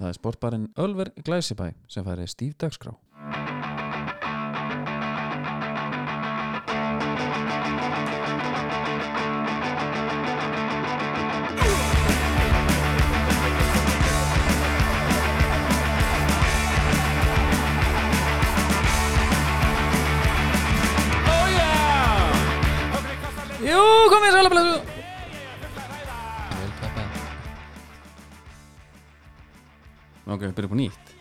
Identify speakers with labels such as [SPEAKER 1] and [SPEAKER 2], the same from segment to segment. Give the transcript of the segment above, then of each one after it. [SPEAKER 1] Það er sportbarinn Ölver Glæsibæ sem færi stíf dagskrá. Jú, komið sæla blessu!
[SPEAKER 2] Vel peppað.
[SPEAKER 1] Ok, við byrjum på nýtt.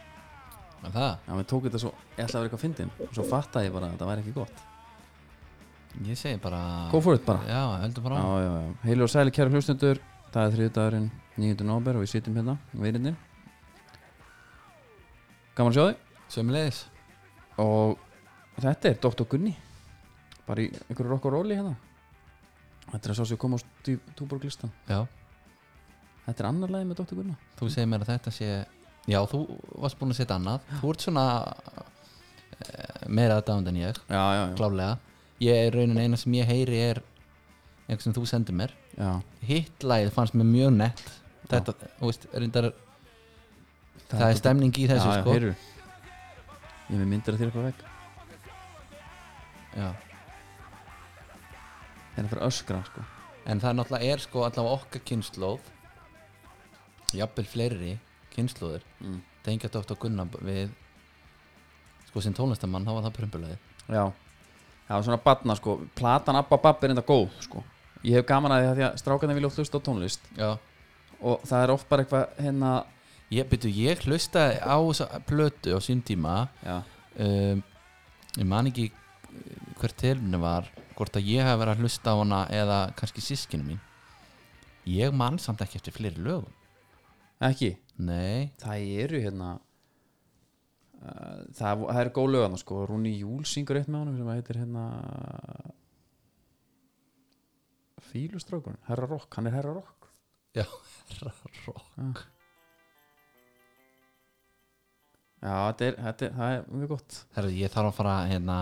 [SPEAKER 2] En það,
[SPEAKER 1] Já, við tók þetta svo, ég ætlaði að vera eitthvað fyndin og svo fattaði ég bara að það væri ekki gott.
[SPEAKER 2] ég segi bara
[SPEAKER 1] Go for it bara.
[SPEAKER 2] Já, heldur bara
[SPEAKER 1] Já,
[SPEAKER 2] á
[SPEAKER 1] já, já. Heilir og sæli kæra hlustundur, það er þriðdagurinn 9. november og við sittum hérna, veirindir. Gaman að sjá þig.
[SPEAKER 2] Sömmulegis
[SPEAKER 1] Og þetta er Dr. Gunni, bara í einhverju rock og róli hérna. Þetta er að sá sem koma á túborglistan.
[SPEAKER 2] Já,
[SPEAKER 1] Þetta er annar lagi með Dr. Gunna.
[SPEAKER 2] þú segir mér að þetta sé Já, þú varst búin að setja annað Þú ert svona eh, meira aðdánd en ég,
[SPEAKER 1] Já, já,
[SPEAKER 2] klálega Ég er raunin eina sem ég heyri er einhvers sem þú sendir mér
[SPEAKER 1] Já,
[SPEAKER 2] Hitt lagið fannst mér mjög nett Þetta, þú veist, reyndar það, er stemning í þessu
[SPEAKER 1] já,
[SPEAKER 2] sko
[SPEAKER 1] Já, heyrðu. Ég er með myndir að þér eitthvað vekk.
[SPEAKER 2] já.
[SPEAKER 1] Það er að fara að öskra, sko.
[SPEAKER 2] En það er náttúrulega er sko allavega okkar kynnslóð jafnvel fleiri kynnslóður
[SPEAKER 1] Mm.
[SPEAKER 2] tengja Dr. Gunnar við sko sem tónlistamann þá var það prumbulagið
[SPEAKER 1] Já. Það var svona batna, sko. Platan Abba Babb er enda góð, sko. Ég hef gaman að því að, því að strákarnir vilja oft hlusta á tónlist
[SPEAKER 2] Já
[SPEAKER 1] og það er oft bara eitthvað hérna...
[SPEAKER 2] Ég byrju, ég hlustaði á þessa plötu á sín tíma
[SPEAKER 1] Já.
[SPEAKER 2] um, ég man ekki eh, hvert tilfinu var hvort að ég hef verið að hlusta á hana eða kannski sískinu mín Ég man samt ekki eftir fleiri lögum
[SPEAKER 1] Ekki?
[SPEAKER 2] Nei,
[SPEAKER 1] Það eru hérna... Uh, það, það eru góð lögana, sko. Rúni Júl syngur eitt með honum sem heitir hérna... Fílustrákurinn. Herra Rock. Hann er Herra Rock.
[SPEAKER 2] rock
[SPEAKER 1] Já, þetta er, þetta er, það er mjög gott.
[SPEAKER 2] Herra, ég þarf að fara hérna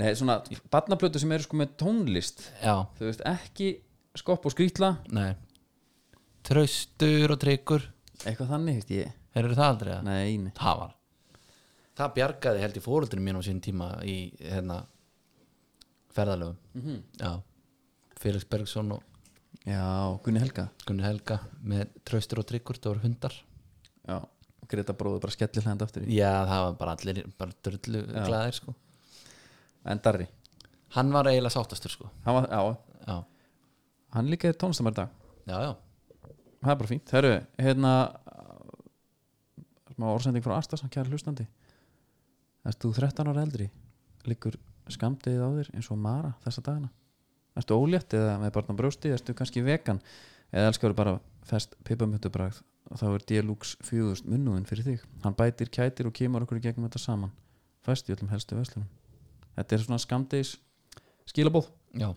[SPEAKER 1] Nei, svona barnaplötu sem eru sko með tónlist
[SPEAKER 2] Já,
[SPEAKER 1] Þú veist, ekki skopp og skrýtla
[SPEAKER 2] Nei Traustur og tryggur
[SPEAKER 1] Eitthvað þannig, veist ég
[SPEAKER 2] Herru það aldrei að?
[SPEAKER 1] Nei, nei
[SPEAKER 2] Það var Það bjargaði held í fóröldurinn mín á sín tíma í hérna ferðalöfum
[SPEAKER 1] Mhm.
[SPEAKER 2] -hmm. Já Felix Bergson og
[SPEAKER 1] Já, Gunni Helga
[SPEAKER 2] Gunni Helga með Traustur og tryggur, það voru hundar
[SPEAKER 1] Já, Greta bróður bara skellir hlænd aftur í
[SPEAKER 2] Já, það var bara allir bara drullu glæðir sko
[SPEAKER 1] En Darri,
[SPEAKER 2] Hann var eiginlega sáttastur sko
[SPEAKER 1] hann var, já
[SPEAKER 2] Já,
[SPEAKER 1] Hann líka er tónlistamæri dag
[SPEAKER 2] já, já
[SPEAKER 1] Það er bara fínt Herru, hérna Smá orðsending frá Astas, hann kæri hlustandi Erst þú 13 ára eldri Liggur skamdið á þér eins og Mara þessa dagana Erstu ólétt eða með barna brjósti Erstu kannski vegan Eða elskar bara fest pipamötubragð Þá er Deluxe fjögust munnúðin fyrir þig Hann bætir, kætir og kemur okkur í gegnum þetta saman Fæst í öllum helstu veslunum Þetta er svona skamdegis skilabóð
[SPEAKER 2] Já,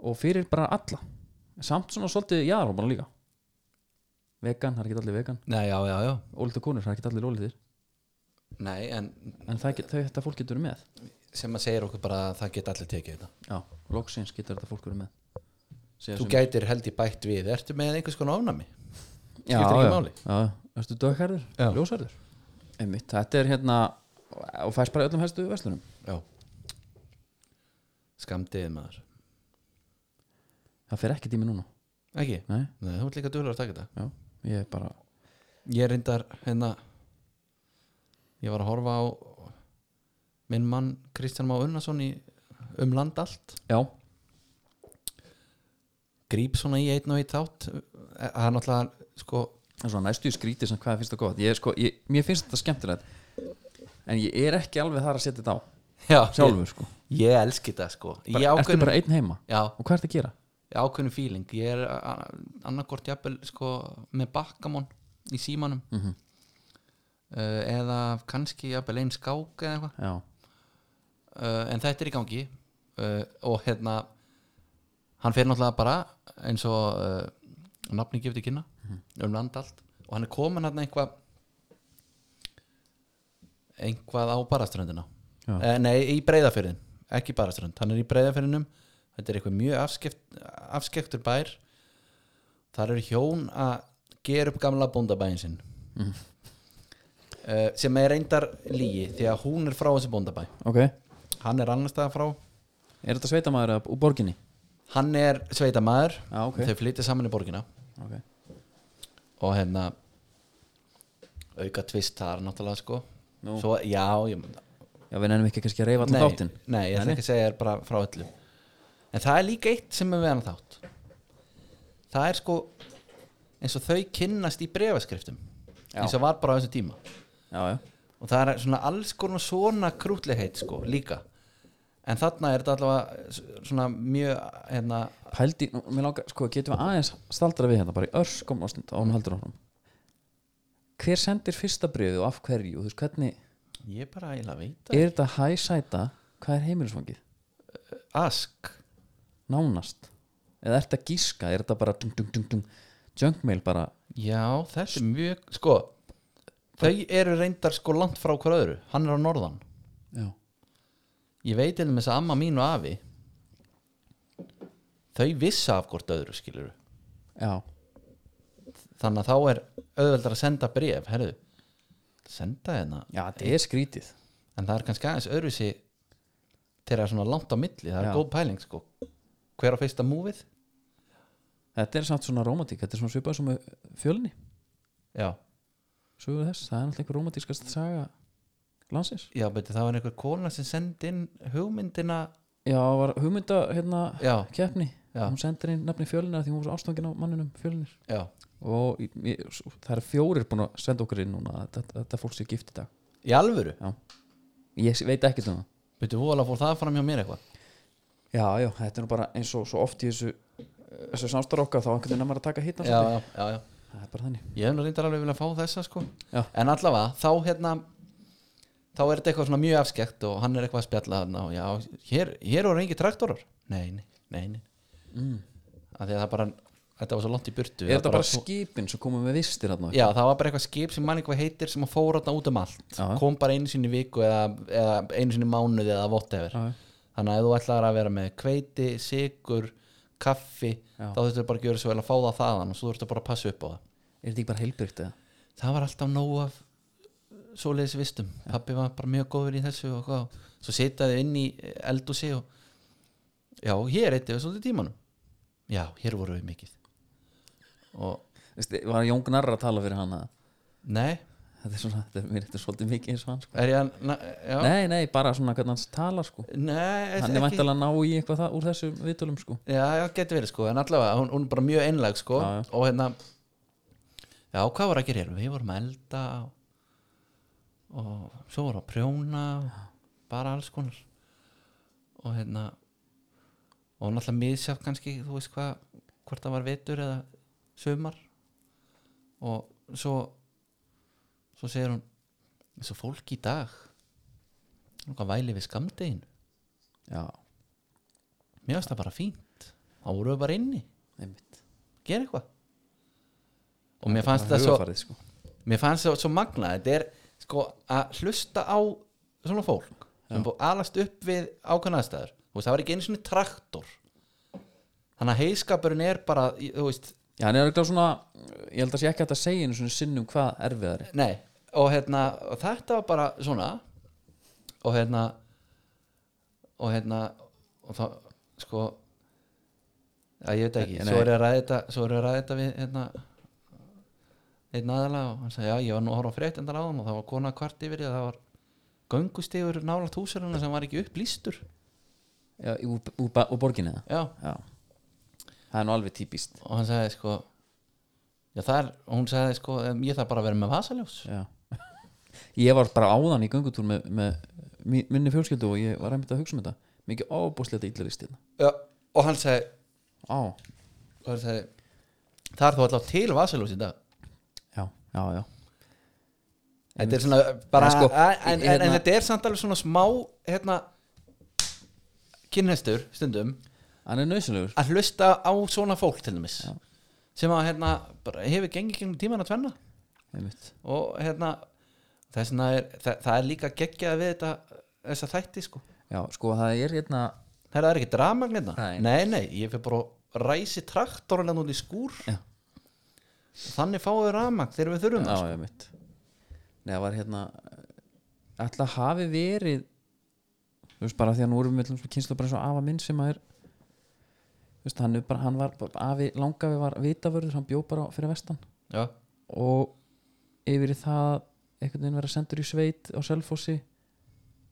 [SPEAKER 1] Og fyrir bara alla Samt svona svolítið jaðarópana líka Vegan, það er ekki allir vegan
[SPEAKER 2] Nei, já, já, já
[SPEAKER 1] Ólítið konur, það er ekki allir ólítir
[SPEAKER 2] Nei, en
[SPEAKER 1] En það get, þau, þetta fólk getur verið með
[SPEAKER 2] sem að segir okkur bara að það geta allir tekið þetta
[SPEAKER 1] Já, loksins getur þetta fólk verið með Segja
[SPEAKER 2] Þú
[SPEAKER 1] sem-
[SPEAKER 2] gætir held í bætt við, ertu með einhvers konar ofnami?
[SPEAKER 1] Já,
[SPEAKER 2] skiptir ekki
[SPEAKER 1] já.
[SPEAKER 2] máli.
[SPEAKER 1] Já, já. Ertu dögherður,
[SPEAKER 2] Já.
[SPEAKER 1] ljósherður Einmitt, þetta er hérna og fæst bara í öllum helstu verslunum
[SPEAKER 2] Já Skamdiðið maður
[SPEAKER 1] Það fer ekki tími núna
[SPEAKER 2] Ekki?
[SPEAKER 1] Nei,
[SPEAKER 2] Nei, þú ert líka duðlega að taka þetta
[SPEAKER 1] já, ég er bara
[SPEAKER 2] Ég reyndar hérna Ég var að horfa á minn mann Kristján Má Unnarsson í Um land allt
[SPEAKER 1] Já,
[SPEAKER 2] Gríp svona í einn og einn þátt E, Það er náttúrulega sko
[SPEAKER 1] en svona næstu í skríti sem hvað finnst það gott ég, er sko, ég, Mér finnst þetta skemmtilegt En ég er ekki alveg þar að setja þetta á
[SPEAKER 2] Já, ég,
[SPEAKER 1] Sjálfur, sko
[SPEAKER 2] ég elski þetta sko Ég
[SPEAKER 1] bara, Ertu
[SPEAKER 2] ákveðin,
[SPEAKER 1] bara einn heima
[SPEAKER 2] já,
[SPEAKER 1] Og hvað ertu að gera?
[SPEAKER 2] ég ákveðin feeling Ég er annarkort jafnvel sko með bakkamón í símanum mm -hmm. eða kannski jafnvel einn skák eða eitthvað
[SPEAKER 1] Já,
[SPEAKER 2] uh, en þetta er í gangi uh, og hérna hann fer náttúrulega bara eins og uh, nafni gefið kynna um land allt og hann er komin hann eitthvað einhvað á baraströndina
[SPEAKER 1] Já.
[SPEAKER 2] eh, nei, í breyðafyrðin ekki baraströnd, hann er í breyðafyrðinum þetta er eitthvað mjög afskekt, afskektur bær þar eru hjón að gera upp gamla bóndabæin sinn uh, sem er reyndar lígi því að hún er frá þessi bóndabæ
[SPEAKER 1] ok, er
[SPEAKER 2] hann er annars staðar frá
[SPEAKER 1] þetta sveitamæður af- úr borginni?
[SPEAKER 2] hann er sveitamaður
[SPEAKER 1] Já, ok.
[SPEAKER 2] þau flytja saman í borgina
[SPEAKER 1] ok,
[SPEAKER 2] og hérna auka tvist þar náttúrulega sko
[SPEAKER 1] Nú.
[SPEAKER 2] Svo, já, ég,
[SPEAKER 1] já við nefnum ekki kannski að reyfa allan þáttinn
[SPEAKER 2] nei, ég ætla ekki að segja þér bara frá öllu en það er líka eitt sem er við hann þátt það er sko eins og þau kynnast í brefaskriftum
[SPEAKER 1] Já.
[SPEAKER 2] eins og var bara á þessum tíma
[SPEAKER 1] já, já,
[SPEAKER 2] og það er svona alls konar svona krútlegheit sko líka en þarna er þetta allavega s- svona mjög hérna
[SPEAKER 1] pældi, nú, mér langar, sko getum við aðeins staldra við hérna bara í örskum ástund og hún heldur áfram hver sendir fyrsta bréfið og af hverju og þú veist hvernig,
[SPEAKER 2] ég bara eiginlega veit
[SPEAKER 1] er þetta hæsæta hvað er heimilisfangið,
[SPEAKER 2] það ask
[SPEAKER 1] nánast eða ert að gíska, er þetta bara dung, dung, dung, dung, junkmail bara
[SPEAKER 2] já þetta er mjög sko þau eru reyndar sko langt frá hver öðru hann er á norðan
[SPEAKER 1] já,
[SPEAKER 2] ég veit einnig með þess að amma mín og afi þau vissa af hvort öðru skilur
[SPEAKER 1] já,
[SPEAKER 2] þannig að þá er auðveldar að senda bréf herðu, senda hérna
[SPEAKER 1] já þetta er skrítið
[SPEAKER 2] en það er kannski aðeins öðru sig þegar það er svona langt á milli það er
[SPEAKER 1] Já.
[SPEAKER 2] góð pæling sko hver á fyrsta múfið
[SPEAKER 1] þetta er samt svona romantík, þetta er svona svipað sem með fjölni,
[SPEAKER 2] já,
[SPEAKER 1] sögur þess það er náttúrulega einhver romantískast saga landsins,
[SPEAKER 2] já beti, það var einhver kona sem sendi inn hugmyndina
[SPEAKER 1] já, var hugmynda hérna,
[SPEAKER 2] já,
[SPEAKER 1] keppni
[SPEAKER 2] Já.
[SPEAKER 1] hún sendir inn nafni fjölinar því hún var svo ástofngin á manninum fjölinir
[SPEAKER 2] já,
[SPEAKER 1] og í- í- s- það er fjórir búin að senda okkur inn núna að þetta, þetta fólk sé gift í dag
[SPEAKER 2] í alvöru
[SPEAKER 1] ég s- veit ekkert um það
[SPEAKER 2] beti, vola fór það fram hjá mér eitthvað
[SPEAKER 1] já, já, þetta er nú bara eins og svo oft í þessu þessu samstar okkar þá einhvern veginn er maður að taka hittna
[SPEAKER 2] já, já, já, já
[SPEAKER 1] það er bara þannig
[SPEAKER 2] Ég hef nú reyndar alveg vilja fá þessa sko
[SPEAKER 1] Já.
[SPEAKER 2] En allavega, þá hérna Þá er þetta eitthvað svona mjög afskekt Og hann er eitthvað að spjalla þarna og já, Hér, hér voru engi traktorar Nei, nei, nei, nei. Mm. Að Því að það bara, þetta var svo langt í burtu
[SPEAKER 1] er þetta bara
[SPEAKER 2] svo-
[SPEAKER 1] skipin sem komum við vistir þarna?
[SPEAKER 2] Já, það var bara eitthvað skip sem mann eitthvað heitir sem að fóra þarna út um allt
[SPEAKER 1] Já.
[SPEAKER 2] Kom bara einu sinni í viku eða, eða einu sinni í mánuði eða whatever
[SPEAKER 1] Já, já.
[SPEAKER 2] Þannig að ef þú ætlar að vera með kveiti, sigur, kaffi
[SPEAKER 1] Já.
[SPEAKER 2] Þá þurftur bara að gjöra svo vel að fá það þaðan og svo þurftur bara að passa upp á það
[SPEAKER 1] er þetta ekki bara heilbyrgt eða?
[SPEAKER 2] það var alltaf nóg af svoleiðis vistum, pappi var bara mjög góður í þessu og hvað, svo sitaði inn í eldúsi og já, hér eitt eða svolítið tímanum já, hér voru við mikið og,
[SPEAKER 1] Veistu, var Jón Gnarr að tala fyrir hana
[SPEAKER 2] nei
[SPEAKER 1] þetta er svona, þetta er, mér þetta er svolítið mikið eins og hans
[SPEAKER 2] er ég að, na, já,
[SPEAKER 1] nei, nei, bara svona hvernig hans talar sko
[SPEAKER 2] nei
[SPEAKER 1] hann er vantilega að ná í eitthvað það, úr þessum viðtölum sko
[SPEAKER 2] já, já, getur verið sko, en allavega, hún, hún er bara mjög einlæg sko,
[SPEAKER 1] Já, já.
[SPEAKER 2] og hérna já, hvað var að gera hér, við vorum að elda og, og svo vorum að prjóna og bara alls konar og hérna og náttúrulega miðsjátt kannski, þú veist hvað hvort það var vetur eða sumar og svo svo segir hún eins og fólk í dag hvað væli við skamdeginu
[SPEAKER 1] já,
[SPEAKER 2] mér finnst það bara fínt þá voru við bara inni,
[SPEAKER 1] einmitt
[SPEAKER 2] gera eitthvað og mér fannst
[SPEAKER 1] Bara
[SPEAKER 2] það svo
[SPEAKER 1] hugarfarið, sko.
[SPEAKER 2] mér fannst það svo magna þetta er sko að hlusta á svona fólk sem búið að alast upp við ákvæmnaðstæður þú veist það var ekki einu svona traktor þannig að heiskapurinn er bara í- þú veist,
[SPEAKER 1] Já, hann er eitthvað svona, ég held að sé ekki hægt að segja einu svona sinnum hvað erfiðari
[SPEAKER 2] nei og hérna, og þetta var bara svona og hérna og hérna og þá, sko að ég veit ekki,
[SPEAKER 1] Nei.
[SPEAKER 2] svo er ég að ræða þetta svo er ég að ræða þetta við hérna einn aðala og hann sagði, já, ég var nú að horfa á frétt endar á hann og það var kona kvart yfir því að það var göngustegur nálaðt húsaruna sem var ekki upplýstur
[SPEAKER 1] Já, í- úr, úr, ba- úr borginni það
[SPEAKER 2] já,
[SPEAKER 1] Já, það er nú alveg típist
[SPEAKER 2] og hann sagði, sko já, þar, og hún sagði, sko em, ég þarf bara að vera með vasaljós
[SPEAKER 1] Já Ég var bara áðan í göngutúr með, með mi- minni fjölskyldu og ég var einmitt að hugsa um þetta Mikið óbúslega íllurist hérna
[SPEAKER 2] já, og hann sagði,
[SPEAKER 1] Á,
[SPEAKER 2] og hann sagði það er þó alltaf til vasaljós í dag
[SPEAKER 1] já, já, já
[SPEAKER 2] þetta er svona bara
[SPEAKER 1] En sko,
[SPEAKER 2] en, en, en,
[SPEAKER 1] hérna-
[SPEAKER 2] þetta er samt alveg svona smá hérna kynhestur stundum
[SPEAKER 1] Hann er nöðsynlegur
[SPEAKER 2] að hlusta á svona fólk til dæmis sem að hérna bara hefur gengið gengum tíman að tvenna
[SPEAKER 1] Einmitt
[SPEAKER 2] og hérna þessna er, það, það er líka geggjað við þetta þessa þætti sko
[SPEAKER 1] Já, sko það er hérna
[SPEAKER 2] Herra, það er ekki dramagn hérna
[SPEAKER 1] Nei.
[SPEAKER 2] nei, nei, ég fyrir bara að ræsi traktorlega út í skúr
[SPEAKER 1] Já.
[SPEAKER 2] þannig fáum við ramagn þegar við þurfum það
[SPEAKER 1] Já, einmitt Nei, það var hérna Ætla hafi verið Þú veist bara því að nú erum við kynslu bara eins og afa minn sem að er Þú veist, hann, er bara, hann var afi, langafi var vitavörður, hann bjó bara fyrir vestan
[SPEAKER 2] já,
[SPEAKER 1] og yfir í það einhvern veginn vera sendur í sveit á Selfossi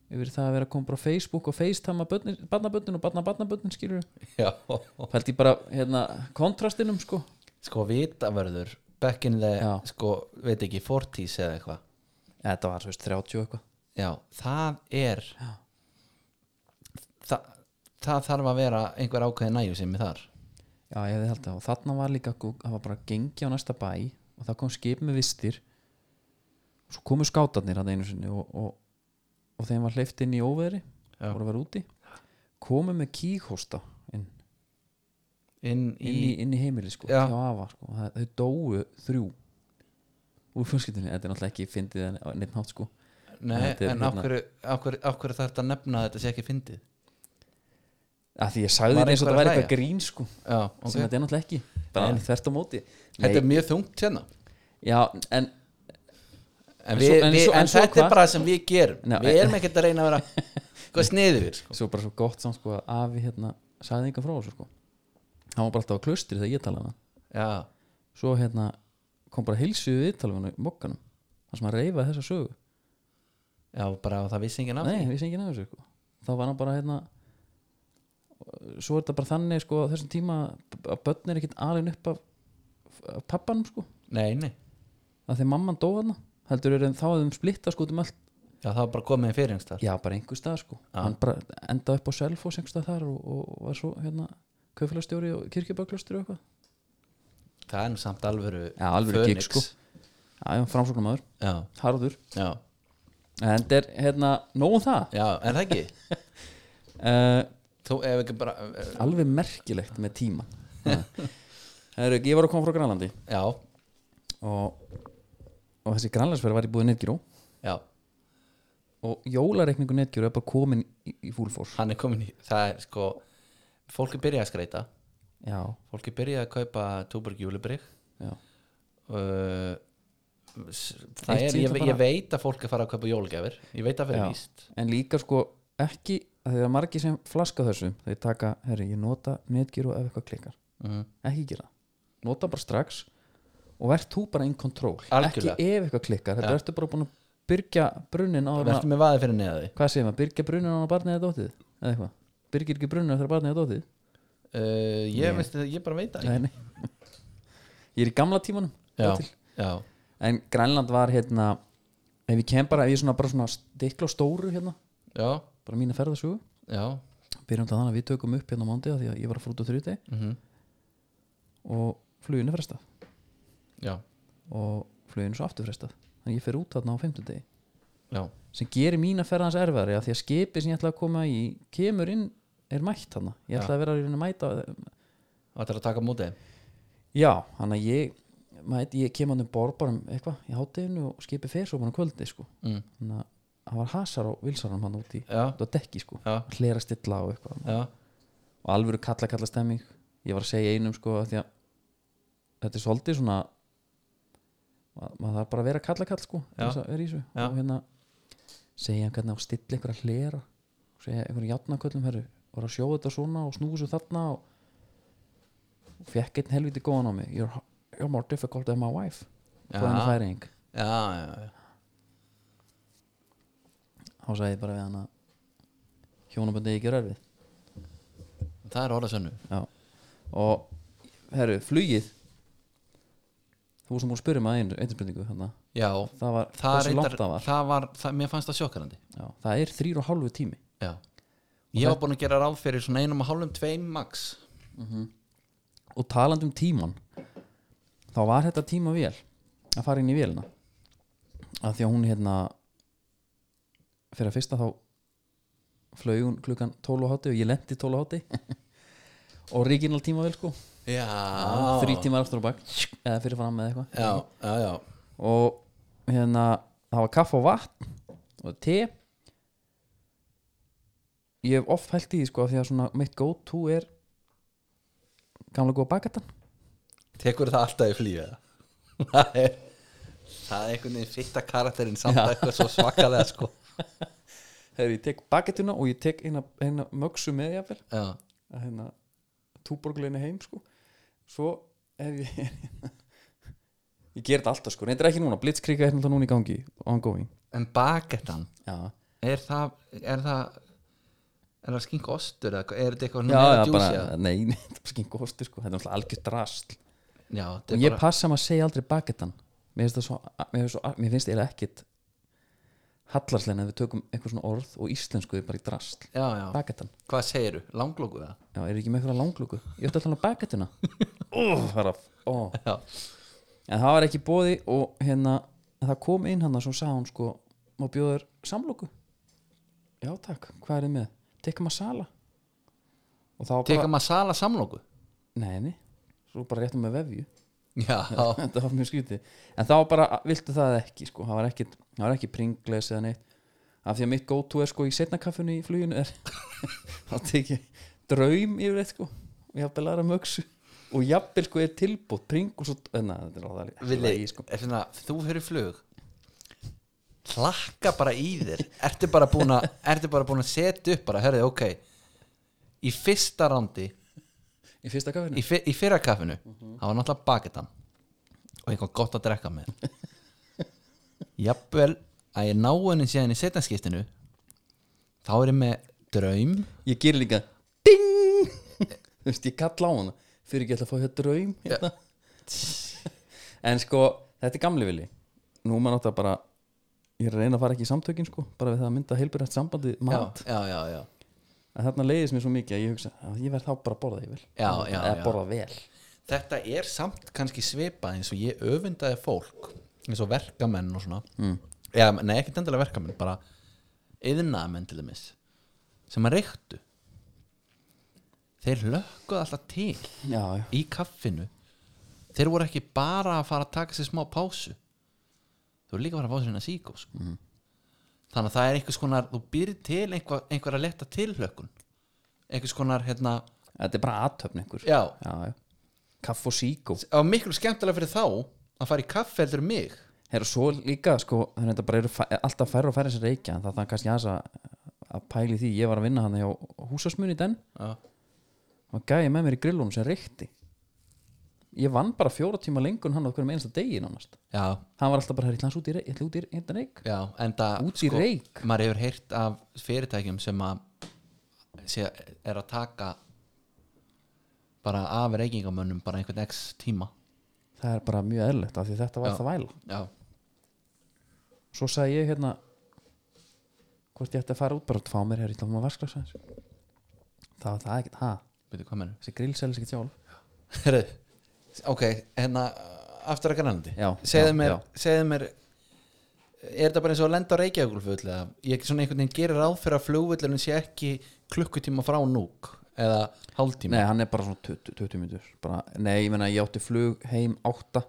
[SPEAKER 1] yfir í það að vera kom bara á Facebook og FaceTime að barnaböndin og barnabarnaböndin skilur
[SPEAKER 2] já
[SPEAKER 1] pælt í bara hérna, kontrastinum sko
[SPEAKER 2] sko vitavörður back in the,
[SPEAKER 1] Já.
[SPEAKER 2] sko, veit ekki 40s eða eitthvað
[SPEAKER 1] ja, þetta var svo veist 30 og eitthvað
[SPEAKER 2] já, það er
[SPEAKER 1] Já.
[SPEAKER 2] Þa, það þarf að vera einhver ákveðin nægjum sem er þar
[SPEAKER 1] já ég hefði haldið það og þarna var líka gú- það var bara gengi á næsta bæ og það kom skip með vistir og svo komu skátarnir hann einu sinni og, og, og þeim var hleyft inn í óveðri
[SPEAKER 2] Já.
[SPEAKER 1] voru að vera úti komu með kíghósta inn
[SPEAKER 2] inn í,
[SPEAKER 1] inn í, inn í heimili sko,
[SPEAKER 2] Já.
[SPEAKER 1] hjá afa sko. það, þau dóu þrjú úr fjölskyldinni, þetta er náttúrulega ekki fyndið en- á neitt nátt sko
[SPEAKER 2] nei,
[SPEAKER 1] Þetta er
[SPEAKER 2] en af
[SPEAKER 1] hérna-
[SPEAKER 2] hverju, af hverju, af hverju þarf þetta að nefna að þetta sé ekki fyndið
[SPEAKER 1] að því ég sagði
[SPEAKER 2] Var
[SPEAKER 1] þetta eins og
[SPEAKER 2] einhver
[SPEAKER 1] þetta
[SPEAKER 2] að
[SPEAKER 1] væri
[SPEAKER 2] hlæja?
[SPEAKER 1] eitthvað grín sko
[SPEAKER 2] já, ok,
[SPEAKER 1] sem þetta er náttúrulega ekki, bara
[SPEAKER 2] Nei.
[SPEAKER 1] þvert á móti
[SPEAKER 2] þetta er mjög þungt hérna
[SPEAKER 1] já, en En
[SPEAKER 2] en, við,
[SPEAKER 1] svo- en
[SPEAKER 2] við,
[SPEAKER 1] svo-
[SPEAKER 2] en,
[SPEAKER 1] en svo
[SPEAKER 2] þetta
[SPEAKER 1] hvað?
[SPEAKER 2] er bara sem við gerum
[SPEAKER 1] Ná,
[SPEAKER 2] við erum ekkert að reyna að vera hvað sniður sko.
[SPEAKER 1] svo bara svo gott samt sko að afi hérna sagði engan frá þessu sko hann var bara alltaf á klustri þegar ég talaði hann
[SPEAKER 2] já,
[SPEAKER 1] svo hérna kom bara heilsuðu viðtalvinu í mokkanum þar sem hann reyfaði þessa sögu
[SPEAKER 2] já, bara það vissi enginn af því
[SPEAKER 1] Nei, við sem ekki nefnir sér sko. Þá var hann bara hérna Svo er þetta bara þannig sko á Þessum tíma að börn er ekkit alin upp af, af pappanum sko
[SPEAKER 2] nei, nei,
[SPEAKER 1] að því mamman dó hana heldur er en þá hefðum splitta sko út um allt
[SPEAKER 2] já, það var bara komið í fyrirhengstar
[SPEAKER 1] já bara einhver stað sko
[SPEAKER 2] Já.
[SPEAKER 1] hann bara endaði upp á Selfoss einhver stað þar og, og var svo hérna kaufélagstjóri og kirkjubæklustjóri og eitthvað
[SPEAKER 2] það er nú samt alvöru
[SPEAKER 1] Já, alvöru gig,
[SPEAKER 2] Phoenix.
[SPEAKER 1] sko. já, já framsóknum aður,
[SPEAKER 2] já,
[SPEAKER 1] harður
[SPEAKER 2] já,
[SPEAKER 1] en þetta er hérna, nóg um það
[SPEAKER 2] já, en það ekki
[SPEAKER 1] uh,
[SPEAKER 2] þú ef ekki bara eh,
[SPEAKER 1] alveg merkilegt með tíman Heru, ég var að koma frá Grænlandi
[SPEAKER 2] já,
[SPEAKER 1] og, og þessi grannlandsferð var í búið Netgyro
[SPEAKER 2] já,
[SPEAKER 1] og jólareikningu Netgyro er bara komin í, í fúlfór
[SPEAKER 2] hann er komin í það er sko, fólki byrjaði að skreita
[SPEAKER 1] já,
[SPEAKER 2] fólki byrjaði að kaupa túborg júlubrygg
[SPEAKER 1] já,
[SPEAKER 2] uh, s- það
[SPEAKER 1] Eitt
[SPEAKER 2] er,
[SPEAKER 1] sem ég
[SPEAKER 2] ég,
[SPEAKER 1] ætla
[SPEAKER 2] ég
[SPEAKER 1] bara-
[SPEAKER 2] veit að fólk er fara að kaupa jólgjafir ég veit að fyrir
[SPEAKER 1] Já.
[SPEAKER 2] víst
[SPEAKER 1] en líka sko ekki að þegar margir sem flaska þessu þeir taka, herri, ég nota Netgyro ef eitthvað klikkar,
[SPEAKER 2] mm.
[SPEAKER 1] ekki gera það. nota bara strax og verð þú bara in control,
[SPEAKER 2] Algjörlega.
[SPEAKER 1] ekki ef eitthvað klikkar þetta ertu bara búin að byrgja brunnin á hana,
[SPEAKER 2] verður með vaðið fyrir neða því
[SPEAKER 1] hvað segir maður, byrgja brunnin á hana barnið eða dótið, eða eitthvað byrgir ekki brunnin þegar barnið eða dótið
[SPEAKER 2] uh, ég,
[SPEAKER 1] Nei.
[SPEAKER 2] veist, ég bara veit það ekki.
[SPEAKER 1] nei, nei. ég er í gamla tímanum
[SPEAKER 2] já,
[SPEAKER 1] þar til.
[SPEAKER 2] já,
[SPEAKER 1] en Grænland var hérna ef ég kem bara, ef ég svona bara svona stikla á stóru hérna,
[SPEAKER 2] já,
[SPEAKER 1] bara mína ferðasögu
[SPEAKER 2] já
[SPEAKER 1] byrjum þetta þannig að við tökum upp hérna á mándi því að ég var að fór út á þriðdegi
[SPEAKER 2] mm
[SPEAKER 1] og fluginu frestað
[SPEAKER 2] já,
[SPEAKER 1] og fluginu svo aftur frestað þannig að ég fer út þarna á fimmtudegi
[SPEAKER 2] já,
[SPEAKER 1] sem gerir mína ferð hans erfari að því að skipi sem ég ætla að koma í kemur inn, er mætt þarna ég ætla að vera í rauninni að mæta
[SPEAKER 2] það er að taka á móti þeim.
[SPEAKER 1] já, þannig að ég, mæti, ég kem hann um borð bara um eitthvað í hátteginu og skipi fer svo bara um kvöldi sko.
[SPEAKER 2] mm.
[SPEAKER 1] þannig að hann var hasar á vilsarum hann úti
[SPEAKER 2] já,
[SPEAKER 1] út á dekki sko
[SPEAKER 2] já,
[SPEAKER 1] hlera stilla og eitthvað
[SPEAKER 2] já,
[SPEAKER 1] og alvöru kalla kalla stemming ég var að segja einum sko af því að þetta er svolítið svona ma- maður þarf bara að vera kalla kall sko til
[SPEAKER 2] Já.
[SPEAKER 1] þess að vera í þessu
[SPEAKER 2] Já.
[SPEAKER 1] og hérna segja hann hvernig á að stilla einhverja hlera og segja einhverju játnaköllum herru voru að sjóða þetta svona og snúðu svo þarna og, og fekk einn helviti góðan á mig you're, ho- you're more difficult than my wife
[SPEAKER 2] Já.
[SPEAKER 1] hvað henni færing
[SPEAKER 2] já, já, já.
[SPEAKER 1] þá sagði ég bara við hann að hjónaböndi ekki er erfið
[SPEAKER 2] það er orða sönnu
[SPEAKER 1] Já. og herru, flugið þú sem múið spyrja með einu, einu spurningu þarna.
[SPEAKER 2] já,
[SPEAKER 1] það var
[SPEAKER 2] það er
[SPEAKER 1] hversu langt það var
[SPEAKER 2] það var, það, mér fannst það sjokkarandi
[SPEAKER 1] Já, það er þrýr og hálfu tími
[SPEAKER 2] já, ég var búin að gera ráð fyrir svona einum og hálfum tveim max Mhm.
[SPEAKER 1] og talandi um tíman þá var þetta tíma vel að fara inn í velina að því að hún hérna fyrir að fyrsta þá flög hún klukkan 12 og hátti og ég lendi 12 og hátti og ríkinal tíma vel sko
[SPEAKER 2] já,
[SPEAKER 1] þrý tímar aftur á bak eða fyrir fram eða eitthvað
[SPEAKER 2] já, já, já,
[SPEAKER 1] og hérna það var kaffa og vatn og te ég hef oft held í því sko af því að svona mitt go to er gamla góða bakatan
[SPEAKER 2] tekur það alltaf í flýja það er það er einhvern veginn fitta karakterinn samt eitthvað svo svakalega sko
[SPEAKER 1] Þegar ég tek bakettuna og ég tek eina, eina mögsu með jafnvel
[SPEAKER 2] já,
[SPEAKER 1] að hérna túborgleinu heim sko svo ef ég ég ger þetta alltaf sko, neyndir ekki núna blitzkriga er náttúrulega núna í gangi, ongoing
[SPEAKER 2] en baketan
[SPEAKER 1] já,
[SPEAKER 2] er það er það, er það skink ostur eða hvað? er þetta eitthvað
[SPEAKER 1] já, já
[SPEAKER 2] meira
[SPEAKER 1] bara,
[SPEAKER 2] juicy eða?
[SPEAKER 1] nei, nei, þetta er skink hosti sko þetta er náttúrulega algjört rast
[SPEAKER 2] já, þetta
[SPEAKER 1] og
[SPEAKER 2] er
[SPEAKER 1] ég
[SPEAKER 2] bara,
[SPEAKER 1] passa maður að segja aldrei bakettan mér finnst það svo, mér finnst, svo, mér finnst eiginlega ekkit hallarslein ef við tökum eitthvað svona orð og íslensku er bara í drast,
[SPEAKER 2] já, já,
[SPEAKER 1] bakettan
[SPEAKER 2] hvað segiru, langlóku það
[SPEAKER 1] já, er ekki með eitthvað langlúku, ég ætti alltaf að bakettuna ó, það er að, ó
[SPEAKER 2] já,
[SPEAKER 1] en það var ekki bóði og hérna en það kom inn hann og svo sagði hún sko má bjóða þér samlóku já takk, hvað er þið með tekka maður sala og þá var bara,
[SPEAKER 2] teka maður sala samlóku
[SPEAKER 1] nei, nei svo bara réttum með vefju
[SPEAKER 2] já,
[SPEAKER 1] þetta var mjög skrítið en þá bara, viltu það ekki sko það var ekki, það var ekki pringles eða neitt af því að mitt go-to er sko í setna kaffinu í fluginu er þá tek ég draum yfir eitt sko og jafnvel aðra mögsu og jafnvel sko er tilbútt pring og svo, na, þetta er alveg ekki
[SPEAKER 2] Vili,
[SPEAKER 1] lagi, sko.
[SPEAKER 2] er svona, þú fyrir flug klakka bara í þér ertu bara búin að ertu bara búin að setja upp bara, herrið, ok í fyrsta randi
[SPEAKER 1] í fyrsta kaffinu
[SPEAKER 2] í, fyr, í fyrra kaffinu
[SPEAKER 1] Mhm.
[SPEAKER 2] það var náttúrulega baketan og eitthvað gott að drekka með jafnvel að ég ná henni síðan í setjanskiptinu þá er ég með draum
[SPEAKER 1] ég gerir líka ding þú veist ég kalla á hana fyrir ekki ætla að fá hér draum hérna. en sko þetta er gamli vilji nú er maður náttúrulega bara ég er að reyna að fara ekki í samtökin sko bara við það að mynda heilbyrjast sambandi mat
[SPEAKER 2] já, já, já,
[SPEAKER 1] að þarna leiðist mér svo mikið að ég hugsa að ég verð þá bara að borða ég vil
[SPEAKER 2] Já, já,
[SPEAKER 1] eða
[SPEAKER 2] já.
[SPEAKER 1] borða vel
[SPEAKER 2] þetta er samt kannski svipað eins og ég öfundaði fólk eins og verkamenn og svona mm. já, nei, ekkert endilega verkamenn bara yðnaðamenn til dæmis sem að reyktu þeir lökkuð alltaf til
[SPEAKER 1] já, já,
[SPEAKER 2] í kaffinu þeir voru ekki bara að fara að taka sér smá pásu þeir voru líka að fara að fá sér hérna síkó sko. þannig að það er einhvers konar þú byrð til einhver, einhver að leta tilhlökkun einhvers konar hérna
[SPEAKER 1] þetta er bara aðtöfn einhver
[SPEAKER 2] já,
[SPEAKER 1] já, já. kaff og síkó
[SPEAKER 2] það var miklu skemmtilega fyrir þá að fara í kaffi heldur en mig
[SPEAKER 1] Herra, svo líka, sko, þannig að þetta bara eru fæ- alltaf færra og færra sér reykja en það er kannski aðeins að, að pæli því ég var að vinna hann hjá húsasmunni den
[SPEAKER 2] já,
[SPEAKER 1] og gæði með mér í grillunum sem reykti ég vann bara fjóra tíma lengur en hann á hverjum einasta degi nánast
[SPEAKER 2] já,
[SPEAKER 1] hann var alltaf bara, "Herra, ég ætla aðeins út í reik, ég ætla út í reik, reik.
[SPEAKER 2] já sko. en það
[SPEAKER 1] út í reik
[SPEAKER 2] maður hefur heyrt af fyrirtækjum sem að sé, er að taka bara af reykingamönnum bara einhvern x tíma
[SPEAKER 1] það er bara mjög eðlilegt af því þetta var
[SPEAKER 2] Já.
[SPEAKER 1] það væla
[SPEAKER 2] já,
[SPEAKER 1] svo sagði ég hérna hvort ég ætti að fara út bara að fá mér, herra, ég ætla að fá maður vasklasa það var það ekkert, ha,
[SPEAKER 2] veitu hvað mennur
[SPEAKER 1] þessi grill selst ekkert sjálf
[SPEAKER 2] Herru, ok, hérna aftur að grænlandi
[SPEAKER 1] Já,
[SPEAKER 2] segðu
[SPEAKER 1] já,
[SPEAKER 2] mér,
[SPEAKER 1] já.
[SPEAKER 2] segðu mér er þetta bara eins og að lenda á Reykjavíkulföll eða ég svona einhvern veginn gerir ráð fyrir að flugvöllunum sé ekki klukkutíma frá núk eða hálftíma
[SPEAKER 1] Nei, hann er bara svona 20, 20 mínútur bara, Nei, ég meina, ég átti flug heim átta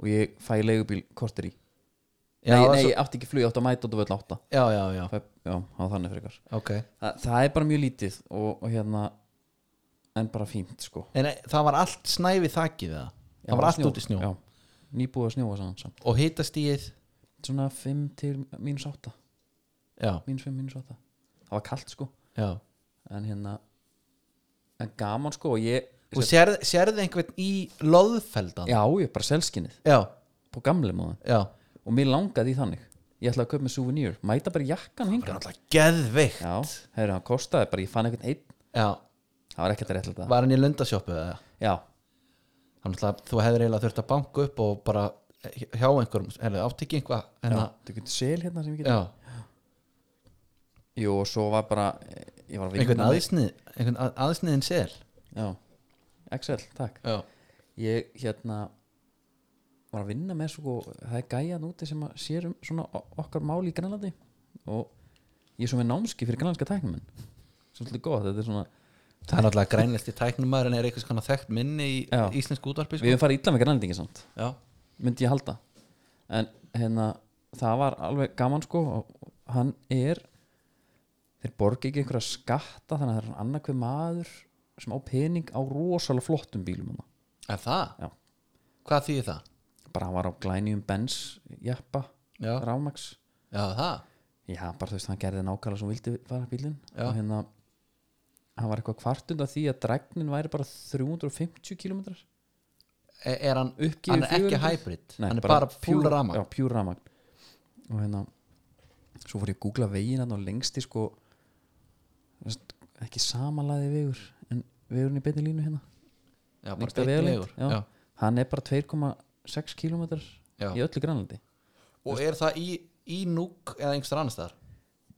[SPEAKER 1] og ég fæ leigubíl kortir í
[SPEAKER 2] já,
[SPEAKER 1] Nei,
[SPEAKER 2] það
[SPEAKER 1] nei
[SPEAKER 2] svo-
[SPEAKER 1] ég átti ekki flug, ég átti að mæta út og völl átta
[SPEAKER 2] já, já, já,
[SPEAKER 1] Fæ, Já, það var þannig frekar
[SPEAKER 2] ok
[SPEAKER 1] Þa, Það er bara mjög lítið og, og hérna en bara fínt, sko
[SPEAKER 2] en e, það var allt snæfi þakið það
[SPEAKER 1] Já,
[SPEAKER 2] það var allt
[SPEAKER 1] snjó-
[SPEAKER 2] út í snjó
[SPEAKER 1] Já, nýbúið að snjóa saman samt
[SPEAKER 2] og hitastíð
[SPEAKER 1] Svona 5 til mínus átta
[SPEAKER 2] já,
[SPEAKER 1] mínus 5, mínus átta Það var kalt, sko
[SPEAKER 2] já
[SPEAKER 1] en hérna en gaman, sko og ég
[SPEAKER 2] og sérð, sérðu einhvern í loðfeldan
[SPEAKER 1] Já, ég bara selskinnið
[SPEAKER 2] já,
[SPEAKER 1] på gamle móðan
[SPEAKER 2] já.
[SPEAKER 1] og mér langaði í þannig ég ætlaði að köpa með souvenir, mæta bara í jakkan
[SPEAKER 2] það er
[SPEAKER 1] hinga
[SPEAKER 2] alltaf geðveikt
[SPEAKER 1] já, heyrðu, hann kostaði bara, ég fann eitthvað einn
[SPEAKER 2] já,
[SPEAKER 1] það var ekkert að réttlega það
[SPEAKER 2] var hann í lundasjópu eða
[SPEAKER 1] já,
[SPEAKER 2] þannig að þú hefðir eiginlega þurft að banka upp og bara hjá einhverjum hefði átt ekki einhvað en
[SPEAKER 1] já,
[SPEAKER 2] að
[SPEAKER 1] þú getur sel hérna sem ég
[SPEAKER 2] já,
[SPEAKER 1] getur jú, og svo var bara, eh, ég var að
[SPEAKER 2] einhvern
[SPEAKER 1] vinna að því.
[SPEAKER 2] aðsnið einhvern að- aðsniðin sel
[SPEAKER 1] já, Excel, takk
[SPEAKER 2] já,
[SPEAKER 1] ég, hérna var að vinna með svo, það er gæjan úti sem að sér um svona o- okkar máli í Grænlandi og ég er svo með námski fyrir grænlandska tæknum svolítið gott, þetta er svona
[SPEAKER 2] það er náttúrulega grænlist í tæknumar en er einhvers konar þekkt minni í
[SPEAKER 1] Já.
[SPEAKER 2] íslensku útvarpi
[SPEAKER 1] við
[SPEAKER 2] sko.
[SPEAKER 1] erum farið illa með grænlandingi samt
[SPEAKER 2] já,
[SPEAKER 1] myndi ég halda en hérna, það var alveg gaman sko og hann er þeir borgi ekki einhverja skatta þannig að það er svona annað hver maður sem á pening á rosalega flottum bílum hann
[SPEAKER 2] er það?
[SPEAKER 1] Já.
[SPEAKER 2] hvað þýðir það?
[SPEAKER 1] bara hann var á glænýjum Benz jeppa,
[SPEAKER 2] já,
[SPEAKER 1] Rámax
[SPEAKER 2] já það
[SPEAKER 1] já, bara þú veist, hann gerði nákvæmlega sem vildi fara bílinn
[SPEAKER 2] Já.
[SPEAKER 1] og hérna hann var eitthvað kvartund af því að dregnin væri bara 350 km
[SPEAKER 2] er, er hann,
[SPEAKER 1] Uppgefið
[SPEAKER 2] hann er ekki
[SPEAKER 1] 400?
[SPEAKER 2] hybrid hann er bara, bara full rama
[SPEAKER 1] já, pure ramagn og hérna svo fór ég að googla veginn hann og lengst í sko þú veist, ekki samalæði vegur en vegurinn í beinni línu hérna
[SPEAKER 2] já, bara
[SPEAKER 1] lengsta
[SPEAKER 2] beinni
[SPEAKER 1] vegalengd,
[SPEAKER 2] vegur
[SPEAKER 1] já.
[SPEAKER 2] já.
[SPEAKER 1] hann er bara 2,6 km í
[SPEAKER 2] Já.
[SPEAKER 1] öllu grannlandi
[SPEAKER 2] og er það í, í núk eða einhverstað annars staðar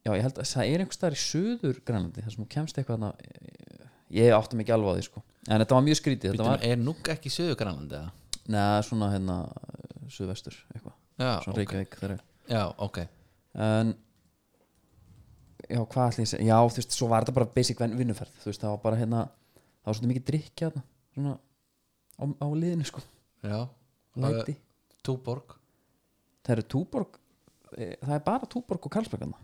[SPEAKER 1] já, ég held að það er einhvers staðar í söður grannlandi þar sem þú kemst eitthvað hana, ég áttum ekki alveg á því sko en þetta var mjög skrítið, þetta
[SPEAKER 2] Býtum,
[SPEAKER 1] var
[SPEAKER 2] er núk ekki í söðu grænlandi eða
[SPEAKER 1] neða, svona hérna söðvestur eitthvað,
[SPEAKER 2] já,
[SPEAKER 1] svona
[SPEAKER 2] ok,
[SPEAKER 1] Reykjavík þeirra
[SPEAKER 2] já, ok
[SPEAKER 1] en já, hvað ætli ég að segja já, þú veist, svo var þetta bara basic vin- vinnuferð þú veist, það var bara hérna það var svolítið mikið drikki hérna svona á, á liðinu sko,
[SPEAKER 2] já, eh,
[SPEAKER 1] læti
[SPEAKER 2] túborg
[SPEAKER 1] það eru túborg eh, það er bara túborg og karlsberg hérna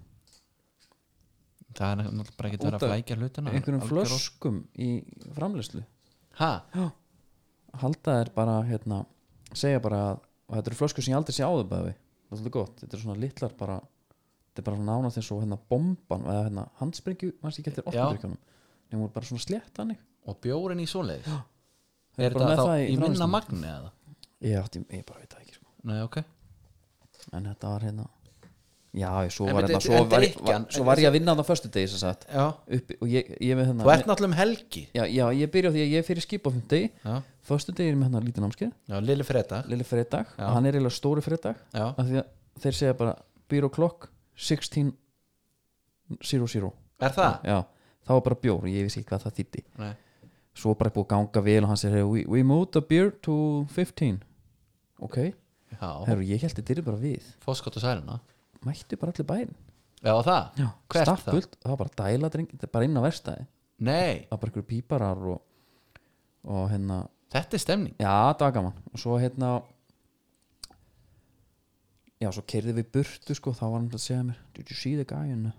[SPEAKER 2] það er náttúrulega bara ekki að vera
[SPEAKER 1] Út
[SPEAKER 2] að
[SPEAKER 1] af
[SPEAKER 2] flækja hlutina
[SPEAKER 1] einhverjum
[SPEAKER 2] Algjör óþarfi.
[SPEAKER 1] flöskum í framleyslu
[SPEAKER 2] ha,
[SPEAKER 1] halda er bara, hérna segja bara að og þetta eru flöskur sem ég aldrei sé áður bæði það er svolítið gott, þetta eru svona litlar bara þetta er bara nánast eins og hérna bomban eða hérna handsprengju, mannst ekki eftir
[SPEAKER 2] Já.
[SPEAKER 1] orkudrykjunum nefnum voru bara svona slétt hannig
[SPEAKER 2] og bjórin í svoleiðis
[SPEAKER 1] Þeir
[SPEAKER 2] er
[SPEAKER 1] eru bara
[SPEAKER 2] þetta
[SPEAKER 1] með
[SPEAKER 2] þá
[SPEAKER 1] það
[SPEAKER 2] í
[SPEAKER 1] framleiðslunni.
[SPEAKER 2] minna magni eða
[SPEAKER 1] Ég átti, ég bara veit það ekki sko.
[SPEAKER 2] nei, ok
[SPEAKER 1] En þetta var hérna Já, ég, svo
[SPEAKER 2] En
[SPEAKER 1] var
[SPEAKER 2] beti-
[SPEAKER 1] hérna Svo
[SPEAKER 2] en
[SPEAKER 1] var,
[SPEAKER 2] drykkjan,
[SPEAKER 1] var, svo var ég að vinna á föstu degi sem sagt
[SPEAKER 2] já.
[SPEAKER 1] upp, Og ég, ég með
[SPEAKER 2] þú
[SPEAKER 1] hérna
[SPEAKER 2] ert náttúrulega um helgi
[SPEAKER 1] já, já, ég byrja á því að ég er fyrir skip á fimm degi
[SPEAKER 2] já,
[SPEAKER 1] Föstu degi er ég með hérna lítið námskeið
[SPEAKER 2] já Lili Freda
[SPEAKER 1] Lili fredag,
[SPEAKER 2] Já.
[SPEAKER 1] og hann er eiginlega stóri fredag
[SPEAKER 2] já,
[SPEAKER 1] af Því að þeir segja bara Byrja klokk 16 00
[SPEAKER 2] er það?
[SPEAKER 1] Já, þá var bara bjór og Ég vissi ekki hvað það þýtti
[SPEAKER 2] nei,
[SPEAKER 1] Svo bara búið að ganga vel og hann segir "Hey, We, we moved the beer to 15 Ok,
[SPEAKER 2] já,
[SPEAKER 1] Heru, ég held þetta er bara við
[SPEAKER 2] fóskot og sæluna
[SPEAKER 1] Mættu bara allir bæinn
[SPEAKER 2] já, það?
[SPEAKER 1] Já,
[SPEAKER 2] Hvert
[SPEAKER 1] stappfullt, það var bara dæla drengi, þetta er bara inn á verstaði það
[SPEAKER 2] nei,
[SPEAKER 1] var bara einhverju píparar og, og hérna,
[SPEAKER 2] þetta er stemning
[SPEAKER 1] já það var gaman og svo hérna já svo kerði við burtu sko, þá var hann að segja mér did you see the guy in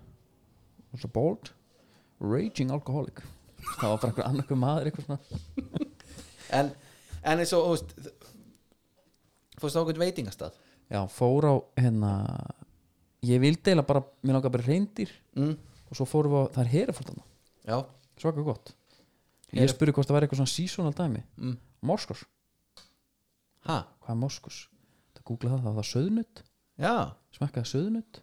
[SPEAKER 1] was a bald, raging alcoholic það var bara einhver annar hver maður eitthvað svona,
[SPEAKER 2] en, en eins og þú veist, fórst það okkur veitingastað
[SPEAKER 1] já fór á hérna, ég vildi eiginlega bara, mér langar bara reyndir
[SPEAKER 2] mm.
[SPEAKER 1] og svo fórum við á, það er herafórtana
[SPEAKER 2] já,
[SPEAKER 1] svaka gott ég
[SPEAKER 2] Heref-
[SPEAKER 1] spurði hvort það væri eitthvað svona seasonal dæmi
[SPEAKER 2] mm.
[SPEAKER 1] morskurs
[SPEAKER 2] ha,
[SPEAKER 1] hvað er moskus? Það googlaði það, það var söðnutt
[SPEAKER 2] já
[SPEAKER 1] smakkaði söðnutt,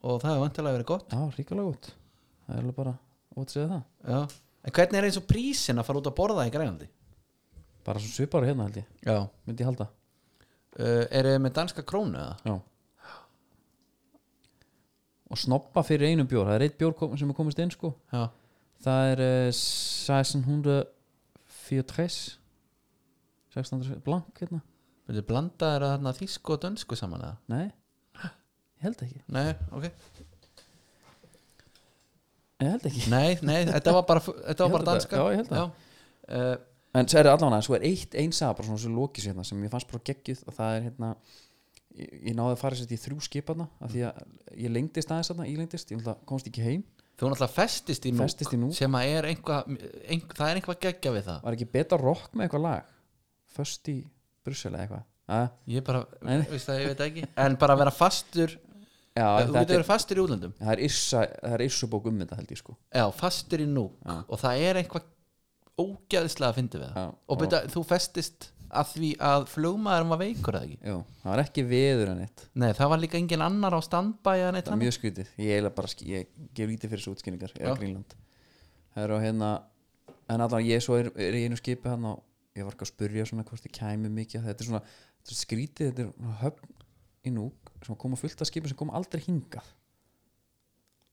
[SPEAKER 2] og það hefur vantilega verið gott
[SPEAKER 1] já, ríkulega gott það er alveg bara, ótt segja það
[SPEAKER 2] já. en hvernig er eins og prísin að fara út að borða í grænandi?
[SPEAKER 1] bara svo svipar hérna held ég,
[SPEAKER 2] já,
[SPEAKER 1] myndi ég halda
[SPEAKER 2] uh, eru þið með danska krónu eða?
[SPEAKER 1] já og snoppa fyrir einum bjór það er eitt bjór kom, sem er komist inn sko
[SPEAKER 2] já,
[SPEAKER 1] það er uh, 1643 1600 blank hérna,
[SPEAKER 2] veitir blanda er þarna þýsku og dönsku saman eða?
[SPEAKER 1] nei ég held ekki,
[SPEAKER 2] nei, ok
[SPEAKER 1] ég held ekki
[SPEAKER 2] nei, nei, þetta var bara, þetta
[SPEAKER 1] Ég
[SPEAKER 2] var
[SPEAKER 1] held
[SPEAKER 2] bara
[SPEAKER 1] að-
[SPEAKER 2] danska
[SPEAKER 1] já, ég held að.
[SPEAKER 2] já. Uh,
[SPEAKER 1] en sér allavega, svo er eitt einsa bara svona sem lokið sér hérna sem ég fannst bara geggjuð og það er hérna ég, ég náði að fara sér í þrjú skipana af því að ég lengdist aðeins þarna, ég lengdist ég náttúrulega komst ekki heim,
[SPEAKER 2] þú náttúrulega festist í núk,
[SPEAKER 1] Festist í Nuuk.
[SPEAKER 2] sem að er einhvað ein, það er einhvað geggja við það
[SPEAKER 1] var ekki betra rock með eitthvað lag föst í Brussel eða eitthvað að,
[SPEAKER 2] ég bara,
[SPEAKER 1] Nei.
[SPEAKER 2] veist það, ég veit ekki en bara að vera fastur
[SPEAKER 1] já,
[SPEAKER 2] þú
[SPEAKER 1] þetta
[SPEAKER 2] getur
[SPEAKER 1] er,
[SPEAKER 2] verið fastur í útlöndum
[SPEAKER 1] það er yrsa það er yrsu bók um þetta held ég sko
[SPEAKER 2] já, fastur í núk
[SPEAKER 1] Já.
[SPEAKER 2] og það er einhvað ógæðislega að fyndi við það
[SPEAKER 1] Já,
[SPEAKER 2] og byrja, þú festist að því að flugmaður var veikur eða ekki
[SPEAKER 1] jú, það var ekki veður en eitt
[SPEAKER 2] nei, það var líka engin annar á standbæ eða neitt
[SPEAKER 1] það er
[SPEAKER 2] þannig.
[SPEAKER 1] mjög skrítið, ég eiginlega bara sk- ég gef lítið fyrir þessu útskynningar eða
[SPEAKER 2] Já.
[SPEAKER 1] Grínland það er á hérna en allan ég svo er, er í einu skipi hann og ég var ekki að spurja svona hvort þið kæmi mikið þetta er svona þetta er skrítið, þetta er svona höfn í núk sem koma fullt af skipum sem koma aldrei hingað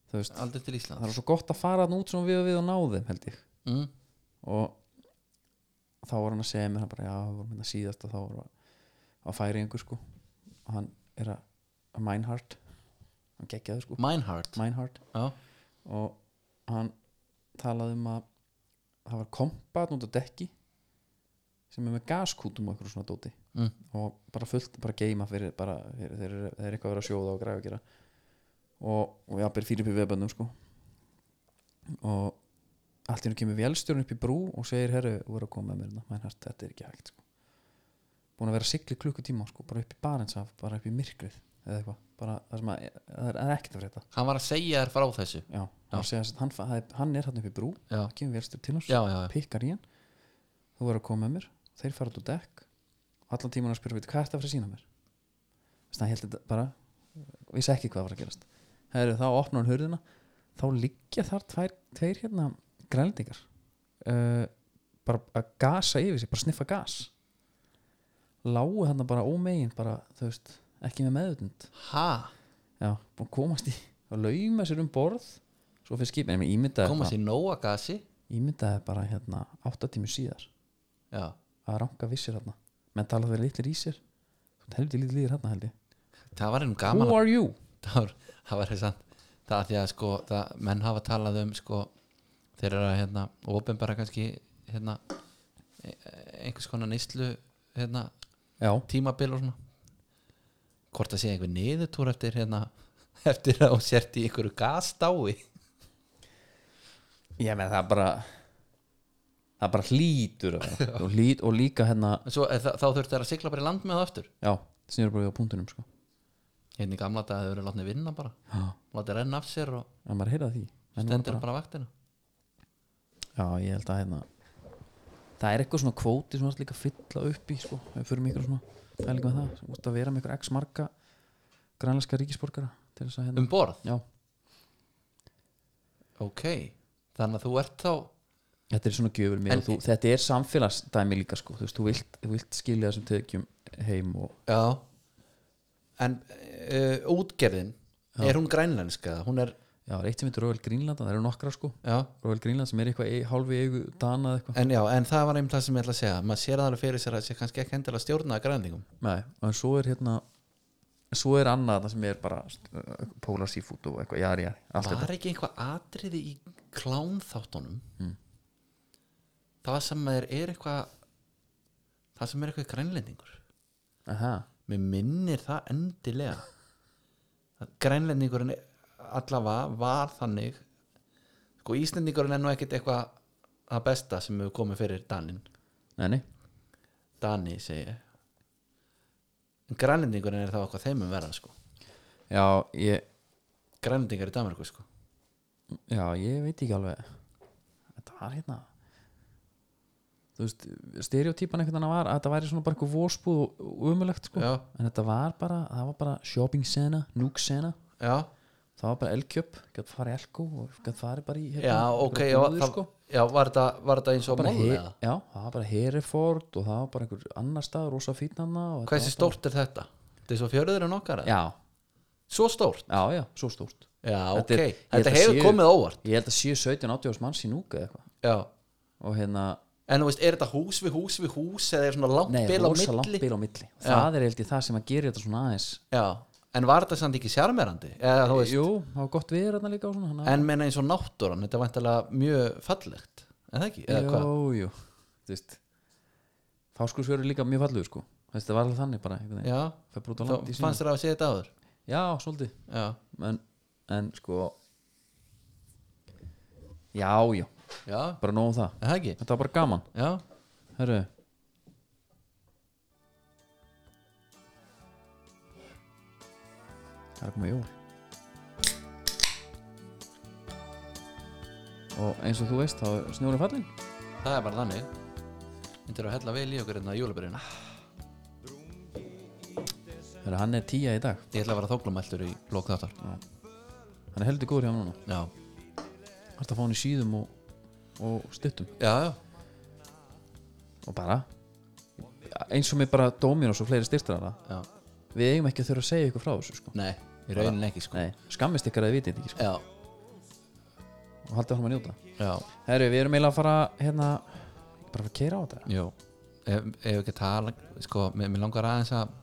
[SPEAKER 1] þú veist
[SPEAKER 2] aldrei til
[SPEAKER 1] það
[SPEAKER 2] Ísland
[SPEAKER 1] er svo gott að fara þann út svona við og við og náðum held ég
[SPEAKER 2] mm.
[SPEAKER 1] og þá var hann að segja mér hann bara já, við vorum hérna síðast og þá vorum að færi einhver sko og hann er að, að Meinhardt hann geggjaði sko
[SPEAKER 2] Mineheart
[SPEAKER 1] Meinhardt
[SPEAKER 2] já,
[SPEAKER 1] og hann talaði um að það var kompat út á dekki sem er með gaskútum og eitthvað svona dóti
[SPEAKER 2] Mm.
[SPEAKER 1] og bara fullt, bara geima fyrir, bara, fyrir þeir, eru- þeir er eitthvað að vera að sjóða og græfa að gera og, og já, byrja fyrir upp í veðböndum sko og allt í hennu kemur velstjórn upp í brú og segir herru, þú verður að koma með mér hérna, menn hægt, þetta er ekki hægt sko búin að vera sigli klukkutíma sko, bara upp í barendsaf, bara upp í myrkrið eða eitthvað, bara það sem að það er, það er ekkert að frétta
[SPEAKER 2] hann var að segja þér frá þessu
[SPEAKER 1] já, hann, segja, sem sagt, hann, fa- það er- hann er hann upp í brú
[SPEAKER 2] já,
[SPEAKER 1] það kemur vélstur til hans,
[SPEAKER 2] já, já, já.
[SPEAKER 1] pikkar í hann þú verður að koma með mér, þeir fara út á dekk allan tíman að spyrja, veitir, hvað er þetta að fara að sína mér þess að ég held þetta bara vissi ekki hvað var að gerast Heru, þá opnar hann hurðina þá liggja þar tvær, tveir hérna grænlendingar uh, bara að gasa yfir sig, bara sniffa gas lágu þarna bara ómegin bara, þú veist, ekki með meðutund
[SPEAKER 2] ha,
[SPEAKER 1] já, búin að komast í að lauma sér um borð svo fyrir skipin, ég meina, ímyndaði
[SPEAKER 2] koma
[SPEAKER 1] bara-
[SPEAKER 2] sér nóa gasi
[SPEAKER 1] ímyndaði bara hérna 8 tími síðar
[SPEAKER 2] já,
[SPEAKER 1] að ranka vissir hérna menn tala þeir litlir í sér heldur litlir líðir hérna held ég
[SPEAKER 2] það var einum gaman
[SPEAKER 1] Who
[SPEAKER 2] að-
[SPEAKER 1] are you?
[SPEAKER 2] það var, það var sann það að því að sko, það, menn hafa talað um sko, þeir eru að hérna ofinbara kannski hérna e- e- einhvers konar neyslu hérna,
[SPEAKER 1] Já,
[SPEAKER 2] tímabil og svona hvort að sé einhver niðurtúr eftir hérna eftir að hún sért í einhverju gastái
[SPEAKER 1] ég með það bara það bara hlýtur að vera. og, hlýt, og líka hérna
[SPEAKER 2] En svo, e, þa þá þurftu þær að sigla bara í land með það aftur
[SPEAKER 1] já, snýður bara við á punktunum sko
[SPEAKER 2] hérna í gamla dag þau eru látni vinna bara
[SPEAKER 1] Já,
[SPEAKER 2] látni renna af sér og
[SPEAKER 1] en maður heyrða því Menn voru
[SPEAKER 2] stendur bara, vaktina
[SPEAKER 1] Já, ég held að hérna það er eitthvað svona kvóti sem þú ert líka að fylla upp í sko, ef við förum ykkur svona pælinga með það, út að vera með ykkur x marga grænlæska ríkisborgara til þess að hérna,
[SPEAKER 2] um borð,
[SPEAKER 1] já,
[SPEAKER 2] ok þannig að þú ert þá
[SPEAKER 1] þetta er svona gjöfur mér
[SPEAKER 2] En-
[SPEAKER 1] og þú, þetta er samfélagsdæmi líka sko, þú veist, þú vilt, þú vilt skilja þessum tekjum heim og
[SPEAKER 2] já en uh, útgerðin er hún grænlenska hún er,
[SPEAKER 1] já, það er eitt sem heitir Róvel Grínland það eru nokkra sko,
[SPEAKER 2] já
[SPEAKER 1] Róvel Grínland sem er eitthvað í- hálfi eigu dana eða eitthvað,
[SPEAKER 2] En já, en það var einmitt það sem ég ætla að segja maður sér það alveg fyrir sér að það sé kannski ekki endilega stjórna að grænlingum
[SPEAKER 1] nei, en svo er hérna svo er annað það sem er bara uh, Polar Seafood og eitthvað, já, já, allt þetta
[SPEAKER 2] var ekki eitthvað atriði í klánþáttunum
[SPEAKER 1] Hmm.
[SPEAKER 2] það sem er, er eitthvað það sem er eitthvað grænlendingur
[SPEAKER 1] Aha,
[SPEAKER 2] mér minnir það endilega að grænlendingurinn allavega var þannig sko Íslendingurinn er nú ekkit eitthvað það besta sem hefur komið fyrir Danin
[SPEAKER 1] nei, nei,
[SPEAKER 2] Dani segi ég. en grænlendingurinn er þá eitthvað þeimum verða sko
[SPEAKER 1] já, ég
[SPEAKER 2] grænlendingar í Danmarku sko
[SPEAKER 1] Já, ég veit ekki alveg Þetta var hérna Þú veist, stereotypan einhvern veginn var að þetta væri svona bara eitthvað vósbúð og- og umulegt sko.
[SPEAKER 2] Já.
[SPEAKER 1] en þetta var bara, það var bara shopping sena, núk sena
[SPEAKER 2] já,
[SPEAKER 1] það var bara elkjöp, gætt farið elko og gætt farið bara í hérna,
[SPEAKER 2] já ok já,
[SPEAKER 1] einhverjar búðir,
[SPEAKER 2] það,
[SPEAKER 1] sko.
[SPEAKER 2] já, var þetta var þetta eins og
[SPEAKER 1] bara
[SPEAKER 2] málið
[SPEAKER 1] he,
[SPEAKER 2] eða?
[SPEAKER 1] Já, það var bara Hereford og það var bara einhver annar stað, rosa fínanna
[SPEAKER 2] hversu stórt er þetta? þetta er svo fjörður en okkar eða?
[SPEAKER 1] Já,
[SPEAKER 2] svo stórt?
[SPEAKER 1] já, já, svo stórt
[SPEAKER 2] já
[SPEAKER 1] Þetta
[SPEAKER 2] ok,
[SPEAKER 1] er-
[SPEAKER 2] þetta,
[SPEAKER 1] ég held að
[SPEAKER 2] hefur
[SPEAKER 1] séu-
[SPEAKER 2] komið óvart
[SPEAKER 1] Ég held að 7-17-80 ás manns í núk eða eitthvað
[SPEAKER 2] já.
[SPEAKER 1] og hérna
[SPEAKER 2] en þú veist, er þetta hús við hús við hús eða er svona langt
[SPEAKER 1] Nei,
[SPEAKER 2] bil á
[SPEAKER 1] rosa langt
[SPEAKER 2] milli?
[SPEAKER 1] bil á milli Það er heldur það sem að gera þetta svona aðeins
[SPEAKER 2] já, en var þetta samt ekki sjarmerandi? eða þú veist,
[SPEAKER 1] Jú, það var gott viður hérna líka og svona hana.
[SPEAKER 2] en menna eins og náttúran þetta er vantilega mjög fallegt en það ekki, eða hvað?
[SPEAKER 1] Jú, jú Þú veist Fáskursfjörður er líka mjög fallegur sko Þú veist, það var alveg þannig bara einhvern veginn.
[SPEAKER 2] já,
[SPEAKER 1] Fer bara út á
[SPEAKER 2] þá
[SPEAKER 1] land í sína
[SPEAKER 2] fannst þér að sé þetta áður
[SPEAKER 1] Já, svolítið
[SPEAKER 2] já,
[SPEAKER 1] en, en sko Já, já
[SPEAKER 2] já,
[SPEAKER 1] Bara nóg um það
[SPEAKER 2] en það ekki
[SPEAKER 1] Þetta var bara gaman
[SPEAKER 2] já,
[SPEAKER 1] Hörru Það er að koma jól Og eins og þú veist þá er snjórið fallin
[SPEAKER 2] það er bara þannig myndir að hella vel í okkur en það jólabyrjuna
[SPEAKER 1] Hörru, hann er tíja í dag
[SPEAKER 2] Ég ætla að vera þóklamæltur í blokk þáttar
[SPEAKER 1] Hann er heldur góður hjá hann núna
[SPEAKER 2] Já,
[SPEAKER 1] Það er að fá hann í síðum og, og stuttum
[SPEAKER 2] já, já,
[SPEAKER 1] Og bara Eins og með bara Dominos og fleiri styrtara
[SPEAKER 2] já.
[SPEAKER 1] Við eigum ekki að þurfa að segja ykkur frá þessu sko
[SPEAKER 2] Nei, í raunin ekki sko
[SPEAKER 1] Nei, skammist ykkar að þið vitið þetta ekki sko
[SPEAKER 2] Já,
[SPEAKER 1] Og haldið hann að njóta
[SPEAKER 2] já,
[SPEAKER 1] Herru, við erum eiginlega að fara hérna Bara að fara að keira á þetta
[SPEAKER 2] já Ef ef við ekki að tala, sko, mér, mér langar aðeins að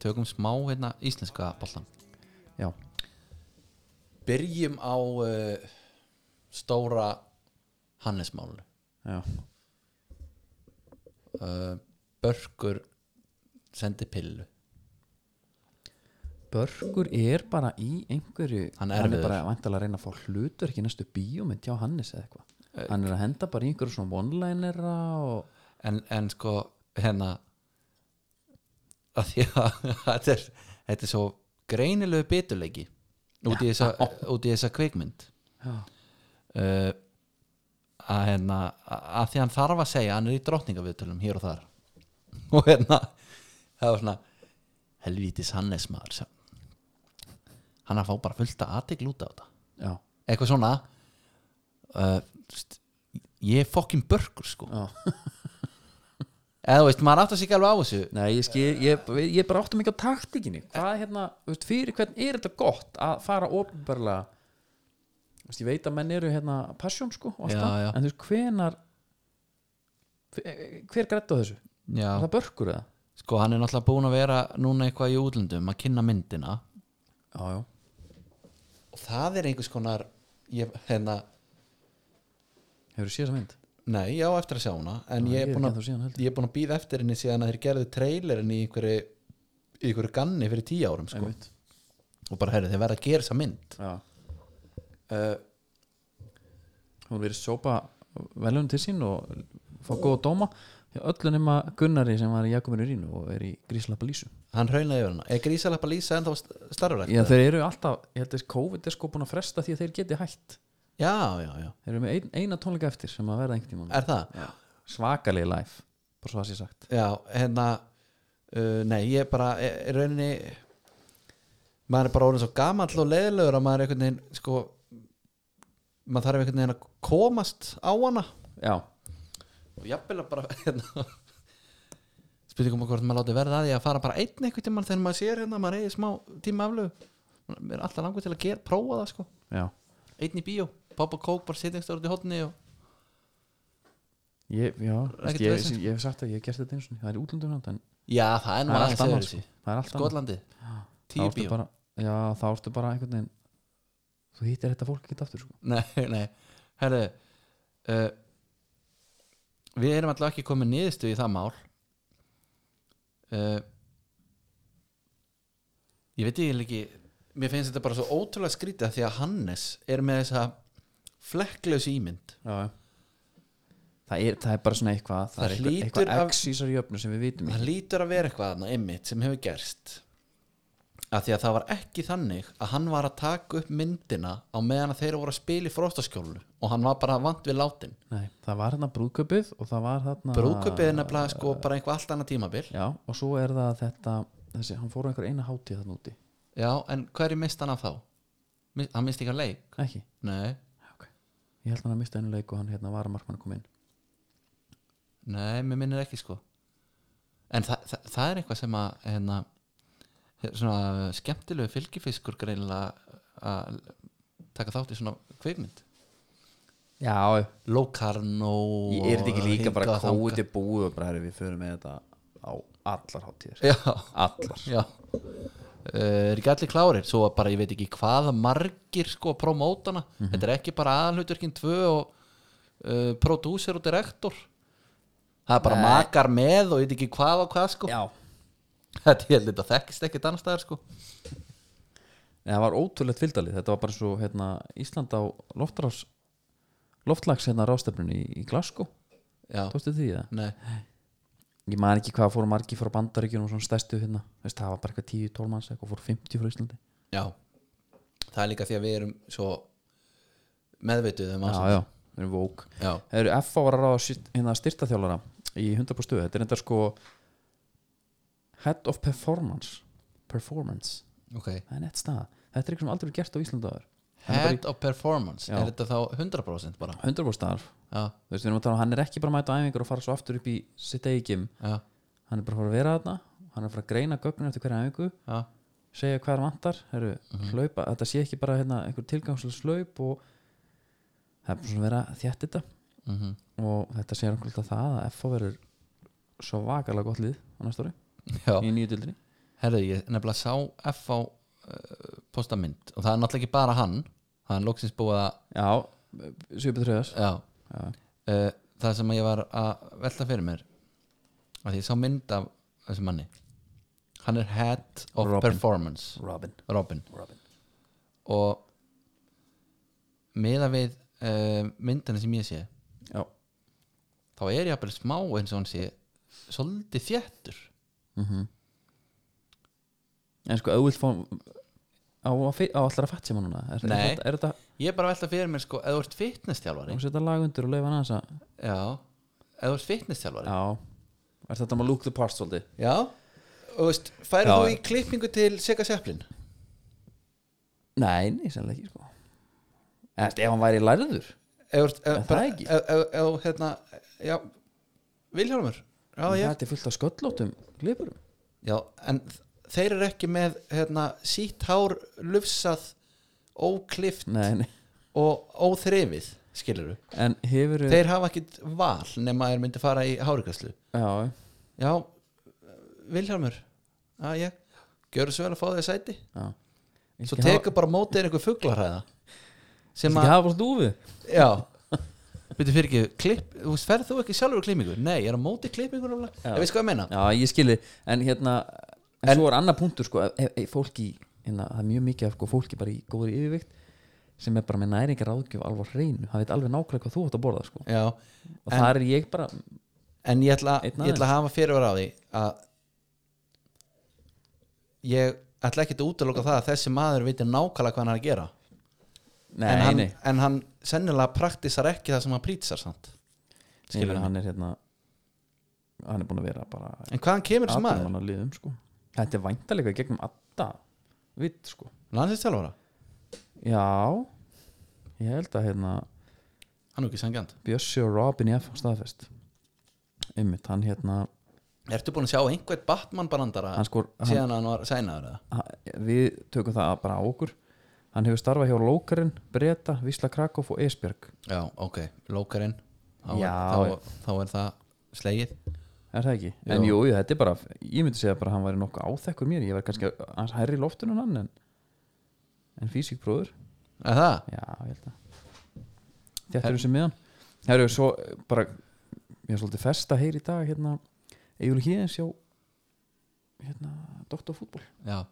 [SPEAKER 2] tökum smá hérna íslenska boltan
[SPEAKER 1] Já,
[SPEAKER 2] Byrjum á uh, stóra Hannesmál
[SPEAKER 1] já,
[SPEAKER 2] uh, Börkur sendi pillu
[SPEAKER 1] Börkur er bara í einhverju
[SPEAKER 2] Hann er
[SPEAKER 1] er
[SPEAKER 2] erfiður.
[SPEAKER 1] bara væntanlega að reyna að fá hlutur ekki næstu bíómynd hjá Hannes eða eitthvað Hann er að henda bara í einhverju svona one-linera og
[SPEAKER 2] en, en sko, hérna að því að þetta er, þetta er svo greinilegu biturleiki út í þessa, út í þessa kveikmynd
[SPEAKER 1] já,
[SPEAKER 2] uh, að hérna að að því hann þarf að segja, hann er í drottningaviðtölum hér og þar og hérna það var svona helvítis Hannes maður sem- hann að fá bara fullt að aðtegl út á þetta
[SPEAKER 1] já,
[SPEAKER 2] eitthvað svona uh, st- ég er fokkin börkur sko
[SPEAKER 1] Já.
[SPEAKER 2] eða þú veist, maður átt að sig ekki alveg á þessu
[SPEAKER 1] nei, ég skil ég, ég, ég bara áttum ekki á taktíkinni hvað er hérna, þú veist, fyrir hvern er þetta gott að fara ofinbarlega þú veist, ég veit að menn eru hérna passion sko, og allt
[SPEAKER 2] Já,
[SPEAKER 1] það,
[SPEAKER 2] já.
[SPEAKER 1] en þú veist, hvenar hver grætt á þessu?
[SPEAKER 2] Já.
[SPEAKER 1] Er það börkur eða?
[SPEAKER 2] sko hann er náttúrulega búin að vera núna eitthvað í útlöndum að kynna myndina
[SPEAKER 1] Já, já,
[SPEAKER 2] og það er einhvers konar ég, hérna,
[SPEAKER 1] hefur þú séð þessa mynd?
[SPEAKER 2] nei, já, eftir að sjá hana en
[SPEAKER 1] Já,
[SPEAKER 2] ég
[SPEAKER 1] ég
[SPEAKER 2] er
[SPEAKER 1] er
[SPEAKER 2] búin
[SPEAKER 1] ekki
[SPEAKER 2] að,
[SPEAKER 1] ennþá síðan, heldur.
[SPEAKER 2] ég er búin að býða eftir henni síðan að þeir gerðu trailerin í einhverju í einhverju ganni fyrir tíu árum sko.
[SPEAKER 1] Einmitt.
[SPEAKER 2] og bara herri, þeir verða að gera þessa mynd
[SPEAKER 1] Já,
[SPEAKER 2] uh,
[SPEAKER 1] Eh, hún verið sópa velun til sín og fá góða dóma hjá öllu nema Gunnari sem var í Jakobinu Rínu og er í Gríslappa Lísu
[SPEAKER 2] hann raunaði yfir hana er grísalappa lýsa en þá starfrækt
[SPEAKER 1] Já, þeir eru alltaf, ég held að COVID er sko búin að fresta því að þeir geti hætt
[SPEAKER 2] já, já, já,
[SPEAKER 1] Þeir eru með ein, eina tónleika eftir sem að verða einhvern tímann
[SPEAKER 2] er það? Já.
[SPEAKER 1] Svakalegi life, bara svo að sé sagt
[SPEAKER 2] Já, hérna uh, Nei, ég er bara, er, er rauninni maður er bara orðin svo gamall og leiðilegur að maður er einhvern veginn sko, maður þarf einhvern veginn að komast á hana
[SPEAKER 1] Já,
[SPEAKER 2] og jafnvel að bara hérna spurningum hvort maður láti verða að því að fara bara einn einhvern tímann þegar maður sér hérna, maður eigi smá tíma aflögu maður er alltaf langur til að gera, prófa það sko
[SPEAKER 1] já
[SPEAKER 2] einn í bíó, poppa kók, bara sitja einhverjum út í hotni og
[SPEAKER 1] Ég, já, veist, ég,
[SPEAKER 2] Ekkert
[SPEAKER 1] ég,
[SPEAKER 2] vesen.
[SPEAKER 1] ég hef sagt að ég hef gert þetta eins og það er útlundum land en
[SPEAKER 2] já, það er nú
[SPEAKER 1] það er
[SPEAKER 2] aðeins
[SPEAKER 1] allt annað
[SPEAKER 2] öðruvísi.
[SPEAKER 1] sko. Það er allt annað
[SPEAKER 2] Skotlandi,
[SPEAKER 1] Þá
[SPEAKER 2] tíu
[SPEAKER 1] ertu
[SPEAKER 2] bíó
[SPEAKER 1] bara, Já, þá ertu bara einhvern veginn Þú hittir þetta fólk ekki aftur sko.
[SPEAKER 2] Nei, nei, herðu uh, Við erum allavega ekki komið niðurstu í það mál uh, Ég veit ég ekki Mér finnst þetta bara svo ótrúlega skrítið af því að Hannes er með þessa flekklaus ímynd
[SPEAKER 1] já. Það, er, það er bara svona eitthvað það,
[SPEAKER 2] Það
[SPEAKER 1] er eitthvað,
[SPEAKER 2] hlýtur
[SPEAKER 1] eitthvað
[SPEAKER 2] af-
[SPEAKER 1] x í þessari jöfnu sem við vitum
[SPEAKER 2] Það
[SPEAKER 1] ekki
[SPEAKER 2] lítur að vera eitthvað þarna einmitt sem hefur gerst af því að það var ekki þannig að hann var að taka upp myndina á meðan að þeir voru að spila í fróstaskjólu og hann var bara vant við látin
[SPEAKER 1] Nei, það var þarna brúðkaupið og það var þarna
[SPEAKER 2] Brúðkaupið er nefnilega sko bara einhver allt annað tímabil
[SPEAKER 1] já, og svo er það þetta þessi, hann fór á einhver eina hátíð þarna úti
[SPEAKER 2] Já, en hverju mist hann af þá? Mis- Hann misti ekki að leik?
[SPEAKER 1] ekki,
[SPEAKER 2] Nei,
[SPEAKER 1] okay. ég held hann að mista einu leik og hann hérna var að markmann kom inn
[SPEAKER 2] nei, mér minnir ekki sko En þa þa það er eitthvað sem að hérna, svona skemmtilegu fylgifiskur greinilega að taka þátt í svona kveikmynd
[SPEAKER 1] já,
[SPEAKER 2] Locarno
[SPEAKER 1] ég er þetta ekki líka bara
[SPEAKER 2] hingað og
[SPEAKER 1] kóið til búið og bara herri, við förum með þetta á allar hátíðir
[SPEAKER 2] þangað.
[SPEAKER 1] allar,
[SPEAKER 2] Já, já Uh, er ekki allir klárir, svo að bara ég veit ekki hvaða margir sko promótana
[SPEAKER 1] Mhm.
[SPEAKER 2] þetta er ekki bara aðalhutverkin 2 og uh, prodúser og direktor það er bara
[SPEAKER 1] Nei.
[SPEAKER 2] makar með og ég veit ekki hvað og hvað sko
[SPEAKER 1] já
[SPEAKER 2] þetta ég held að þetta þekkist ekkert annars staðar sko
[SPEAKER 1] Nei, það var ótrúlegt fylgdalið, þetta var bara svo hérna, Ísland á loftrás loftlags hérna rástefnunni í, í Glasgow,
[SPEAKER 2] já,
[SPEAKER 1] tókstu því það?
[SPEAKER 2] nei,
[SPEAKER 1] Ég man ekki hvað fóru margi frá bandaríkjunum og svona stærstu hérna, Veist, það var bara eitthvað 10-12 manns eitthvað, fóru 50 frá Íslandi
[SPEAKER 2] já það er líka því að við erum svo meðvituð um
[SPEAKER 1] Já,
[SPEAKER 2] ásamt.
[SPEAKER 1] já, við erum vók
[SPEAKER 2] já,
[SPEAKER 1] Það eru F.A. var að ráða sýrt- hérna styrtaþjálfara í 100 stöðu, þetta er enda sko Head of Performance Performance,
[SPEAKER 2] ok
[SPEAKER 1] það er nett staða Þetta er eitthvað sem aldrei er gert á Íslandi áður Hann er bara
[SPEAKER 2] Head of Performance,
[SPEAKER 1] Já.
[SPEAKER 2] er þetta þá 100% bara
[SPEAKER 1] 100 starf,
[SPEAKER 2] já,
[SPEAKER 1] þú veist, við erum að tala um hann er ekki bara að mæta á æfingar og fara svo aftur upp í sitt eigim
[SPEAKER 2] já,
[SPEAKER 1] hann er bara að fara að vera þarna hann er að fara að greina gögnin eftir hverja æfingu
[SPEAKER 2] já,
[SPEAKER 1] segja hvað er vantar, heru, hlaupa þetta sé ekki bara hérna, einhver tilgangslega slaup og það er bara svona að vera að þjætt þetta
[SPEAKER 2] mhm
[SPEAKER 1] og þetta sé einhverjum það að FH verður svo vakalega gott lið á næsta ári
[SPEAKER 2] já
[SPEAKER 1] í nýju dildinni
[SPEAKER 2] Herðu, ég nefnilega sá F á uh, postament og það er náttúrulega ekki bara hann það er loksins búið að
[SPEAKER 1] já, Sjöbjörn Tröðars
[SPEAKER 2] já,
[SPEAKER 1] Já.
[SPEAKER 2] Uh, það sem ég var að velta fyrir mér að ég sá mynd af þessum manni hann er head of
[SPEAKER 1] Robin.
[SPEAKER 2] performance
[SPEAKER 1] Robin,
[SPEAKER 2] Robin
[SPEAKER 1] Robin.
[SPEAKER 2] og meða við uh, myndina sem ég sé
[SPEAKER 1] Já.
[SPEAKER 2] þá er ég að smá eins og hann sé svolítið þjættur
[SPEAKER 1] Mm -hmm. en sko auðvilt fórum á, á, fi- á allar að fatt sem hann núna er,
[SPEAKER 2] Nei.
[SPEAKER 1] er þetta, er þetta
[SPEAKER 2] Ég er bara að velta fyrir mér sko, eða þú ert fitnesstjálfari
[SPEAKER 1] þú setja lag undir og leifa hann aðeins að
[SPEAKER 2] Já, eða þú ert fitnesstjálfari
[SPEAKER 1] já, er þetta maður look the part svolítið
[SPEAKER 2] Já, og veist, færið
[SPEAKER 1] Já.
[SPEAKER 2] þú í klippingu til Sega Zeppelin?
[SPEAKER 1] nei, nei, sannlega ekki sko eftir ef hann væri lærður
[SPEAKER 2] Eða þú ert,
[SPEAKER 1] Er
[SPEAKER 2] eða
[SPEAKER 1] það
[SPEAKER 2] bara
[SPEAKER 1] ekki?
[SPEAKER 2] Eða, eða, eða, hérna, já Vilhjálmur Já,
[SPEAKER 1] en
[SPEAKER 2] ég
[SPEAKER 1] þetta er fullt af sköllóttum glipurum
[SPEAKER 2] Já, en þ- þeir eru ekki með hérna, sítt hár lufsað óklift
[SPEAKER 1] nei, nei.
[SPEAKER 2] og óþrefið skilur við.
[SPEAKER 1] en hefur
[SPEAKER 2] Þeir hafa ekkit val nema þeir myndi fara í hárikastlu.
[SPEAKER 1] já,
[SPEAKER 2] Já, Vilhjálmur Já, ég, gjörðu svo vel að fá þér sæti
[SPEAKER 1] já
[SPEAKER 2] Svo tekur bara mótið einhver fuglarhæða sem
[SPEAKER 1] maður
[SPEAKER 2] að,
[SPEAKER 1] ekki hafa bara dúfu
[SPEAKER 2] já Byrju fyrir ekki, klipp, þú veist, ferð þú ekki sjálfur í klippingu? Nei, ég er á móti klippingur
[SPEAKER 1] Já.
[SPEAKER 2] Ég veist hvað ég menna
[SPEAKER 1] Já, ég skilði, en hérna en, svo er annar punktur sko, ef, ef, ef fólki hérna, það er mjög mikið af sko, fólki bara í góðri yfirvikt sem er bara með næringar áðgjöf alveg á hreinu, það veit alveg nákvæmlega hvað þú átt að borða sko.
[SPEAKER 2] Já,
[SPEAKER 1] og þar er ég bara
[SPEAKER 2] en ég ætla,
[SPEAKER 1] Einn
[SPEAKER 2] ég ætla að hafa fyrirvara á því að ég ætla ekkit að útiloka það að þessi maður veitir nákvæmlega hvað hann er að gera
[SPEAKER 1] nei,
[SPEAKER 2] en, hann,
[SPEAKER 1] nei,
[SPEAKER 2] en hann sennilega praktisar ekki það sem hann prítisar samt
[SPEAKER 1] nei,
[SPEAKER 2] skilur
[SPEAKER 1] nei,
[SPEAKER 2] mig.
[SPEAKER 1] hann er hérna hann er búin að vera bara
[SPEAKER 2] en hvaðan kemur þessi maður?
[SPEAKER 1] að liðum sko. þetta er væntalega í gegnum alltaf vitt sko
[SPEAKER 2] Landsistjálfara?
[SPEAKER 1] já, ég held að hérna
[SPEAKER 2] Hann er ekki sengjand
[SPEAKER 1] Bjössi og Robin F. staðfest einmitt, hann hérna
[SPEAKER 2] Ertu búin að sjá einhvern Batman brandara
[SPEAKER 1] hann skor, hann,
[SPEAKER 2] síðan hann var sænaður eða?
[SPEAKER 1] Ha- við tökum það bara á okkur hann hefur starfað hjá Lókarinn, Breta, Vísla Krakow og Esbjörg
[SPEAKER 2] Já, ok, lókarinn þá, er-
[SPEAKER 1] Já, já.
[SPEAKER 2] þá, þá er það slegið
[SPEAKER 1] er það ekki? en jú, jú, þetta er bara, ég myndi segja bara að hann væri nokkuð áþekkur mér, ég verð kannski hans hærri í loftinu en hann en, en físikbróður,
[SPEAKER 2] Er það?
[SPEAKER 1] já, ég held að þetta eru sem meðan það eru svo eh, bara ég er svolítið fest að heyra í dag hérna, Egil Híðins hjá hérna, doktorfútbol
[SPEAKER 2] Já,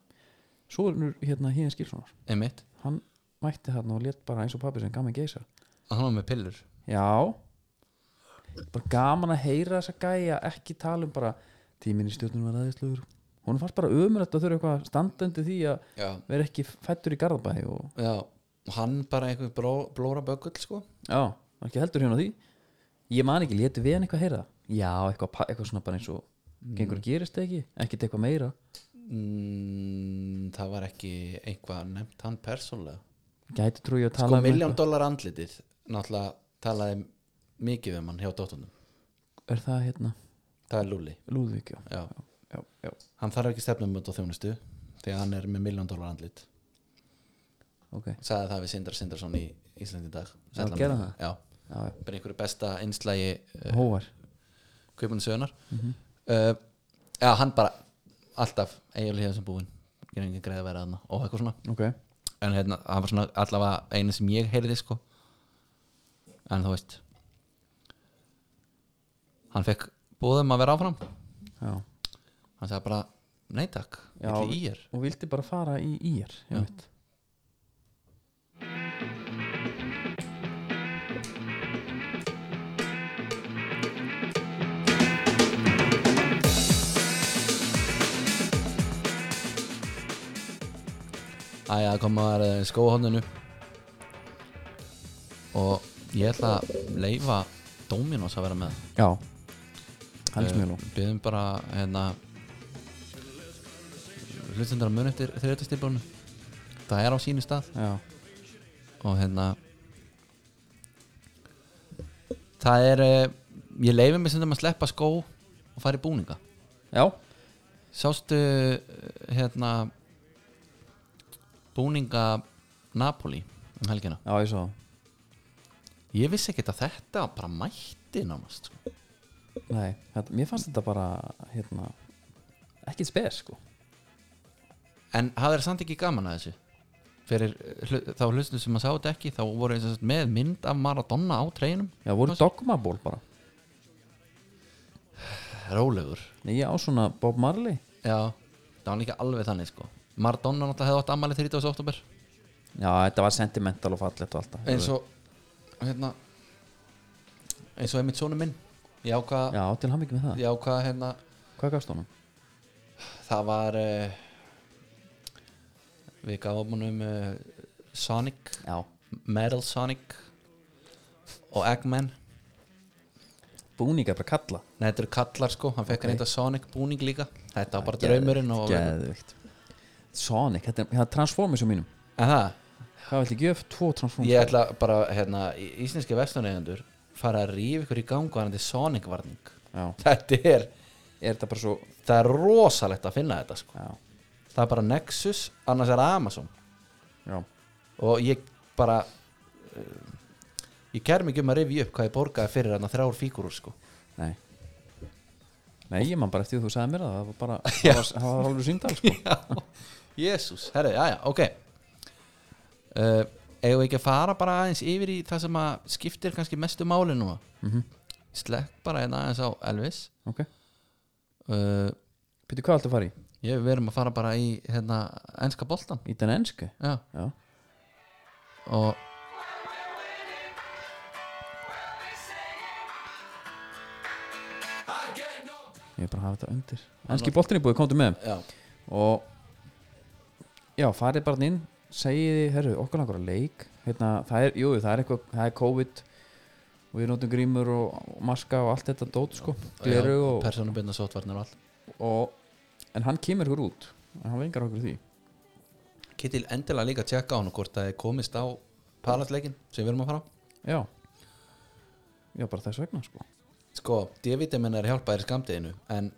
[SPEAKER 1] svo er nú hérna Híðins Gilssonar
[SPEAKER 2] einmitt
[SPEAKER 1] hann mætti þarna og létt bara eins og pappi sem gaman geisar
[SPEAKER 2] Hann var með pillur
[SPEAKER 1] Já bara gaman að heyra þessa gæja ekki tala um bara tíminn í stjórnum var aðeinslugur hún fannst bara ömurlegt að þurfa eitthvað að standa undir því að
[SPEAKER 2] Já,
[SPEAKER 1] vera ekki fættur í Garðabæi og
[SPEAKER 2] já Og Hann bara einhver bró, blóra böggull sko
[SPEAKER 1] já, var ekki heldur hérna á því ég man ekki, létu við hann eitthvað heyra það? já, eitthvað, pa- eitthvað svona bara eins og gengur að gerist ekki, ekkert eitthvað meira
[SPEAKER 2] mm, Það var ekki einhvað nefnt hann persónlega
[SPEAKER 1] gæti trúi ég að tala
[SPEAKER 2] Sko
[SPEAKER 1] um
[SPEAKER 2] miljón dólar andlitið Náttúrulega talaði mikið um hann hjá dóttunum
[SPEAKER 1] eitthvað er það hérna,
[SPEAKER 2] Það er Lúli
[SPEAKER 1] Lúðvík já,
[SPEAKER 2] Já,
[SPEAKER 1] já, já,
[SPEAKER 2] hann þarf ekki stefnum út á þjónustu Því að hann er með miljón dólar andlit
[SPEAKER 1] ok já,
[SPEAKER 2] Saði það við Sindar Sindarsson í Íslandi í dag
[SPEAKER 1] Já,
[SPEAKER 2] Sæll að
[SPEAKER 1] gerði
[SPEAKER 2] mér.
[SPEAKER 1] það?
[SPEAKER 2] Já,
[SPEAKER 1] já.
[SPEAKER 2] bara einhverju besta einslægi uh,
[SPEAKER 1] hóvar
[SPEAKER 2] Kaupunum sögunar uh, Já, hann bara alltaf Egil hefði sem búinn Gerði engin greið að vera þarna og eitthvað svona
[SPEAKER 1] ok,
[SPEAKER 2] en hérna, hann var svona allavega einu sem ég heyrði sko en þú veist hann fekk búðum að vera áfram
[SPEAKER 1] já
[SPEAKER 2] hann sagði bara, nei takk,
[SPEAKER 1] Já.
[SPEAKER 2] ekki í er
[SPEAKER 1] og vildi bara fara í ír
[SPEAKER 2] Já.
[SPEAKER 1] þetta
[SPEAKER 2] æja, kom eh, að vera í skóhóndinu og ég ætla að leifa Dominos að vera með
[SPEAKER 1] já, hann er smjölu
[SPEAKER 2] byggðum bara hérna hlutundar að mun eftir þriðutastilbónu það er á sínu stað
[SPEAKER 1] Já,
[SPEAKER 2] og hérna það er eh, ég leifi mig sem að sleppa skó og fara í búninga
[SPEAKER 1] já,
[SPEAKER 2] sástu eh, hérna búninga Napoli um helgina
[SPEAKER 1] já ég svo
[SPEAKER 2] ég vissi ekkert að þetta bara mætti nánast sko.
[SPEAKER 1] Nei, þetta, mér fannst þetta bara hérna, ekki spes sko
[SPEAKER 2] en hafði þeir samt ekki gaman að þessu fyrir eh, hlu, þá hlustu sem að sá þetta ekki þá voru þeir sem sagt með mynd af Maradona á treinum
[SPEAKER 1] Já, voru dogmaból bara
[SPEAKER 2] rólegur
[SPEAKER 1] Nei, ég á svona Bob Marley
[SPEAKER 2] já, það var líka alveg þannig sko Maradona náttúrulega hefði átt ammali 30. oktober
[SPEAKER 1] Já, þetta var sentimental og fallegt og alltaf
[SPEAKER 2] eins og hérna eins og einmitt sonu minn ég ákvað,
[SPEAKER 1] Já, til hann ekki með það
[SPEAKER 2] ég ákvað hérna
[SPEAKER 1] Hvað gafst honum?
[SPEAKER 2] það var uh, eh, við gáum honum uh, Sonic,
[SPEAKER 1] Já,
[SPEAKER 2] Metal Sonic og Eggman
[SPEAKER 1] búninga bara kalla
[SPEAKER 2] Nei, þetta eru kallar sko, hann fekk
[SPEAKER 1] Ok.
[SPEAKER 2] okay. reynda Sonic búning líka Þetta var bara draumurinn og
[SPEAKER 1] Geðvikt Sonic, þetta er, þetta er Transformers á mínum
[SPEAKER 2] Aha,
[SPEAKER 1] Hvað viltu gjöf? Tvo Transformers
[SPEAKER 2] Ég ætla bara, hérna, í- íslenski vestunegjandur fara að rífa ykkur í gangu hann til Sonic varning
[SPEAKER 1] Já,
[SPEAKER 2] Þetta er,
[SPEAKER 1] er þetta bara svo
[SPEAKER 2] það er rosalegt að finna þetta sko
[SPEAKER 1] Já,
[SPEAKER 2] Það er bara Nexus, annars er Amazon
[SPEAKER 1] já,
[SPEAKER 2] og ég bara uh, ég kæri mig ekki um að rifja upp hvað ég borgaði fyrir hann að þrjár fígurur sko
[SPEAKER 1] nei Nei, ég man bara eftir því að þú sagði mér það Það var bara, það var, það var alveg síndal sko.
[SPEAKER 2] Jésús, herri, já, já, ok uh, Eigum við ekki að fara bara aðeins yfir í það sem að skiptir kannski mestu máli núna
[SPEAKER 1] mm
[SPEAKER 2] Slekk bara einn aðeins á Elvis
[SPEAKER 1] Ok,
[SPEAKER 2] uh,
[SPEAKER 1] Pítur, hvað ættu að fara í?
[SPEAKER 2] Ég við erum að fara bara í hérna, enska boltan
[SPEAKER 1] Í den ensku?
[SPEAKER 2] Já,
[SPEAKER 1] Já,
[SPEAKER 2] og
[SPEAKER 1] ég er bara að hafa þetta undir Enski boltin er búið, komdu með þeim.
[SPEAKER 2] já.
[SPEAKER 1] og já, farið bara inn segiði, herru, okkur langar að leik hérna, það er, jú, það er eitthvað það er COVID og við notum grímur og, og maska og allt þetta dót sko, gleru og,
[SPEAKER 2] Persónubindna sótvarnir og allt
[SPEAKER 1] og en hann kemur hér út, en hann vengar okkur því
[SPEAKER 2] Kittil endilega líka að tjekka á hann og hvort það er komist á palatleikin sem við erum að fara á
[SPEAKER 1] já já, bara þess vegna sko
[SPEAKER 2] Sko, D-vitamin er hjálpaðir í skamdeginu en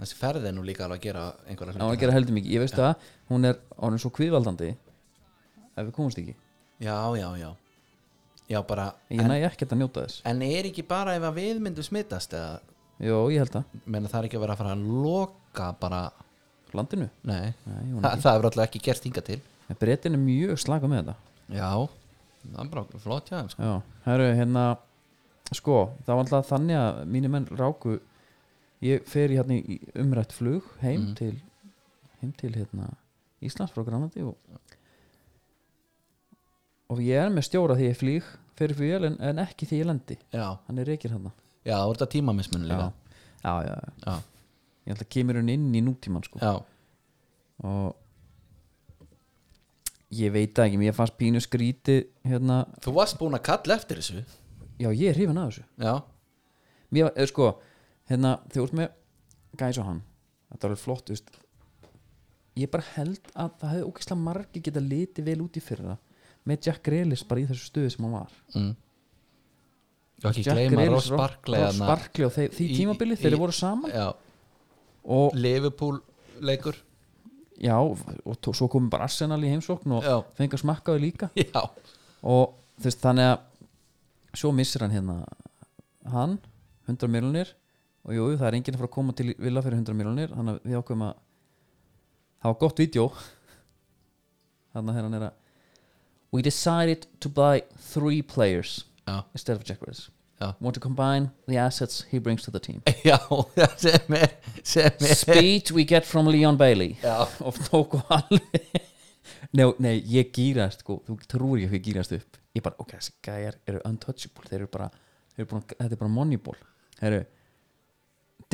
[SPEAKER 2] þessi ferð er nú líka alveg að gera einhverja
[SPEAKER 1] hann var að gera heldur mikið, ég veist það, hún er hann er svo kvíðvaldandi ef við komumst ekki,
[SPEAKER 2] Já, já, já Já, bara
[SPEAKER 1] ég næ ekkert að njóta þess
[SPEAKER 2] En er ekki bara ef að við myndum smittast eða,
[SPEAKER 1] jú, ég held það,
[SPEAKER 2] menna það er ekki að vera að fara að loka bara,
[SPEAKER 1] landinu
[SPEAKER 2] nei,
[SPEAKER 1] Nei, hún
[SPEAKER 2] Þa, það er alltaf ekki gert hinga til
[SPEAKER 1] breytin er mjög slaka með þetta
[SPEAKER 2] Já, það er bara flott já, sko.
[SPEAKER 1] Já, herru, hérna sko, það var alltaf þannig að mínir menn ráku ég fer í hérna í umrætt flug heim
[SPEAKER 2] Mhm.
[SPEAKER 1] til heim til hérna Íslands frá Granandi og og ég er með stjóra því ég flýg fyrir fyrir jöl en, en ekki því ég lendi
[SPEAKER 2] já,
[SPEAKER 1] hann er reykir hann
[SPEAKER 2] já, það voru þetta tímamismun líka
[SPEAKER 1] já, já, já,
[SPEAKER 2] Já.
[SPEAKER 1] ég ætla að kemur hann inn í nútímann sko
[SPEAKER 2] já,
[SPEAKER 1] og ég veit það ekki, mér fannst pínu skríti hérna,
[SPEAKER 2] þú varst búin að kalla eftir þessu
[SPEAKER 1] já ég er hrifin að þessu
[SPEAKER 2] Já,
[SPEAKER 1] mér, var- eh, sko, hérna, þegar þú ert með gæs og hann, þetta er alveg flott þú veist, ég bara held að það hefði ógeðslega margi geta litið vel út í fyrra með Jack Grealish bara í þessu stöðu sem hann var
[SPEAKER 2] mm. Já, ekki
[SPEAKER 1] Jack
[SPEAKER 2] gleyma Ross
[SPEAKER 1] Ross-
[SPEAKER 2] Barkley
[SPEAKER 1] Ross
[SPEAKER 2] þarna.
[SPEAKER 1] Barkley og þeir, því
[SPEAKER 2] Í-
[SPEAKER 1] tímabili
[SPEAKER 2] í-
[SPEAKER 1] þeir voru saman
[SPEAKER 2] Já,
[SPEAKER 1] og,
[SPEAKER 2] Liverpool leikur
[SPEAKER 1] já, og tó, svo komum bara Arsenal í heimsókn og
[SPEAKER 2] Já,
[SPEAKER 1] fengi að smakkaðu líka
[SPEAKER 2] já,
[SPEAKER 1] og þú veist, þannig að svo missir hann hérna hann, 100 miljonir og jú, það er enginn að fara að koma til vilja fyrir 100 miljonir, þannig að við ákveðum að það var gott vídeo þannig að hérna hann er að We decided to buy three players
[SPEAKER 2] já
[SPEAKER 1] instead of Jack Riz
[SPEAKER 2] Já.
[SPEAKER 1] Want to combine the assets he brings to the team
[SPEAKER 2] Já, það sem er, sem er
[SPEAKER 1] Speed we get from Leon Bailey
[SPEAKER 2] Já,
[SPEAKER 1] og tóku alveg nei, nei, ég gýrast sko, þú trúir ekki að ég gýrast upp ég bara, ok, þessi gæjar eru untouchable þeir eru bara, þeir eru búin, að- þetta er bara moneyball þeir eru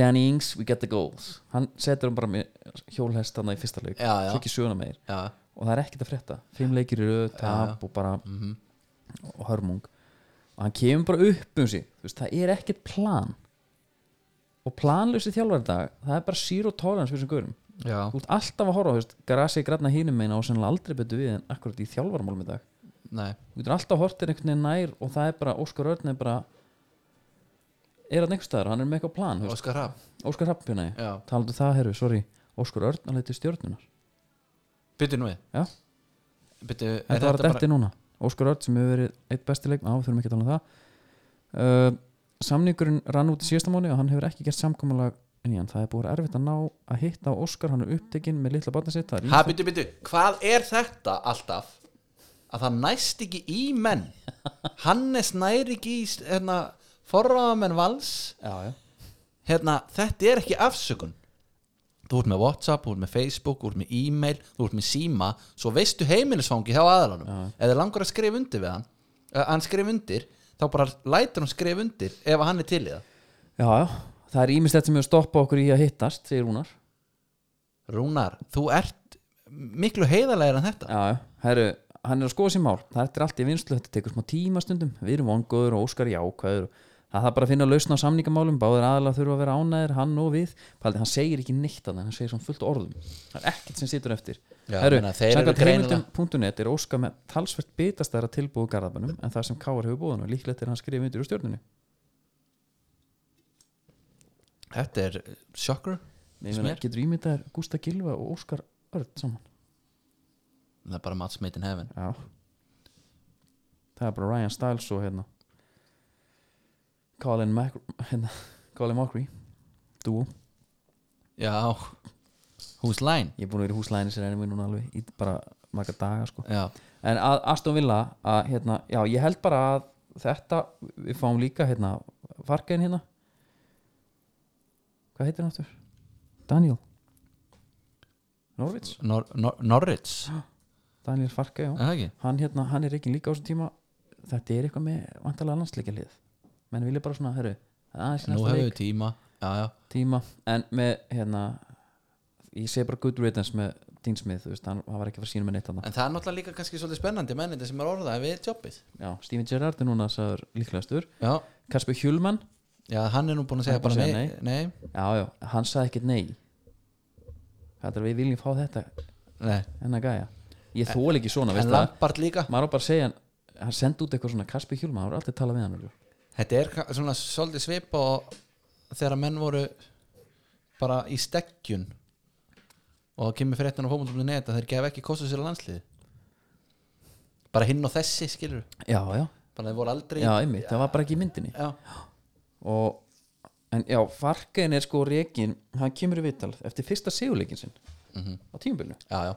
[SPEAKER 1] Danny Ings, we get the goals hann setur hann bara með hjólhestana í fyrsta leik
[SPEAKER 2] Já, já.
[SPEAKER 1] svo ekki söguna meir
[SPEAKER 2] já,
[SPEAKER 1] og það er ekkert að frétta, fimm leikir eru
[SPEAKER 2] Já,
[SPEAKER 1] tap
[SPEAKER 2] já.
[SPEAKER 1] og bara
[SPEAKER 2] mhm
[SPEAKER 1] og hörmung og hann kemur bara upp um sig Þú veist, það er ekkert plan og planlösi þjálfari í dag það er bara zero tolerance fyrir þessum gaurum
[SPEAKER 2] Já,
[SPEAKER 1] þú ert alltaf að horfa, þú veist, grasi granna hínum meina og sennilega aldrei betur við en akkurat í þjálfarmálum í dag,
[SPEAKER 2] nei,
[SPEAKER 1] þú getur alltaf að hortir einhvern veginn nær og það er bara, Óskar Örn er bara er hann einhvers staðar, hann er með eitthvað plan, þú veist,
[SPEAKER 2] Óskar Rapp
[SPEAKER 1] Óskar Rappjuna
[SPEAKER 2] Já,
[SPEAKER 1] talandu það, herru, sorry, Óskar Örn að leita stjórnunar,
[SPEAKER 2] byttu nú við
[SPEAKER 1] Já.
[SPEAKER 2] Byttu, er
[SPEAKER 1] þetta var að detti núna Óskar Örn sem hefur verið eitt besti leikma á, við þurfum ekki að tala um það uh, samningurinn rann út í síðasta mánu og hann hefur ekki gert samkomulag en hann, það er búið að vera erfitt að ná að hitta á Óskar, hann er upptekinn með litla barnið sitt það er
[SPEAKER 2] Ha,
[SPEAKER 1] ýmislegt-
[SPEAKER 2] byttu, byttu, hvað er þetta alltaf að það næst ekki í menn Hannes næri ekki í s- hérna, forraðamenn vals
[SPEAKER 1] já, já.
[SPEAKER 2] hérna, þetta er ekki afsökun Þú ert með Whatsapp, þú ert með Facebook, þú ert með e-mail, þú ert með síma Svo veistu heimilisfangi hjá aðalanum
[SPEAKER 1] Já.
[SPEAKER 2] Ef þið langar að skrifa undir við hann eh, Hann skrifa undir, þá bara lætur hann skrifa undir Ef hann er til í það
[SPEAKER 1] Já, já, það er ímislegt sem hefur stoppað okkur í að hittast, segir Rúnar
[SPEAKER 2] Rúnar, þú ert miklu heiðarlega en þetta
[SPEAKER 1] Já, já. herru, hann er að skoða sér mál Þetta er allt í vinslu, þetta tekur smá tíma stundum Við erum vongóður og Óskar jákvæður Það þarf bara að finna að lausna á samningamálum Báðir aðalega þurfa að vera ánæðir, hann og við Paldi, hann segir ekki neitt að það, hann segir svona fullt af orðum Það er ekkert sem situr eftir
[SPEAKER 2] Já,
[SPEAKER 1] Herru,
[SPEAKER 2] meina, þeir eru
[SPEAKER 1] samkvæmt
[SPEAKER 2] greinilega-
[SPEAKER 1] heimildum.net er Óskar með talsvert bitastæra tilbúið garðabannum en það sem Káar hefur búið hann og líklegt er hann skrifið undir úr stjórnunni
[SPEAKER 2] Þetta er eh, sjokkar
[SPEAKER 1] Ég meina,
[SPEAKER 2] Smér.
[SPEAKER 1] Getur ímyndaðir Gústa Gilva og Óskar Örn saman
[SPEAKER 2] Það er bara match made in heaven
[SPEAKER 1] Já Það er bara Ryan Stiles og hérna Colin Mac hérna, Colin Mockery Dúo
[SPEAKER 2] Já Who's line?
[SPEAKER 1] Ég er búin að vera í húslæðinni sér ennum við núna alveg í bara marga daga sko
[SPEAKER 2] Já,
[SPEAKER 1] En að Aston Villa að hérna Já, ég held bara að þetta við fáum líka hérna Fargein hérna Hvað heitir hann aftur? Daniel Norvits
[SPEAKER 2] Nor Nor Norwich
[SPEAKER 1] Daniel Fargein, já
[SPEAKER 2] Er það ekki?
[SPEAKER 1] hann, hérna, hann er ekki líka á þessum tíma þetta er eitthvað með vantalega landsleikja lið menn vilja bara svona, herru aðeins í
[SPEAKER 2] Nú
[SPEAKER 1] næsta
[SPEAKER 2] hefur
[SPEAKER 1] leik
[SPEAKER 2] við tíma Já, já
[SPEAKER 1] tíma en með, hérna ég segi bara good riddance með Dean Smith, þú veist, hann, hann var ekki að fara sínum með neitt hann
[SPEAKER 2] En það er náttúrulega líka kannski svolítið spennandi mennindi sem er orðað við jobbið
[SPEAKER 1] já, Steven Gerrard er núna sagður líklegastur
[SPEAKER 2] Já,
[SPEAKER 1] Kasper Hjulmann,
[SPEAKER 2] já hann er nú búin að segja
[SPEAKER 1] Hann er
[SPEAKER 2] bara
[SPEAKER 1] búinn að
[SPEAKER 2] nei,
[SPEAKER 1] segja
[SPEAKER 2] nei.
[SPEAKER 1] já, já, hann sagði ekkert nei þetta er að við viljum fá þetta
[SPEAKER 2] nei.
[SPEAKER 1] hennar gæja, ég þól ekki svona,
[SPEAKER 2] En
[SPEAKER 1] veist það
[SPEAKER 2] Lampard líka
[SPEAKER 1] maður á bara að segja, hann sendi út eitthvað svona Kasper Hjulmann, hann var aldrei að tala við hann örugglega.
[SPEAKER 2] Þetta er ka- svona svolítið svip og þegar menn voru bara í stekkjun og það kemur fréttan á fókmundum.net að þeir gefa ekki kostu sér á landslið bara hinn og þessi skilur
[SPEAKER 1] já, já,
[SPEAKER 2] bara þeir voru aldrei
[SPEAKER 1] já, einmitt, það var bara ekki í myndinni
[SPEAKER 2] Já.
[SPEAKER 1] og en já, Farkain er sko reikin hann kemur í vital eftir fyrsta sigurleikin sinn á tímabilinu
[SPEAKER 2] Mhm. Já, já.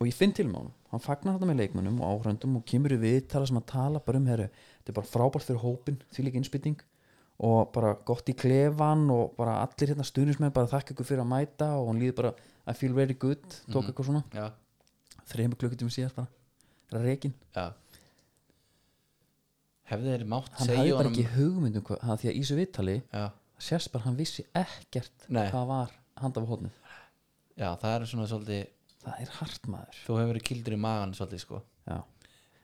[SPEAKER 1] og ég finn til með honum, hann fagnar þetta með leikmönnum og áhröndum og kemur í viðtala sem að tala bara um herru, þetta er bara frábært fyrir hópin því líka innspýting og bara gott í klefan og bara allir hérna stuðnismenn bara þakka ykkur fyrir að mæta og hann líður bara I feel very good,
[SPEAKER 2] Mhm.
[SPEAKER 1] tók eitthvað svona
[SPEAKER 2] Já.
[SPEAKER 1] þreymur klukkutími síðar bara, það er reikin
[SPEAKER 2] Já. hefði þeir mátt
[SPEAKER 1] hann
[SPEAKER 2] segja
[SPEAKER 1] hafði bara
[SPEAKER 2] honum
[SPEAKER 1] ekki hugmyndum hvað, það- því að í þessu viðtali
[SPEAKER 2] já.
[SPEAKER 1] sérst bara hann vissi ekkert
[SPEAKER 2] Nei.
[SPEAKER 1] hvað var handað á hótnið
[SPEAKER 2] já, það er svona svolítið
[SPEAKER 1] það er hart maður
[SPEAKER 2] þú hefur verið kildur í magan svolítið sko
[SPEAKER 1] já.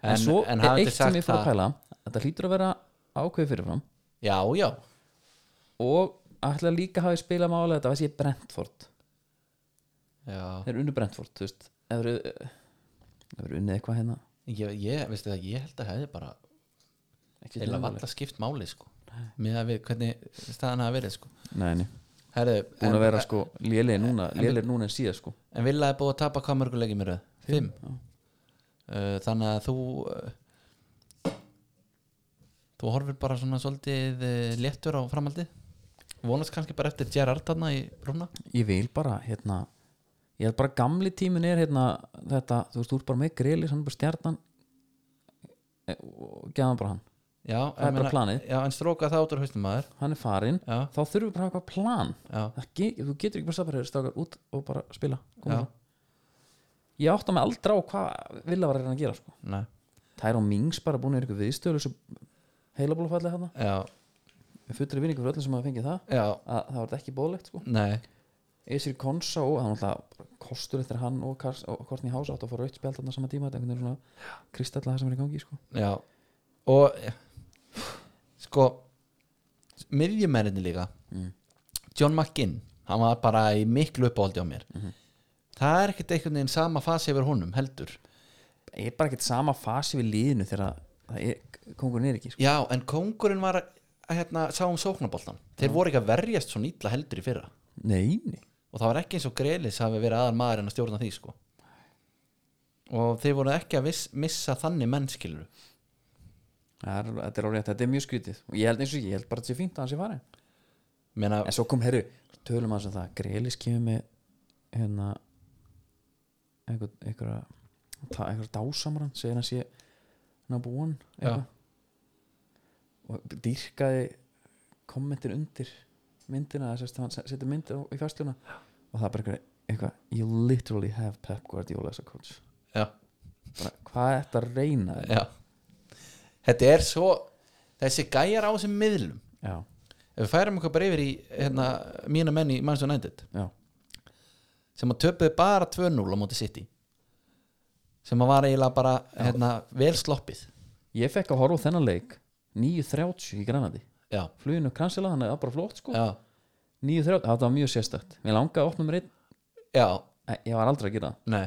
[SPEAKER 1] en,
[SPEAKER 2] En-
[SPEAKER 1] svo
[SPEAKER 2] en
[SPEAKER 1] er
[SPEAKER 2] hafið
[SPEAKER 1] eitt
[SPEAKER 2] þið
[SPEAKER 1] sem
[SPEAKER 2] sagt
[SPEAKER 1] ég fór að
[SPEAKER 2] það?
[SPEAKER 1] pæla þetta hlýtur að vera ákveð fyrirfram
[SPEAKER 2] Já, já,
[SPEAKER 1] og ætla líka að hafa spilað mála þetta veist ég Brentford
[SPEAKER 2] já.
[SPEAKER 1] þeir unnu Brentford þú veist ef eru ef eru unnið eitthvað hérna
[SPEAKER 2] Ég, ég, veistu það, ég held að hefði bara
[SPEAKER 1] ekki
[SPEAKER 2] eða valla skipt máli sko með að við, hvernig staðan hafa verið sko
[SPEAKER 1] nei, nei
[SPEAKER 2] Herðu,
[SPEAKER 1] búin
[SPEAKER 2] en,
[SPEAKER 1] að vera sko lélegir núna lélegir núna en síðan sko
[SPEAKER 2] en vilja er búið að tapa hvað mörgu leikir mér röð? Fimm uh, Þannig að þú uh, þú horfir bara svona svolítið uh, léttur á framhaldið vonast kannski bara eftir Gerard þarna í rúna
[SPEAKER 1] ég vil bara hérna ég held bara gamli tímin er hérna þetta þú veist þú ert bara með greilis hann er bara stjarnan eh, og geðan bara hann
[SPEAKER 2] Já,
[SPEAKER 1] Það er bara planið.
[SPEAKER 2] Já, en stróka það út úr haustum maður
[SPEAKER 1] hann er farin
[SPEAKER 2] Já,
[SPEAKER 1] þá þurfum við bara að hafa eitthvað plan
[SPEAKER 2] já,
[SPEAKER 1] Það ge þú getur ekki bara stafar hefur strákar út og bara spila
[SPEAKER 2] Já.
[SPEAKER 1] koma fram. ég átta mig aldrei á hvað vilja var að reyna að gera sko.
[SPEAKER 2] nei
[SPEAKER 1] Tyrone Mings bara búin að ykkur viðstölu þessu heilabólufalli hérna
[SPEAKER 2] Já,
[SPEAKER 1] með fullri vinningu fyrir öllum sem hafa fengið það
[SPEAKER 2] já,
[SPEAKER 1] að það var þetta ekki bóðlegt sko.
[SPEAKER 2] nei
[SPEAKER 1] Esir Konsa og hann alltaf kostur eftir hann og, Kars, og Kortni Hása átt að fá rautt spjald þarna saman tíma þetta er einhvern veginn svona kristalla það sem er í gangi sko.
[SPEAKER 2] Já og sko miðjumenninni líka
[SPEAKER 1] Mm.
[SPEAKER 2] John McGinn hann var bara í miklu uppáhaldi á mér það er ekkert einhvern veginn sama fasi yfir honum heldur
[SPEAKER 1] ég er bara ekkert sama fasi við liðinu þegar það er, kongurinn er ekki sko.
[SPEAKER 2] já en kóngurinn var að, að hérna, sá um sóknaboltan þeir voru ekki að verjast svona illa heldur í fyrra
[SPEAKER 1] nei, nei.
[SPEAKER 2] og það var ekki eins og Grelis hafi verið aðal maður en að stjórna því sko og þeir voru ekki að viss, missa þannig mennskilur
[SPEAKER 1] Það er, þetta er árétt, þetta er mjög skrítið og ég held eins og ég, ég held bara að þetta sé fínt að hans ég farin
[SPEAKER 2] Meina,
[SPEAKER 1] en svo kom, herru, tölum að sem það Grelis kemur með hérna einhver, einhverja ta- einhverja dásamran, segir hann sé number one eitthvað. og dýrkaði kommentin undir myndina, þess að hann setur myndin á- í fastuna og það er bara einhver- eitthvað you literally have Pep Guardiola as a coach
[SPEAKER 2] já,
[SPEAKER 1] bara, hvað er þetta að reyna þér?
[SPEAKER 2] já þetta er svo þessi gæjar á þessum miðlum
[SPEAKER 1] já,
[SPEAKER 2] ef við færum okkur bara yfir í hérna, mína menn í Manchester United
[SPEAKER 1] já,
[SPEAKER 2] sem að töpuðu bara 2-0 á móti City sem að var eiginlega bara hérna, vel sloppið
[SPEAKER 1] Ég fekk að horfa á þennan leik 9.30 í Granadi
[SPEAKER 2] já,
[SPEAKER 1] Fluginu kransila, þannig að það var bara flott sko
[SPEAKER 2] já,
[SPEAKER 1] 9.30, það var mjög sérstætt Mér langaði að opna mér einn
[SPEAKER 2] já,
[SPEAKER 1] Nei, Ég var aldrei að gera það
[SPEAKER 2] nei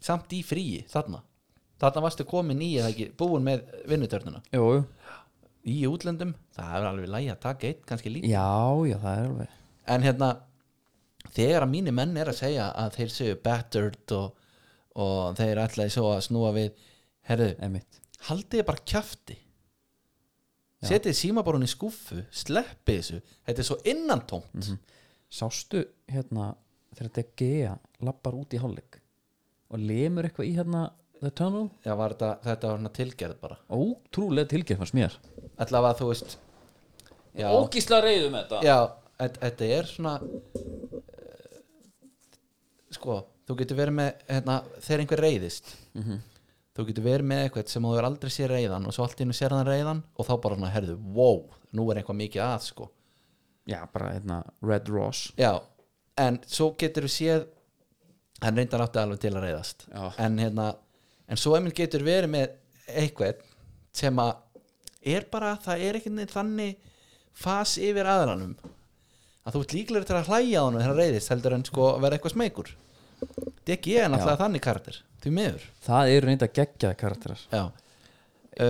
[SPEAKER 2] samt í fríi, þarna þarna varstu komin í eða ekki búin með vinnutörnuna
[SPEAKER 1] Jú, jú.
[SPEAKER 2] í útlöndum, það er alveg lægi að taka eitt kannski líka,
[SPEAKER 1] Já, já, það er alveg
[SPEAKER 2] en hérna þegar að mínir menn er að segja að þeir séu battered og, og þeir ætlaði svo að snúa við herðu,
[SPEAKER 1] Einmitt.
[SPEAKER 2] haldið bara kjafti setið símaborun í skúffu sleppið þessu, þetta er svo innantómt
[SPEAKER 1] Sástu hérna þegar De Gea lappar út í hálfleik og lemur eitthvað í hérna The Tunnel
[SPEAKER 2] já, var þetta, þetta var svona tilgerð bara
[SPEAKER 1] Ótrúlega tilgefn fannst mér
[SPEAKER 2] allavega þú veist já,
[SPEAKER 1] Ógísla reyðum þetta
[SPEAKER 2] já þetta- þetta er svona eh, sko, þú getur verið með hérna, þegar einhver reyðist þú getur verið með eitthvað sem þú er aldrei sér reyðan og svo allt í innu sér hann reyðan og þá bara svona, herðu, wow, nú er eitthvað mikið að sko
[SPEAKER 1] Já, bara hérna Red Ross
[SPEAKER 2] Já, en svo getur við séð hann reyndar átti alveg til að reyðast
[SPEAKER 1] Já.
[SPEAKER 2] en, hérna, en svo emil getur verið með eitthvað sem að er bara, það er ekkert neitt þannig fas yfir aðranum að þú ert líklega til að hlæja á hann þegar hann reyðist heldur en sko að vera eitthvað smeykur DG er náttúrulega þannig karakter því miður
[SPEAKER 1] Það eru reynda geggjaði karakterar
[SPEAKER 2] Já.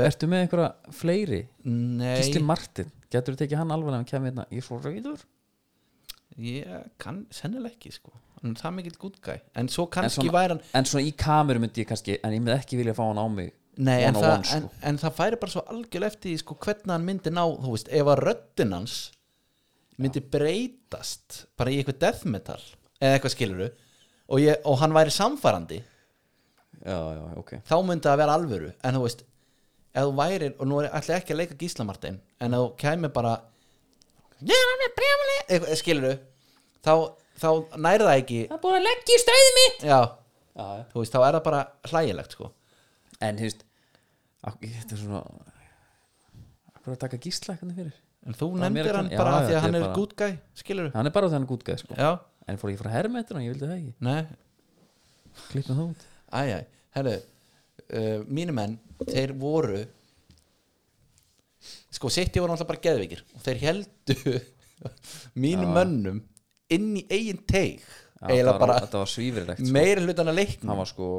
[SPEAKER 1] Ertu með einhverja fleiri?
[SPEAKER 2] Eh, Nei,
[SPEAKER 1] Gísli Martin, getur þú tekið hann alveg hann kemur hérna, ég er svo reyður
[SPEAKER 2] ég kann sennilega ekki sko hann er það mikill gútgæ en svo kannski
[SPEAKER 1] svona-
[SPEAKER 2] væri hann
[SPEAKER 1] En svona í kameru myndi ég kannski en ég myndi ekki vilja fá hann á mig
[SPEAKER 2] Nei, en,
[SPEAKER 1] one on
[SPEAKER 2] það,
[SPEAKER 1] one, sko.
[SPEAKER 2] en, en það færi bara svo algjörlega eftir því, sko, hvernig hann myndi ná þú veist, ef að röddin hans myndi breytast bara í eitthvað death metal eða eitthvað skiluru og, ég, og hann væri samfærandi
[SPEAKER 1] Já, já, ok
[SPEAKER 2] þá myndi það vera alvöru en þú veist, ef þú væri og nú er allir ekki að leika gíslamartin en ef þú kæmi bara "Já, hann er brjálæði", eitthvað, skiluru þá, þá næri það ekki
[SPEAKER 1] Það er búin að leggja í stræði mitt
[SPEAKER 2] já,
[SPEAKER 1] já, já.
[SPEAKER 2] þú veist, þá er það bara hlægilegt sko.
[SPEAKER 1] En hefst Þetta er svona Akkur að taka gísla eitthvað fyrir
[SPEAKER 2] en þú
[SPEAKER 1] er mér
[SPEAKER 2] nefndir hann
[SPEAKER 1] ekki-
[SPEAKER 2] bara
[SPEAKER 1] Já,
[SPEAKER 2] af því
[SPEAKER 1] já,
[SPEAKER 2] að hann
[SPEAKER 1] þetta
[SPEAKER 2] er
[SPEAKER 1] er bara-
[SPEAKER 2] good guy skiluru,
[SPEAKER 1] Hann er bara þannig gútgæð sko
[SPEAKER 2] já
[SPEAKER 1] En fór ég frá hermetur og ég vildi það ekki
[SPEAKER 2] Nei,
[SPEAKER 1] Klippa það út
[SPEAKER 2] æjæ, herru uh, mínu menn, þeir voru sko City voru alltaf bara geðveikir og þeir heldu mínum
[SPEAKER 1] Já.
[SPEAKER 2] mönnum inn í eigin teig
[SPEAKER 1] Já,
[SPEAKER 2] eiginlega
[SPEAKER 1] þetta var-
[SPEAKER 2] bara
[SPEAKER 1] Þetta var svífrilegt sko.
[SPEAKER 2] meira hlutan að leikna
[SPEAKER 1] Það var sko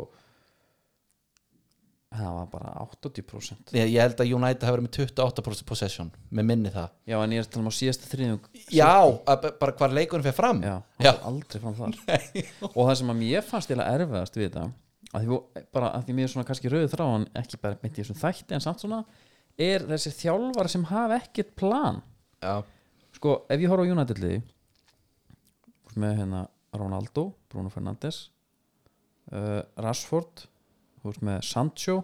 [SPEAKER 1] Það var bara 80%
[SPEAKER 2] ég, ég held að United hafi verið með 28% possession með minni það
[SPEAKER 1] Já, en ég er að tala um á síðasta þriðjung
[SPEAKER 2] já, að, b- bara hvar leikunum fyrir fram
[SPEAKER 1] Já,
[SPEAKER 2] já,
[SPEAKER 1] já. aldrei fram þar Og það sem að mér fannst eða erfiðast við þetta að því, vo- bara, að því mér er svona kannski rauðið þrá en ekki bara myndi ég svona þætti en samt svona er þessi þjálfar sem hafa ekkert plan
[SPEAKER 2] já.
[SPEAKER 1] Sko, ef ég horf á United liði með hérna Ronaldo, Bruno Fernandes uh, Rashford þú veist með Sancho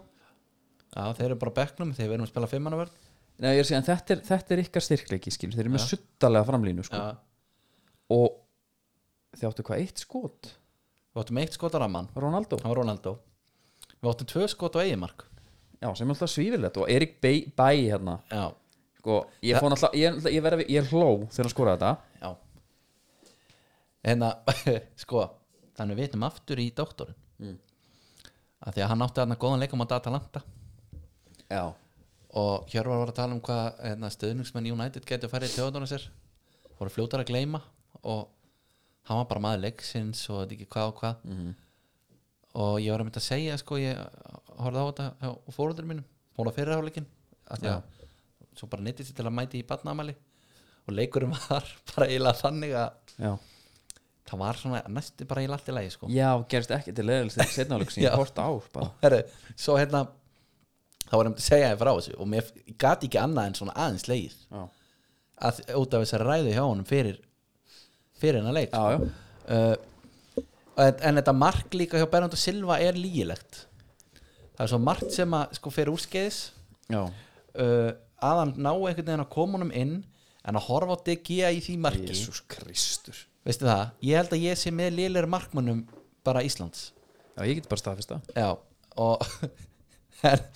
[SPEAKER 2] já þeir eru bara á bekknum, þeir verðum að spila fimmanaverð
[SPEAKER 1] Nei, ég er að segja, en þetta er, þetta er ykkar styrkleiki skil, þeir eru með suttalega framlínu sko.
[SPEAKER 2] já,
[SPEAKER 1] og þeir áttu hvað eitt skot
[SPEAKER 2] við áttum eitt skot á ramman
[SPEAKER 1] Ronaldo,
[SPEAKER 2] það var Ronaldo við áttum tvö skot á eiginmark
[SPEAKER 1] já, sem er alltaf svífilegt og Erik Bæ, Bæ hérna
[SPEAKER 2] já,
[SPEAKER 1] sko, ég, fór alltaf, ég, náttúrulega- ég, verið, ég hló þegar hann skoraði þetta
[SPEAKER 2] Já En að, sko Þannig við vitum aftur í doktorinn að Því að hann átti þarna góðan leikum á Datalanta
[SPEAKER 1] já,
[SPEAKER 2] Og Hjörvar var að tala um hvað hérna, stöðningsmenn United getur farið í töðunum sér voru fljótar að gleyma og hann var bara maður leiksins og þetta ekki hvað og hvað og ég var að mynda að segja sko ég horfði á þetta og fóröldur mínum fór á fyrirháleikin að því að svo bara nýttist ég til að mæti í batnaamæli og leikurinn var bara eiginlega þannig að
[SPEAKER 1] já,
[SPEAKER 2] það var svona næstu bara í allt í lagi sko
[SPEAKER 1] já gerist ekki til leðilis þegar setna áleik sem
[SPEAKER 2] Já.
[SPEAKER 1] ég hort á bara.
[SPEAKER 2] Heru, svo hérna þá var einmitt að segja þér frá þessu og mér gati ekki annað en svona aðeins leið
[SPEAKER 1] já,
[SPEAKER 2] að, út af þess að ræðu hjá honum fyrir fyrir hennar leik
[SPEAKER 1] já, já
[SPEAKER 2] uh, en, en þetta mark líka hjá Bernardo Silva er lígilegt það er svo margt sem að sko fyrir úrskeiðis
[SPEAKER 1] já,
[SPEAKER 2] uh, að hann ná einhvern veginn að koma honum inn en að horfa á DG í því marki
[SPEAKER 1] Jésús Kristur
[SPEAKER 2] veistu það, ég held að ég sé með lélir markmönnum bara Íslands
[SPEAKER 1] já, ég get bara staðfist það
[SPEAKER 2] Já, og en,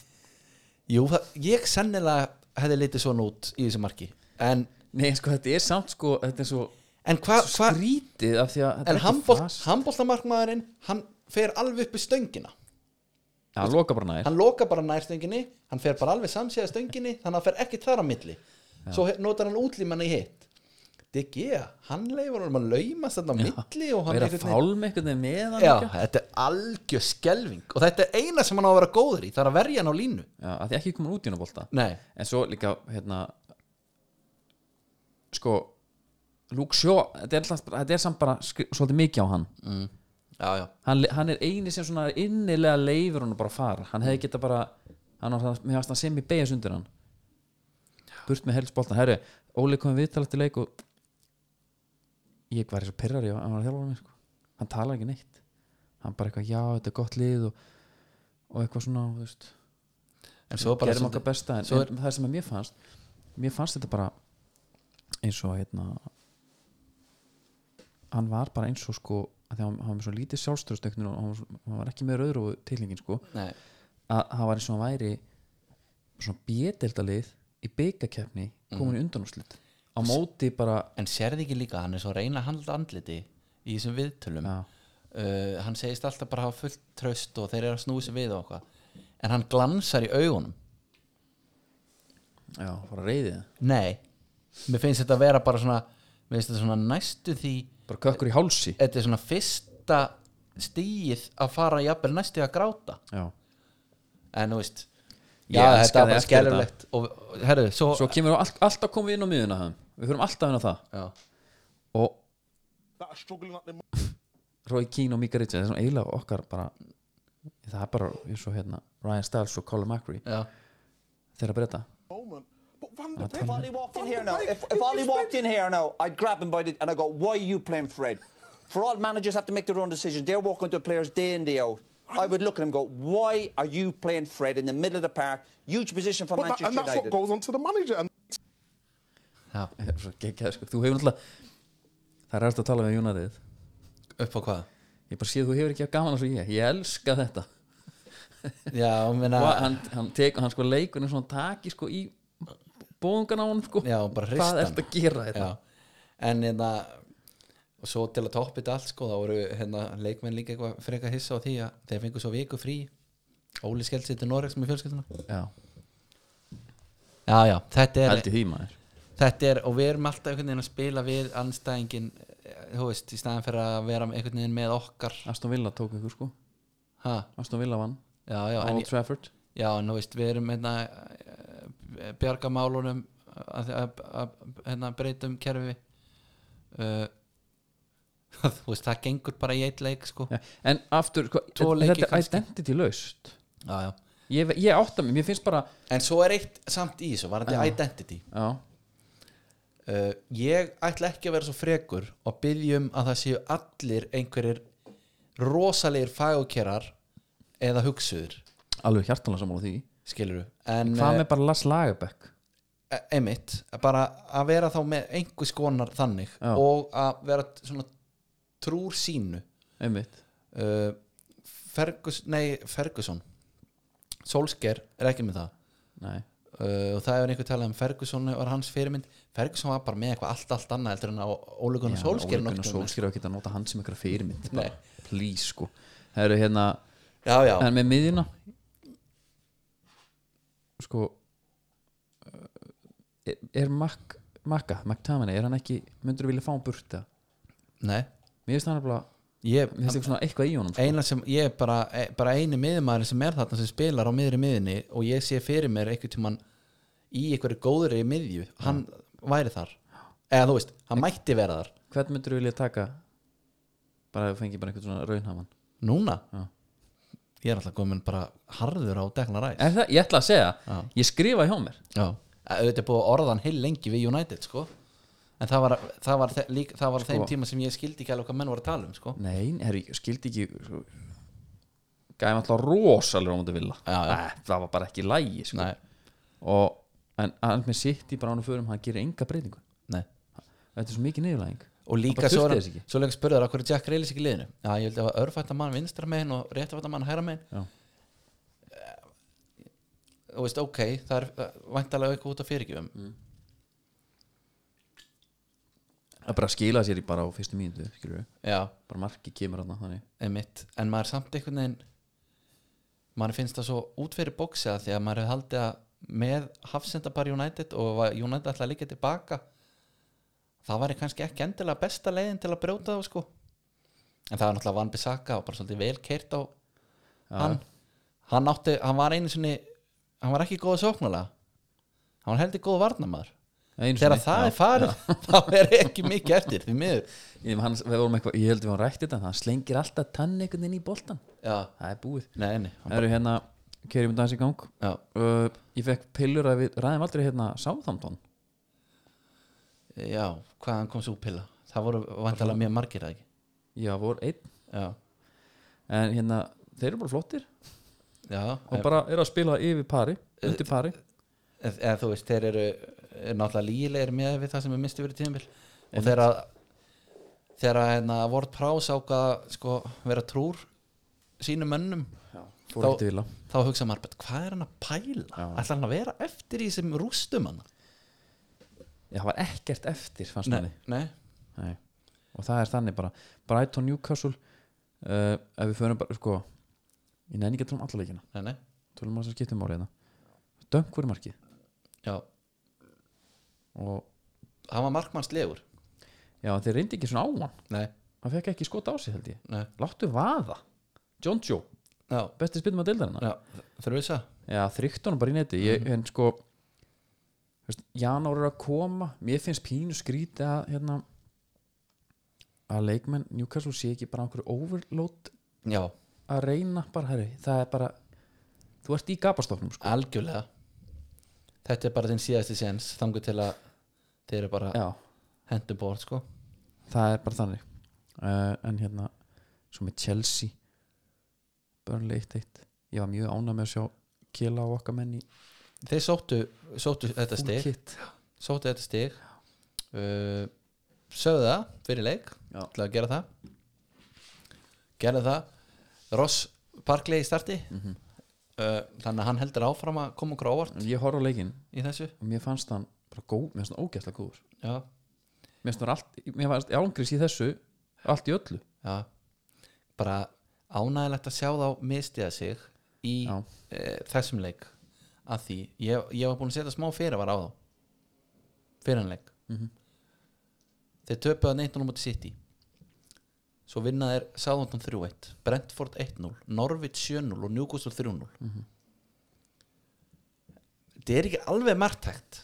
[SPEAKER 2] Jú, það, ég sennilega hefði litið svona út í þessu marki en,
[SPEAKER 1] nei, sko, þetta er samt sko, þetta er svo
[SPEAKER 2] en hvað hva,
[SPEAKER 1] skrítið af því að þetta er
[SPEAKER 2] en
[SPEAKER 1] ekki fast.
[SPEAKER 2] handbóltamarkmaðurinn hann fer alveg upp í stöngina
[SPEAKER 1] Já, loka bara nær
[SPEAKER 2] hann loka bara nær stönginni hann fer bara alveg samsíða stönginni þannig að hann fer ekki þar á milli svo he- notar hann útlímanna í hitt DG, hann leifur hann að laumast þarna á milli og hann
[SPEAKER 1] Verið að
[SPEAKER 2] einhvern veginn-
[SPEAKER 1] fálm einhvern veginn með hann
[SPEAKER 2] Já,
[SPEAKER 1] líka.
[SPEAKER 2] þetta er algjör skelving og þetta er eina sem hann á að vera góður í það er að verja hann á línu
[SPEAKER 1] Já, að því ekki komin út í hann að bolta
[SPEAKER 2] Nei,
[SPEAKER 1] En svo líka, hérna Sko Luke Shaw, þetta er, alltaf, bara- þetta er samt bara skri- svolítið mikið á hann
[SPEAKER 2] já, já,
[SPEAKER 1] hann, hann er eini sem svona innilega leifur hann að bara fara hann hefði geta bara hann var það, mér varst það sem í beigis undir hann burt með helst herri, Óli komið viðtalegt í leik og ég var eins og perrar ég hann var að þjálfa mig sko hann talar ekki neitt hann bara eitthvað, já, þetta er gott lið og, og eitthvað svona, þú veist
[SPEAKER 2] en svo bara
[SPEAKER 1] gerum okkar besta en,
[SPEAKER 2] svo er-
[SPEAKER 1] en það sem að mér fannst mér fannst þetta bara eins og hérna hann var bara eins og sko að því að hann hann var með svo lítið sjálfstöðstöknun og hann var, svo- hann var ekki með rauður og tilhengin sko
[SPEAKER 2] Nei,
[SPEAKER 1] að hann var eins og hann væri svona bjedeldalið í byggakeppni
[SPEAKER 2] Mm.
[SPEAKER 1] komin í undanúslit á móti bara
[SPEAKER 2] en sérði ekki líka að hann er svo að reyna að handla andliti í þessum viðtölum
[SPEAKER 1] Já.
[SPEAKER 2] uh, hann segist alltaf bara hafa fullt tröst og þeir eru að snúi sig við og okkar en hann glansar í augunum
[SPEAKER 1] já, bara reyðið
[SPEAKER 2] Nei, mér finnst þetta að vera bara svona mér finnst þetta svona næstu því
[SPEAKER 1] bara kökkur í hálsi
[SPEAKER 2] þetta er svona fyrsta stíð að fara jafnvel næstu að gráta
[SPEAKER 1] já.
[SPEAKER 2] en þú veist
[SPEAKER 1] Ég
[SPEAKER 2] Já,
[SPEAKER 1] elska
[SPEAKER 2] þetta
[SPEAKER 1] þig
[SPEAKER 2] er bara
[SPEAKER 1] eftir þetta.
[SPEAKER 2] skelfilegt og herru, svo,
[SPEAKER 1] svo kemur all, alltaf komið inn á miðuna hann. við fyrir alltaf inn á það
[SPEAKER 2] Já,
[SPEAKER 1] og
[SPEAKER 3] that are struggling at the moment.
[SPEAKER 1] Roy Keane og Mika Richards það er svona eiginlega okkar bara það er bara eins og hérna Ryan Stiles og Colin McRae
[SPEAKER 2] já,
[SPEAKER 1] þeirra breyta
[SPEAKER 3] But Van de
[SPEAKER 4] If
[SPEAKER 3] Beek,
[SPEAKER 4] Ollie walked in here
[SPEAKER 3] Van
[SPEAKER 4] now,
[SPEAKER 3] de Beek,
[SPEAKER 4] if,
[SPEAKER 3] he's
[SPEAKER 4] if Ollie
[SPEAKER 3] been-
[SPEAKER 4] walked in here now, I'd grab him by the and I go, "Why are you playing Fred?" For all managers have to make their own decisions. They're working with their players day in day out. I would look at him and go, "Why are you playing Fred in the middle of the park? Huge position for
[SPEAKER 3] but that-
[SPEAKER 4] Manchester
[SPEAKER 3] and that's what
[SPEAKER 4] United."
[SPEAKER 3] goes on to the manager. And
[SPEAKER 2] já,
[SPEAKER 1] Svo geggjað, sko. þú hefur náttúrulega það er ræðist að tala við Jónatið
[SPEAKER 2] upp á hvað
[SPEAKER 1] ég bara sé að þú hefur ekki að gaman þessu ég ég elska þetta
[SPEAKER 2] Já, og meina
[SPEAKER 1] og hann, hann tek hann sko leikur eins og hann taki sko í bóðungan á hann sko
[SPEAKER 2] Já, bara hrista
[SPEAKER 1] hvað
[SPEAKER 2] hann.
[SPEAKER 1] ert að gera þetta
[SPEAKER 2] Já, en hérna og svo til að toppa þetta allt sko þá voru hérna leikmenn líka eitthvað freka hissa á því að þeir fengu svo viku frí Óli skellt sér til Noregs með fjölskylduna
[SPEAKER 1] já.
[SPEAKER 2] Já, já, þetta er,
[SPEAKER 1] held í því maður
[SPEAKER 2] þetta er og við erum alltaf einhvern veginn að spila við anstæðingin, eh, þú veist, í staðan fyrir að vera einhvern veginn með okkar
[SPEAKER 1] Aston Villa tók ykkur sko
[SPEAKER 2] ha,
[SPEAKER 1] Aston Villa vann
[SPEAKER 2] Já, já,
[SPEAKER 1] á
[SPEAKER 2] en,
[SPEAKER 1] Old Trafford
[SPEAKER 2] já, en þú veist, við erum hérna eh, bjargamálunum að, að, að, hérna, breytum kerfi uh, þú veist, það gengur bara í eitt leik sko
[SPEAKER 1] Já. en aftur sko,
[SPEAKER 2] Tvo leiki
[SPEAKER 1] þetta er
[SPEAKER 2] kannski.
[SPEAKER 1] identity laust
[SPEAKER 2] já, já.
[SPEAKER 1] ég, ég átta mig, mér finnst bara
[SPEAKER 2] en svo er eitt samt í þessu varandi identity
[SPEAKER 1] já,
[SPEAKER 2] uh, ég ætla ekki að vera svo frekur og byggjum að það séu allir einhverjir rosalegir fagókerar eða hugsuður
[SPEAKER 1] alveg hjartalega sammála því
[SPEAKER 2] skilur en
[SPEAKER 1] hvað með bara Lars Lagerbäck
[SPEAKER 2] eh, einmitt, bara að vera þá með einhvers konar þannig
[SPEAKER 1] Já.
[SPEAKER 2] og að vera t- svona trúr sínu
[SPEAKER 1] einmitt
[SPEAKER 2] uh, Fergus, nei, Ferguson Solskjær er ekki með það
[SPEAKER 1] Nei.
[SPEAKER 2] uh, og það hefur einhver talað um Ferguson var hans fyrirmynd Ferguson var bara með eitthvað allt, allt annað heldur en á óleikuna sólskerun
[SPEAKER 1] og sólskir og geta að nota hann sem eitthvað fyrirmynd bara,
[SPEAKER 2] um Nei.
[SPEAKER 1] please sko það eru hérna,
[SPEAKER 2] já, já,
[SPEAKER 1] en með miðjuna sko eh, er Mac, Macca, McTaminay er hann ekki, myndur vilja fá hann burta
[SPEAKER 2] nei
[SPEAKER 1] mér finnst hann bara, mér
[SPEAKER 2] ég,
[SPEAKER 1] finnst eitthvað svona eitthvað í honum sko.
[SPEAKER 2] eina sem, ég er bara, eh, bara eini miðumæður sem er þarna sem spilar á miðri miðinni og ég sé fyrir mér einhvern tímann í einhverju góðri miðju hann væri þar eða þú veist, hann mætti vera þar
[SPEAKER 1] hvern myndur vilja taka bara að fengi bara einhvern svona raunhaman
[SPEAKER 2] núna
[SPEAKER 1] Já.
[SPEAKER 2] ég er alltaf komin bara harður á Declan Rice
[SPEAKER 1] er það, ég ætla að segja,
[SPEAKER 2] Já.
[SPEAKER 1] ég skrifa hjá mér
[SPEAKER 2] Já, Eh, auðvitað er búið að orða hann heil lengi við United sko en það var, það var, þe- líka, það var á þeim
[SPEAKER 1] Sko.
[SPEAKER 2] tíma sem ég skildi ekki alveg hvað menn voru að tala um sko
[SPEAKER 1] Nei, herri, ég skildi ekki svo- Gæði alltaf rosalega á mútið vilja
[SPEAKER 2] Já, já.
[SPEAKER 1] Það var bara ekki lægi sko.
[SPEAKER 2] Nei,
[SPEAKER 1] og, En hann með sitt í bránu förum hann gerir enga breytingu
[SPEAKER 2] nei
[SPEAKER 1] Þetta er svo mikið niðurlæging
[SPEAKER 2] og líka
[SPEAKER 1] bara
[SPEAKER 2] svo,
[SPEAKER 1] þurfti
[SPEAKER 2] er-
[SPEAKER 1] þess ekki.
[SPEAKER 2] svo leika spurður að hverju Jack Reilis ekki í liðinu já, ég held að örfætta mann vinstra megin og réttfætta mann hæra megin
[SPEAKER 1] Já.
[SPEAKER 2] Eh, þú veist, ok það eh,
[SPEAKER 1] Mm.
[SPEAKER 2] er eh, væntanlega eitthvað út af fyrirgjöfum
[SPEAKER 1] það bara skila sér í bara á fyrstu mínútu skilur við,
[SPEAKER 2] já,
[SPEAKER 1] bara marki kemur hann þannig
[SPEAKER 2] einmitt en maður samt einhvern veginn maður finnst það svo út fyrir bóksa því að maður hefði haldið að með hafsendapar United og var United ætla að líka tilbaka það væri kannski ekki endilega besta leiðin til að brjóta þá sko en það var náttúrulega Van Bissaka og bara svolítið vel keirt á hann hann, átti, hann var einu sinni hann var ekki góð sóknulega hann var heldur góð varnamaður
[SPEAKER 1] Einu
[SPEAKER 2] þegar
[SPEAKER 1] sinni,
[SPEAKER 2] það
[SPEAKER 1] já.
[SPEAKER 2] er farið þá er ekki mikið eftir því miður
[SPEAKER 1] ég, hann, við vorum eitthvað, ég held við hann rætti þetta hann slengir alltaf tann einhvern veginn í boltan
[SPEAKER 2] já,
[SPEAKER 1] það er búið
[SPEAKER 2] nei, nei, hann,
[SPEAKER 1] það eru hérna, kerjum við dans í gang
[SPEAKER 2] já,
[SPEAKER 1] uh, ég fekk pillur að við ræðum aldrei hérna Sáþamtón
[SPEAKER 2] já, hvaðan kom svo pilla það voru vantalega mjög margir eða ekki
[SPEAKER 1] já, voru einn,
[SPEAKER 2] já,
[SPEAKER 1] en hérna þeir eru bara flottir
[SPEAKER 2] já
[SPEAKER 1] og bara eru að spila yfir pari undir pari,
[SPEAKER 2] eð, eða þú veist, þeir eru er náttúrulega lígilegir með við það sem er misti verið tíðanbíl og þegar að þegar að hérna, Ward Prowse ákvað að, sko, vera trúr sínum mönnum
[SPEAKER 1] fór
[SPEAKER 2] Þá-
[SPEAKER 1] ekkert vila
[SPEAKER 2] þá hugsa maður, "But hvað er hann að pæla ætla hann að vera eftir í sem rústum hann
[SPEAKER 1] Já, það var ekkert eftir, fannst
[SPEAKER 2] nei,
[SPEAKER 1] manni
[SPEAKER 2] nei,
[SPEAKER 1] Nei. og það er þannig bara Brighton Newcastle uh, ef við förum bara, sko ég nefn ekki að tala um alla leikina
[SPEAKER 2] nei, nei
[SPEAKER 1] tölum að um það skiptum áriðina döng voru hérna. markið
[SPEAKER 2] já,
[SPEAKER 1] og
[SPEAKER 2] hann var markmannslegur
[SPEAKER 1] já, þeir reyndi ekki svona á hann
[SPEAKER 2] nei,
[SPEAKER 1] hann fekk ekki skota á sig held ég
[SPEAKER 2] nei,
[SPEAKER 1] láttu vaða, John Joe,
[SPEAKER 2] já,
[SPEAKER 1] besti spilum að deildarinnar
[SPEAKER 2] já þurfum við það
[SPEAKER 1] já, þrygt honum bara í neti ég,
[SPEAKER 2] Mhm.
[SPEAKER 1] en sko þú veist, janúar er að koma, mér finnst pínu skrítið að hérna að leikmenn Newcastle sé ekki bara á einhverju overload
[SPEAKER 2] já,
[SPEAKER 1] að reyna bara, herri, það er bara þú ert í gapastofnum sko
[SPEAKER 2] algjörlega þetta er bara þinn síðasti séns þangur til að þeir eru bara
[SPEAKER 1] já,
[SPEAKER 2] hendur bort sko
[SPEAKER 1] það er bara þannig uh, en hérna, svo með Chelsea Burnley 1-1 ég var mjög ánað með að sjá Kila og okkar menn í
[SPEAKER 2] þeir sóttu, sóttu þetta
[SPEAKER 1] full
[SPEAKER 2] stig
[SPEAKER 1] kit.
[SPEAKER 2] sóttu þetta stig uh, sögðu það fyrir leik
[SPEAKER 1] Já.
[SPEAKER 2] til að gera það gera það Ross Parkley í starti
[SPEAKER 1] Mhm.
[SPEAKER 2] uh, þannig að hann heldur áfram að koma okkur á óvart
[SPEAKER 1] En ég horf á leikinn
[SPEAKER 2] í þessu
[SPEAKER 1] og mér fannst hann bara góð, mér fannst hann ógæslega góður
[SPEAKER 2] já,
[SPEAKER 1] mér fannst hann allt, mér fannst ángriðs í þessu allt í öllu
[SPEAKER 2] já. bara ánægilegt að sjá þá mistiða sig í
[SPEAKER 1] Já.
[SPEAKER 2] e, þessum leik að því, ég, ég var búin að setja smá fyrirvar á þá fyrirleik mm
[SPEAKER 1] Mhm.
[SPEAKER 2] -hmm. þeir töpuða 1-0 mútið City svo vinna þeir Southampton 3-1 Brentford 1-0, Norwich 7-0 og Newcastle 3-0
[SPEAKER 1] Mhm.
[SPEAKER 2] þetta er ekki alveg margtækt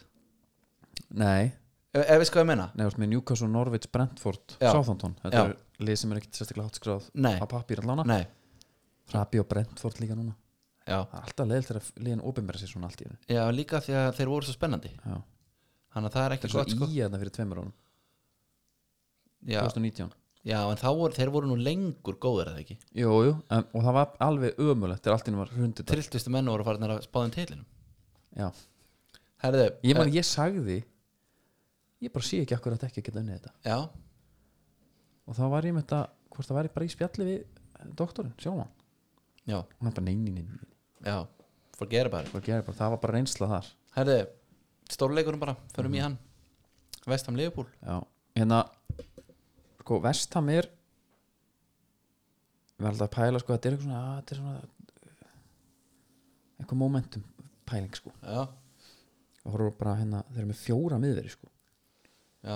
[SPEAKER 1] nei,
[SPEAKER 2] ef, ef við sko að menna
[SPEAKER 1] nefnast með Newcastle, Norwich, Brentford
[SPEAKER 2] Já.
[SPEAKER 1] Southampton, þetta
[SPEAKER 2] Já.
[SPEAKER 1] er lið sem er ekkit sérstaklega háttskráð
[SPEAKER 2] Nei.
[SPEAKER 1] á pappír allána
[SPEAKER 2] nei,
[SPEAKER 1] Rabi og Brentford líka núna
[SPEAKER 2] já,
[SPEAKER 1] það er alltaf leil þegar liðin opinbera sér svona allt í einu
[SPEAKER 2] já líka því að þeir voru svo spennandi
[SPEAKER 1] Já.
[SPEAKER 2] þannig að það er ekki
[SPEAKER 1] það er svo
[SPEAKER 2] gott sko
[SPEAKER 1] í þarna fyrir tveimur árum
[SPEAKER 2] já,
[SPEAKER 1] 2019
[SPEAKER 2] já, en þá voru, þeir voru nú lengur góður eða ekki
[SPEAKER 1] jú, jú, en, og það var alveg ömulegt þegar allt í einu var hundið
[SPEAKER 2] trilltustu menn voru farin að spáðum tilinum
[SPEAKER 1] Já.
[SPEAKER 2] Herðu, eh,
[SPEAKER 1] ég man ég sagði ég bara sé ekki akkur að ekki að geta unnið þetta
[SPEAKER 2] eh, já,
[SPEAKER 1] og þá var ég með þetta, hvort það væri bara í spjalli við eh, doktorinn, sjóman
[SPEAKER 2] já,
[SPEAKER 1] hún er bara neini, neini,
[SPEAKER 2] já, forget about it
[SPEAKER 1] bara, það var bara reynsla þar
[SPEAKER 2] Herðu, stórleikurum bara, förum
[SPEAKER 1] Mhm.
[SPEAKER 2] í hann Vestam Leifbúl
[SPEAKER 1] Já, hérna sko, vestam er við erum alltaf að pæla sko, þetta er eitthvað svona, að, þetta er svona eitthvað momentum pæling sko,
[SPEAKER 2] já,
[SPEAKER 1] og horfum bara hérna þeir eru með fjóra miðveri sko
[SPEAKER 2] já,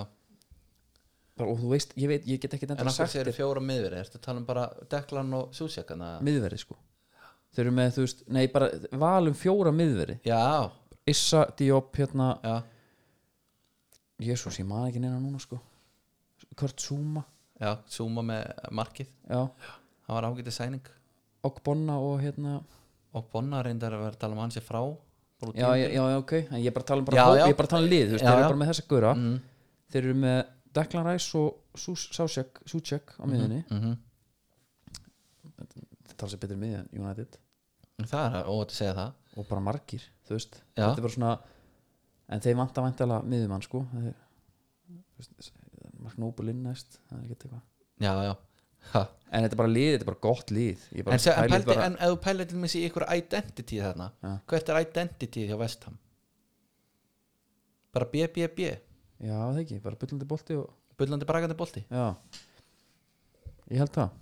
[SPEAKER 1] bara, og þú veist, ég veit, ég get ekki
[SPEAKER 2] en
[SPEAKER 1] þetta
[SPEAKER 2] okkur
[SPEAKER 1] sagt
[SPEAKER 2] sér
[SPEAKER 1] þér
[SPEAKER 2] fjóra miðveri Ertu að tala um bara Deklan og Súsjakan að...
[SPEAKER 1] miðveri sko þeir eru með, þú veist, nei bara valum fjóra miðveri,
[SPEAKER 2] Já,
[SPEAKER 1] Issa, Diop hérna,
[SPEAKER 2] já,
[SPEAKER 1] Jésús, ég man ekki neina núna sko Kurt Zuma,
[SPEAKER 2] já, Súma með markið
[SPEAKER 1] já,
[SPEAKER 2] Það var ágætið sæning
[SPEAKER 1] Ogbonna og hérna
[SPEAKER 2] Og Bonna reyndar að vera að tala um hans er frá Fór út
[SPEAKER 1] já,
[SPEAKER 2] tímabil.
[SPEAKER 1] já, já, ok, en ég er bara að tala um bara
[SPEAKER 2] Já,
[SPEAKER 1] hóp,
[SPEAKER 2] já.
[SPEAKER 1] ég er bara að tala um lið, þú veist,
[SPEAKER 2] Já,
[SPEAKER 1] þeir eru
[SPEAKER 2] já.
[SPEAKER 1] bara með þessa gura
[SPEAKER 2] Mhm,
[SPEAKER 1] þeir eru með Declan Rice og Súsek, Súsek á miðunni
[SPEAKER 2] Mhm.
[SPEAKER 1] þetta tala sér betur miðið en United
[SPEAKER 2] Það er óvægt að segja það
[SPEAKER 1] og bara margir, þú veist
[SPEAKER 2] Já.
[SPEAKER 1] þetta er bara svona, en þeir vanta vantala miðumann, sko þeir, þú veist, Mark Noble inn næst það er ekkert eitthvað
[SPEAKER 2] Já, já, ha,
[SPEAKER 1] en þetta er bara lið, þetta er bara gott lið Ég bara
[SPEAKER 2] en, sem, en,
[SPEAKER 1] pæli
[SPEAKER 2] pældi,
[SPEAKER 1] bara,
[SPEAKER 2] en ef þú pælir til mér í ykkur identity þarna
[SPEAKER 1] Ja.
[SPEAKER 2] hvert er identity hjá Vestham bara BBB
[SPEAKER 1] já, það ekki, bara byllandi bolti og
[SPEAKER 2] bullandi brakandi bolti
[SPEAKER 1] já ég held það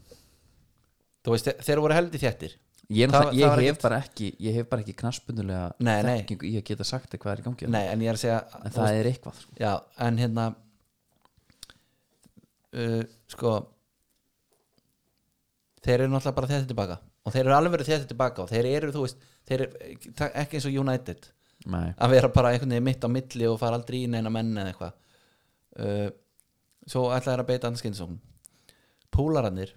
[SPEAKER 2] þú veist, þe- þeir voru heldi þéttir
[SPEAKER 1] ég, er
[SPEAKER 2] Það-
[SPEAKER 1] náttúrulega-
[SPEAKER 2] það var
[SPEAKER 1] ég hef
[SPEAKER 2] ekkert-
[SPEAKER 1] bara ekki ég hef bara ekki knaspunulega
[SPEAKER 2] Nei, nei.
[SPEAKER 1] þekkingu í að geta sagt þér hvað er í gangi
[SPEAKER 2] nei, en ég er að segja
[SPEAKER 1] en það er eitthvað sko.
[SPEAKER 2] Já, en hérna uh, sko þeir eru náttúrulega bara þetta tilbaka og þeir eru alveg verið þetta tilbaka og þeir eru, þú veist þeir eru eh, ekki eins og United
[SPEAKER 1] nei,
[SPEAKER 2] að vera bara einhvern veginn mitt á milli og fara aldrei í neina menn eða eitthvað uh, svo ætla þeir að beita anskinsókn púlarannir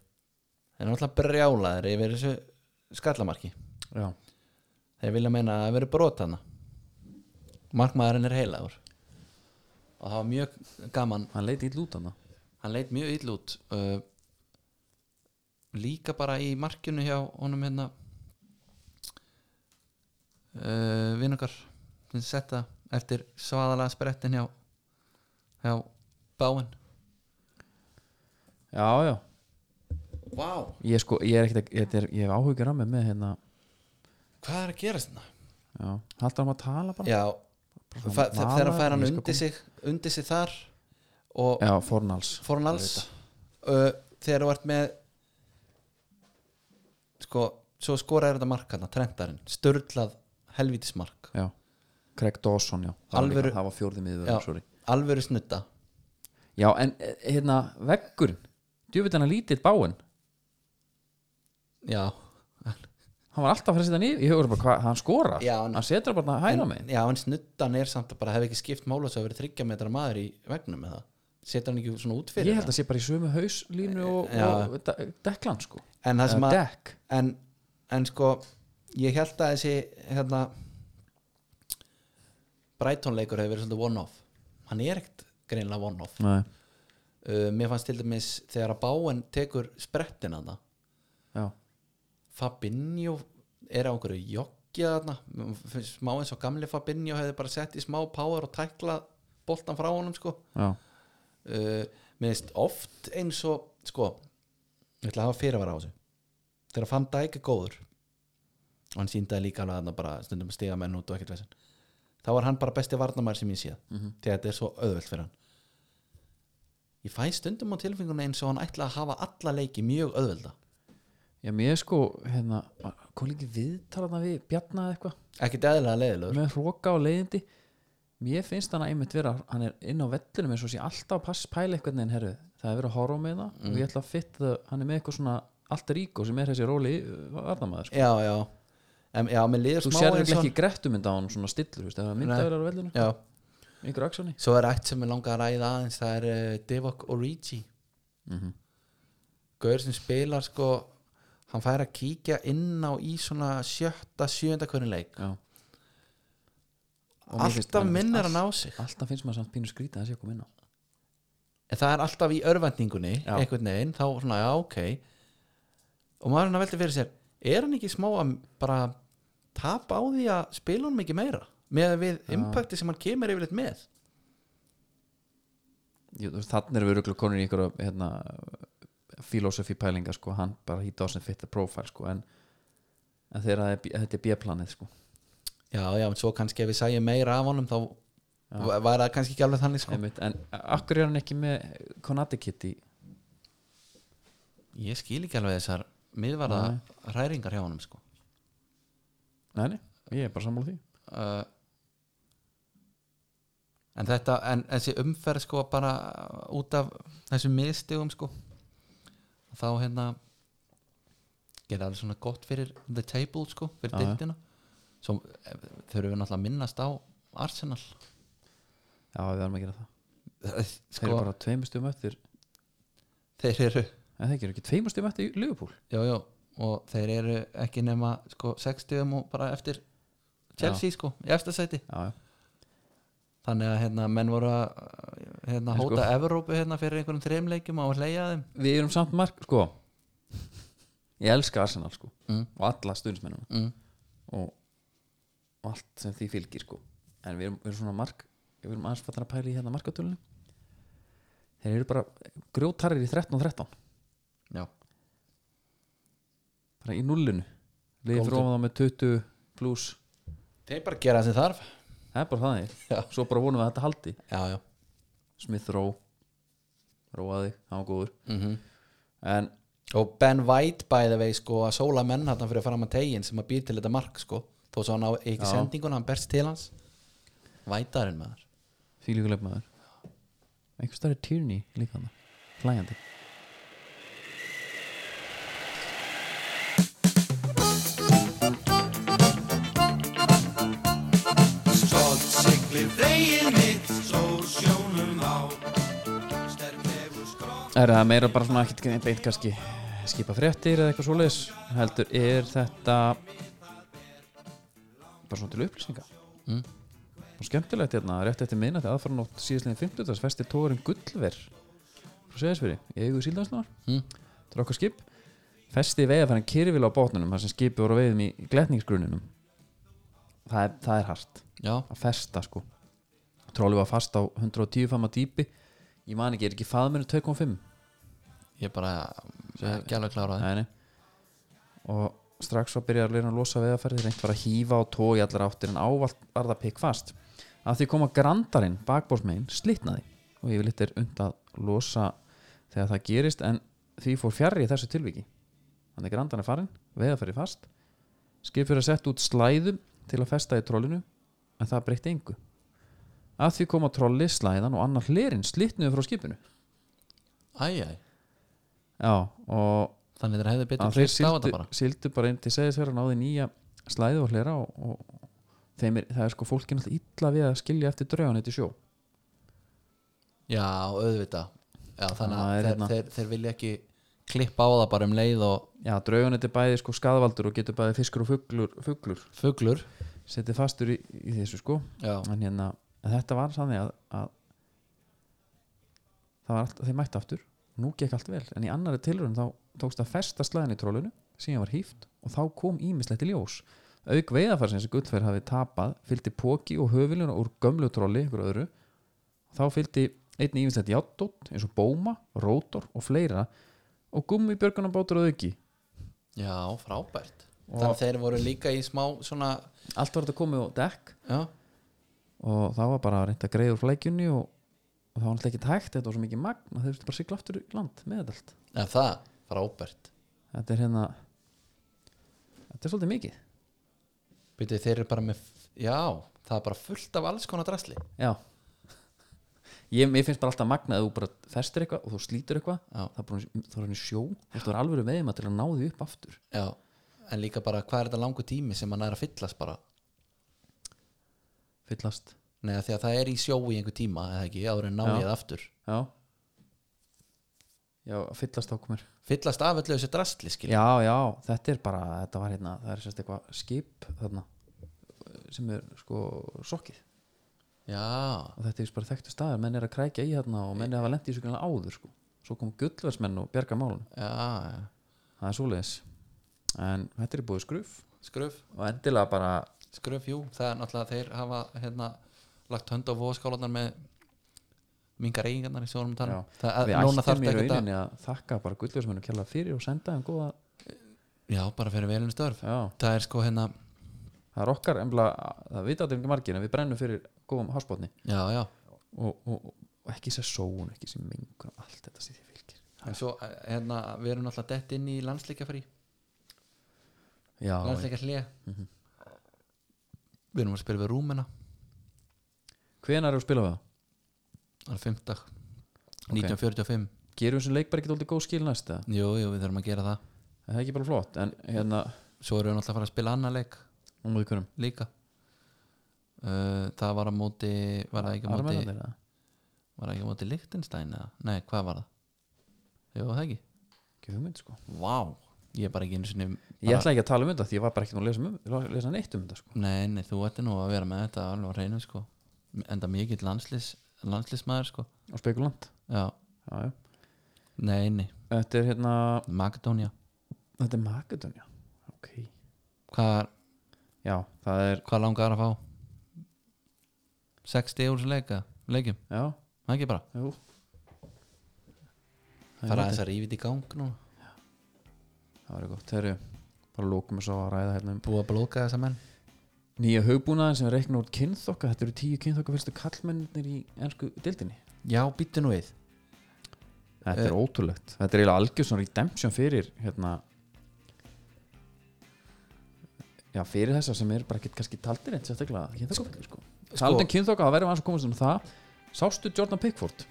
[SPEAKER 2] þeir eru náttúrulega brjálaðir yfir þessu skallamarki
[SPEAKER 1] já,
[SPEAKER 2] þeir vilja meina að það verið brot hana markmaðurinn er heilagur og það var mjög gaman
[SPEAKER 1] hann leiti í lútan það
[SPEAKER 2] hann leit mjög ill út uh, líka bara í markinu hjá honum hérna uh, vinnokar sem setta eftir svaðalega sprettin hjá hjá báin
[SPEAKER 1] já, já,
[SPEAKER 2] Vá,
[SPEAKER 1] ég, sko, ég er ekkert að- ég, þetta er- ég hef áhugjur á mig með hérna
[SPEAKER 2] hvað er að gerast hérna? þetta?
[SPEAKER 1] já, haldur hann að tala bara
[SPEAKER 2] Já, fa- þe- þegar hann fær hann
[SPEAKER 1] Ég skal
[SPEAKER 2] undir sig undir sig þar og
[SPEAKER 1] já, fornals
[SPEAKER 2] Fornals uh, þegar þú ert með sko, svo skoraði þetta mark hann, trendarinn, störlað helvítismark,
[SPEAKER 1] já, Craig Dawson, já það var
[SPEAKER 2] Alvöru-
[SPEAKER 1] líka- það var fjórði
[SPEAKER 2] Já.
[SPEAKER 1] miður, sorry
[SPEAKER 2] alvöru snutta
[SPEAKER 1] já, en eh, hérna, veggurinn djúfitt hann að lítið báinn
[SPEAKER 2] já,
[SPEAKER 1] hann var alltaf að setja hann í, ég hugur bara hvað, hann skorar
[SPEAKER 2] Já, en-
[SPEAKER 1] hann setur bara hann hæra mig
[SPEAKER 2] já, en snuttan er samt að bara hef ekki skipt mála svo að vera þryggja metra maður í vegnum með það, setur hann ekki svona út fyrir
[SPEAKER 1] ég held að sé bara í sömu hauslínu og,
[SPEAKER 2] Já.
[SPEAKER 1] og de- deklan sko
[SPEAKER 2] það en það sem
[SPEAKER 1] Eða
[SPEAKER 2] að
[SPEAKER 1] dekk,
[SPEAKER 2] en, en sko ég held að þessi hérna Brighton-leikur hefur verið svolítið one-off hann er ekkert greinilega one-off
[SPEAKER 1] nei,
[SPEAKER 2] uh, mér fannst til dæmis þegar að báen tekur sprettin hana
[SPEAKER 1] já,
[SPEAKER 2] Fabinho er á einhverju joggja þarna Mér finnst smá eins og gamli Fabinho hefði bara sett í smá power og tækla boltan frá honum sko
[SPEAKER 1] já,
[SPEAKER 2] uh, mér finnst oft eins og sko, ég ætla að hafa fyrirvara á þessu þegar fann dæk er góður og hann síndaði líka alveg þarna bara stundum að stiga menn út og ekkert veginn þá var hann bara besti varnamæður sem ég séð þegar þetta er svo auðvelt fyrir hann ég fæ stundum á tilfinguna eins og hann ætla að hafa alla leiki mjög auðvelda
[SPEAKER 1] já, mér sko hérna, kom líki viðtalaðna við bjarna eða eitthvað
[SPEAKER 2] ekkert eðlilega leiðilegur
[SPEAKER 1] með hróka og leiðindi mér finnst hann að einmitt vera hann er inn á vellunum eins og sé alltaf að pass pæla eitthvað neginn herru, það er verið að horfa með það
[SPEAKER 2] Mm.
[SPEAKER 1] og ég ætla að fitta það, hann er með eitthvað svona allt er ígó sem er þessi róli varðamæður sko.
[SPEAKER 2] já, já, em, já, mér líður
[SPEAKER 1] þú
[SPEAKER 2] smá
[SPEAKER 1] sér
[SPEAKER 2] eins og
[SPEAKER 1] ekki
[SPEAKER 2] hann-
[SPEAKER 1] grettumynd á hann svona stillur, veist, það er myndavelar á vellunum
[SPEAKER 2] já,
[SPEAKER 1] ykkur aksjóni
[SPEAKER 2] Svo er eitt sem ég langar að ræða aðeins það er uh, Divock Origi Mhm. Gaur sem spilar sko hann fær að kíkja inn á í svona sjötta, sjönda hvernig leik
[SPEAKER 1] Já. Og mér finnst-
[SPEAKER 2] alltaf
[SPEAKER 1] mér finnst
[SPEAKER 2] minnir hann
[SPEAKER 1] allt-
[SPEAKER 2] á sig
[SPEAKER 1] alltaf finnst maður samt pínu skrítið að sé okkur minna
[SPEAKER 2] en það er alltaf í örvendingunni
[SPEAKER 1] Já.
[SPEAKER 2] einhvern veginn, þá svona, já, ok og maður er hann að velta fyrir sér er hann ekki smá að bara tapa á því að spila hann mikið meira með við impacti sem hann kemur yfirleitt með
[SPEAKER 1] þannig erum við röglega konur í ykkur hérna, filosofi pælinga sko, hann bara hýta á sem fitta profile sko, en, en þegar það er B- þetta er B-planið sko.
[SPEAKER 2] já, já, en svo kannski ef við sæjum meira af honum þá já. var það kannski ekki alveg þannig sko.
[SPEAKER 1] Einmitt, en akkur er hann ekki með Konati Kitty
[SPEAKER 2] Ég skil ekki alveg þessar miðvarða hræringar hjá honum sko.
[SPEAKER 1] nei, nei, ég er bara sammála því
[SPEAKER 2] uh, En þetta en þessi umferð sko bara út af þessum miðstigum sko þá hérna gera alveg svona gott fyrir the table sko, fyrir
[SPEAKER 1] Já, já.
[SPEAKER 2] dildina svo eh, þurfum við náttúrulega að minnast á Arsenal
[SPEAKER 1] já, við verðum að gera það þeir
[SPEAKER 2] sko,
[SPEAKER 1] eru bara tveimur stjum eftir
[SPEAKER 2] þeir eru
[SPEAKER 1] en þeir eru ekki tveimur stjum eftir Liverpool
[SPEAKER 2] já, já, og þeir eru ekki nema sko 60 og bara eftir Chelsea sko, í eftir sæti
[SPEAKER 1] já, já,
[SPEAKER 2] þannig að hérna, menn voru að
[SPEAKER 1] En
[SPEAKER 2] hérna,
[SPEAKER 1] sko-
[SPEAKER 2] hóta Evrópu hérna, fyrir einhverjum þreimleikjum og hleyja þeim
[SPEAKER 1] við erum samt mark sko ég elska Arsenal sko
[SPEAKER 2] Mm.
[SPEAKER 1] og alla stundsmennum
[SPEAKER 2] mm.
[SPEAKER 1] og, og allt sem því fylgir sko en við erum, við erum svona mark við erum aðeins fattar að pæla í hérna markatölunum þeir eru bara grjótarrir í 13 og 13
[SPEAKER 2] já,
[SPEAKER 1] bara í nullinu liðið
[SPEAKER 2] Golden.
[SPEAKER 1] fyrir ofan þá með 20 pluss
[SPEAKER 2] þeir bara gera það sem þarf
[SPEAKER 1] það er bara það
[SPEAKER 2] Já.
[SPEAKER 1] er svo bara vonum við að þetta haldi
[SPEAKER 2] já, já,
[SPEAKER 1] Smith Rowe róa þig, hann var góður
[SPEAKER 2] Mhm.
[SPEAKER 1] -hmm. en
[SPEAKER 2] og Ben White by the way sko að sóla menn hann fyrir að fara með tegin sem að býr til þetta mark sko þó svo hann á ekki
[SPEAKER 1] Já.
[SPEAKER 2] sendinguna, hann berst til hans vætarinn maður
[SPEAKER 1] fílíkuleik maður einhver starri Tierney líka hann hlæjandi
[SPEAKER 5] Stótt siglir veginn mitt, svo sjónum á Sterk hefur skrótt
[SPEAKER 1] Er það meira bara svona ekkert beint kannski skipa fréttir eða eitthvað svoleiðis heldur er þetta bara svona til upplýsinga mm. og skemmtilegt hérna rétt eftir minnati aðfaranótt síðastliðin 50 þess festi tóðurinn Gullver frá Sveðisveri, í eigu síldansnar mm. þetta er okkar skip festi veiðafærin kyrfil á bátnunum þar sem skipi voru á veiðum í gletningsgruninum það er, það er hart
[SPEAKER 2] já,
[SPEAKER 1] að festa sko tróli var fast á 110 fama dýpi ég man ekki, er ekki faðminu 2.5
[SPEAKER 2] ég er bara ekki alveg klára það
[SPEAKER 1] Nei, nei. og strax var byrjað að byrja að losa veðaferði reynd var að hífa og tói allar áttir en ávalt var það pikk fast að því koma grandarinn bakbórsmegin slitnaði og yfirleitt er und að losa þegar það gerist en því fór fjarrri í þessu tilviki þannig að grandarinn er farinn, veðaferði fast skipur að setja út slæðum til að festa í trollinu en það breytti engu að því koma trolli, slæðan og annar hlerinn slitnuðu frá skipinu
[SPEAKER 2] æj, æj,
[SPEAKER 1] já, og
[SPEAKER 2] þannig þeir hefði betur
[SPEAKER 1] að þeir
[SPEAKER 2] hlust á þetta
[SPEAKER 1] sildu,
[SPEAKER 2] bara
[SPEAKER 1] sildu bara inn til segðisverðan á því nýja slæðu og hlera og, og þeim er, það er sko fólkin alltaf illa við að skilja eftir draugan eitt í sjó
[SPEAKER 2] já, auðvita já,
[SPEAKER 1] Það
[SPEAKER 2] þannig að
[SPEAKER 1] er
[SPEAKER 2] þeir,
[SPEAKER 1] hérna.
[SPEAKER 2] þeir, þeir vilja ekki klippa á það bara um leið og
[SPEAKER 1] já, draugan eitt er bæði sko skadvaldur og getur bæði fiskur og fuglur, fuglur
[SPEAKER 2] fuglur
[SPEAKER 1] setið fastur í, í þessu sko
[SPEAKER 2] já,
[SPEAKER 1] en hérna, en þetta var sannig að, að það var allt, þeir mættu aftur nú gekk allt vel, en í annari tilröðum þá tókst að festa slæðan í trólunu síðan var hýft og þá kom ímislegt í ljós auk veiðafarsins sem Gullferð hafi tapað fylgdi póki og höfiluna úr gömlu trolli ykkur öðru þá fylgdi einni ímislegt játtótt eins og bóma, rótor og fleira og gummi björgunarbátur að auki
[SPEAKER 2] já, frábært þannig að þeir voru líka í smá svona
[SPEAKER 1] allt var þetta komið á dekk
[SPEAKER 2] já,
[SPEAKER 1] og þá var bara reynt að greiða úr flækjunni og, og það var alltaf ekki hægt þetta var svo mikið magn að þau þurftu bara að sigla aftur í land með þetta allt
[SPEAKER 2] er það, frábært
[SPEAKER 1] þetta er hérna þetta er svolítið mikið
[SPEAKER 2] Býtu, þeir eru bara með Já, það er bara fullt af alls konar drasli
[SPEAKER 1] já ég, ég finnst bara alltaf magna að þú bara festir eitthvað og þú slítur eitthvað
[SPEAKER 2] Já.
[SPEAKER 1] það er bara það er hann í sjó þú er alveg með þeim að til að ná því upp aftur
[SPEAKER 2] Já, en líka bara hvað er þetta langu tími sem hann er að fyllast bara
[SPEAKER 1] fyllast
[SPEAKER 2] Nei, af því að það er í sjó í einhver tíma eða ekki, áður en náið aftur
[SPEAKER 1] já já fyllast ákomur
[SPEAKER 2] Fyllast af öllu þessu drasli, skil
[SPEAKER 1] já já þetta er bara þetta var hérna það er sérst eitthvað skip þarna sem er sko sokkið
[SPEAKER 2] Já,
[SPEAKER 1] og þetta er víst bara þekktu staðar, menn er að krækja í hérna og menn er að lenda í þessu grunna áður sko. svo kom gullversmenn og bjarga málun
[SPEAKER 2] já, já.
[SPEAKER 1] það er svoleiðis en þetta er búið skruf
[SPEAKER 2] Skröf,
[SPEAKER 1] og endilega bara
[SPEAKER 2] skröf, jú Það er náttúrulega að þeir hafa hérna, lagt hönd á vóðskálanar með mingar eigingarnar í sjónum
[SPEAKER 1] já,
[SPEAKER 2] tann það,
[SPEAKER 1] við
[SPEAKER 2] Núna þarf
[SPEAKER 1] ættum í
[SPEAKER 2] þetta ekki að
[SPEAKER 1] rauninni að þakka bara gullversmennum kjalla fyrir og senda þeim góða
[SPEAKER 2] Já, bara fyrir velum störf
[SPEAKER 1] já,
[SPEAKER 2] Það er sko hérna,
[SPEAKER 1] það er okkar, embla, það vita þetta ekki margir en við brennum fyrir góðum hásbótni
[SPEAKER 2] já, já
[SPEAKER 1] og, og, og ekki sér sóun, ekki sér mengun allt þetta sem því fylgir
[SPEAKER 2] En svo, eh, hérna, við erum náttúrulega dett inn í landsleikafrí
[SPEAKER 1] já,
[SPEAKER 2] landsleika hlið við erum að spila við Rúmena
[SPEAKER 1] hvenær eru að spila við það?
[SPEAKER 2] þannig fimmtag 1945,
[SPEAKER 1] gerum þessum leik bara ekki dóldi góð skil næst eða?
[SPEAKER 2] jú, jú, við þurfum að gera það
[SPEAKER 1] það er ekki bara flott, en hérna
[SPEAKER 2] svo erum við náttúrulega að fara að spila annar leik
[SPEAKER 1] um vikunum,
[SPEAKER 2] líka uh, það var að móti var það ekki að móti,
[SPEAKER 1] armenandir eða?
[SPEAKER 2] var það ekki að móti Lichtenstein eða, nei, hvað var það jú, það ekki,
[SPEAKER 1] ekki hugmynd sko
[SPEAKER 2] vá ég er bara ekki einu sinni
[SPEAKER 1] ég
[SPEAKER 2] bara-
[SPEAKER 1] ætla ekki að tala um þetta því ég var bara ekki nú að lesa, um, lesa neitt um þetta sko
[SPEAKER 2] Nei, nei, þú ætti nú að vera með þetta alveg á reynu sko enda mikill landslis, landslismæður sko
[SPEAKER 1] á spekulant
[SPEAKER 2] já,
[SPEAKER 1] já, já.
[SPEAKER 2] nei, nei,
[SPEAKER 1] þetta er hérna
[SPEAKER 2] Makedónia
[SPEAKER 1] þetta er Makedonia ok
[SPEAKER 2] hvað er
[SPEAKER 1] já það er
[SPEAKER 2] hvað langar að fá 60 úr þessu leika leikjum,
[SPEAKER 1] já
[SPEAKER 2] það ekki bara
[SPEAKER 1] jú það er
[SPEAKER 2] fara aðeins
[SPEAKER 1] þetta
[SPEAKER 2] að rífið í gang nú
[SPEAKER 1] það var gott þegar bara lókum við svo að ræða hérna um
[SPEAKER 2] búið að blóka þessa menn
[SPEAKER 1] nýja hugbúnaðin sem reikna úr kynþokka þetta eru tíu kynþokka fyrstu kallmennir í ennsku dildinni
[SPEAKER 2] já, býttu nú við
[SPEAKER 1] Þetta er ótrúlegt Eh, Þetta er eiginlega algjör svona redemption fyrir hérna Já, fyrir þessa sem er bara ekkert kannski taldir eitt sérstaklega kynþokkafækir sko Taldum kynþokka, það verðum aðeins að komast um það Sástu Jordan Pickford,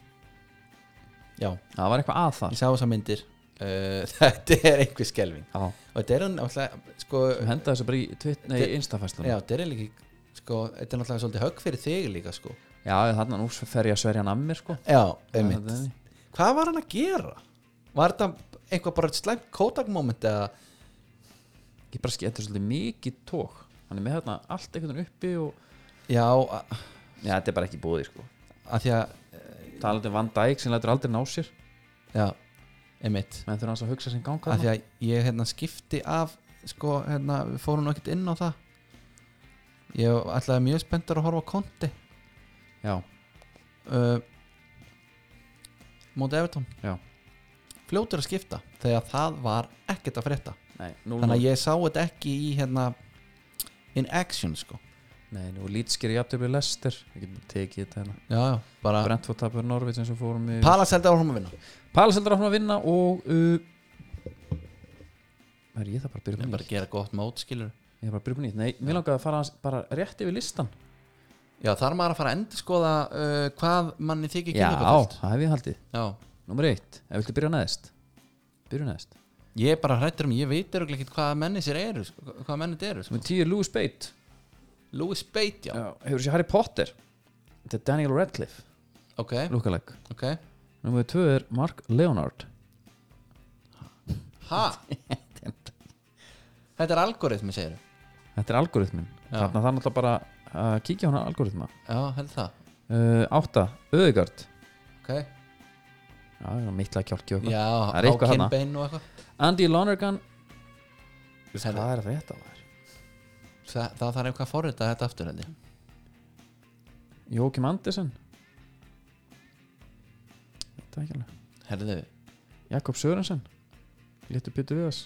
[SPEAKER 2] já,
[SPEAKER 1] það var eitthvað að þar
[SPEAKER 2] ég sá þessa myndir uh, þetta er einhver skelving
[SPEAKER 1] Já,
[SPEAKER 2] og þetta er hann náttúrulega sko,
[SPEAKER 1] sem henda þessu bara í tvitt, nei,
[SPEAKER 2] Þetta-
[SPEAKER 1] instafæslan
[SPEAKER 2] já, þetta er líka ekki- sko, þetta er náttúrulega svolítið högg fyrir þig líka sko.
[SPEAKER 1] Já, þarna nú fer ég að sverja hann að mér sko
[SPEAKER 2] já,
[SPEAKER 1] Það er
[SPEAKER 2] einmitt
[SPEAKER 1] þannig.
[SPEAKER 2] hvað var hann að gera? var þetta eitthvað bara slæmt kótakmoment eða
[SPEAKER 1] Ég bara skil, þetta er svolítið mikið tók Hann er með þarna allt einhvern veginn uppi og
[SPEAKER 2] já, a-
[SPEAKER 1] Já, þetta er bara ekki búið sko
[SPEAKER 2] að því að
[SPEAKER 1] Talandi um Van Dijk sem lætur aldrei ná sér
[SPEAKER 2] já, einmitt
[SPEAKER 1] menn þurfa hans að hugsa sem ganga
[SPEAKER 2] að því
[SPEAKER 1] þarna.
[SPEAKER 2] að ég hérna skipti af sko, hérna, við fórum nú ekkert inn á það ég ætlaði mjög spenntar að horfa á konti
[SPEAKER 1] Já,
[SPEAKER 2] uh, móti Evertón
[SPEAKER 1] já
[SPEAKER 2] fljótur að skipta þegar það var ekkert að frétta
[SPEAKER 1] Nei, nú,
[SPEAKER 2] þannig að ég sá þetta ekki í hérna in action sko
[SPEAKER 1] Nei, nú lítskir í aftöfli lestir Við getum tekið þetta hérna
[SPEAKER 2] já, já, bara
[SPEAKER 1] Brentford tapur Norvits eins og fórum í
[SPEAKER 2] Palace heldur áfram að vinna
[SPEAKER 1] Palaseldur áfram að vinna og uh, Er ég það bara að byrja
[SPEAKER 2] ég
[SPEAKER 1] upp á
[SPEAKER 2] bara
[SPEAKER 1] nýtt?
[SPEAKER 2] gera gott mót skilur
[SPEAKER 1] Ég er bara að byrja upp á nýtt Nei, mér langaði að fara aðeins bara rétt yfir listan
[SPEAKER 2] já, þar maður að fara að endurskoða uh, hvað manni þykir
[SPEAKER 1] Já,
[SPEAKER 2] kynlokafullt.
[SPEAKER 1] það hef ég haldið
[SPEAKER 2] já,
[SPEAKER 1] Númer eitt, ef viltu byrja neðist Byrja neðist
[SPEAKER 2] Ég er bara hrættur um, ég veit eru ekkert hvað menni sér eru, sko, hvað menni þetta eru sko.
[SPEAKER 1] Númer tíu, er Louis Bate
[SPEAKER 2] Louis Bate, já.
[SPEAKER 1] Hefur sér Harry Potter Þetta er Daniel Radcliffe
[SPEAKER 2] Ok,
[SPEAKER 1] Lúkaleg
[SPEAKER 2] ok
[SPEAKER 1] Númer tvö er Mark Leonard
[SPEAKER 2] Ha? Þetta er algoritmi, segir
[SPEAKER 1] Þetta er algoritmin
[SPEAKER 2] Já.
[SPEAKER 1] Þarna þarf náttúrulega bara að kíkja á hana algoritma
[SPEAKER 2] Já, held það
[SPEAKER 1] uh, Átta, Öðegard
[SPEAKER 2] Ok,
[SPEAKER 1] Já, það er mittlega kjálki okkur
[SPEAKER 2] já,
[SPEAKER 1] Það er eitthvað hana.
[SPEAKER 2] kynbein og eitthvað
[SPEAKER 1] Andy Lonergan
[SPEAKER 2] Herri.
[SPEAKER 1] Hvað er að frétta maður?
[SPEAKER 2] Þa, Það þarf eitthvað að forrita þetta aftur, held ég
[SPEAKER 1] Jókim Andersen Þetta er ekki alveg
[SPEAKER 2] Herðu,
[SPEAKER 1] Jakob Sörensen Léttur Pétur Viðas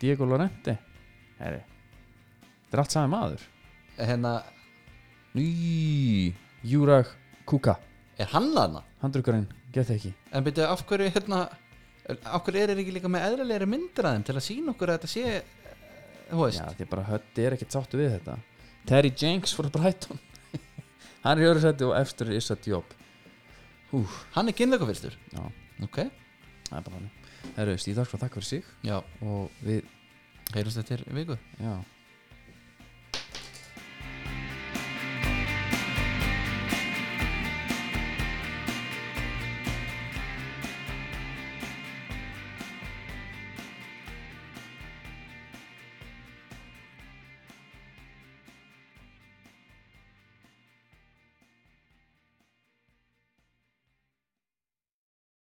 [SPEAKER 1] Diego Lorente Herri Þetta er allt sami maður
[SPEAKER 2] hérna,
[SPEAKER 1] Ný Júrag Kuka
[SPEAKER 2] er hann hana?
[SPEAKER 1] Handrukurinn Get ekki
[SPEAKER 2] En byrju, af hverju, hérna Af hverju er þeir ekki líka með eðlilegri myndir að þeim til að sína okkur að þetta sé eh, Þú
[SPEAKER 1] Já,
[SPEAKER 2] veist,
[SPEAKER 1] því bara hötti er ekkert sáttu við þetta Terry Jenks fyrir Brighton Hann er í öðru sæti og eftir er Issa Diop Hú,
[SPEAKER 2] hann er kynleikafyrstur
[SPEAKER 1] já,
[SPEAKER 2] Ok,
[SPEAKER 1] það er bara hann Herru, Stíð Dagsfra, takk fyrir sig
[SPEAKER 2] já,
[SPEAKER 1] og við,
[SPEAKER 2] heyrjumst þetta til viku
[SPEAKER 1] já,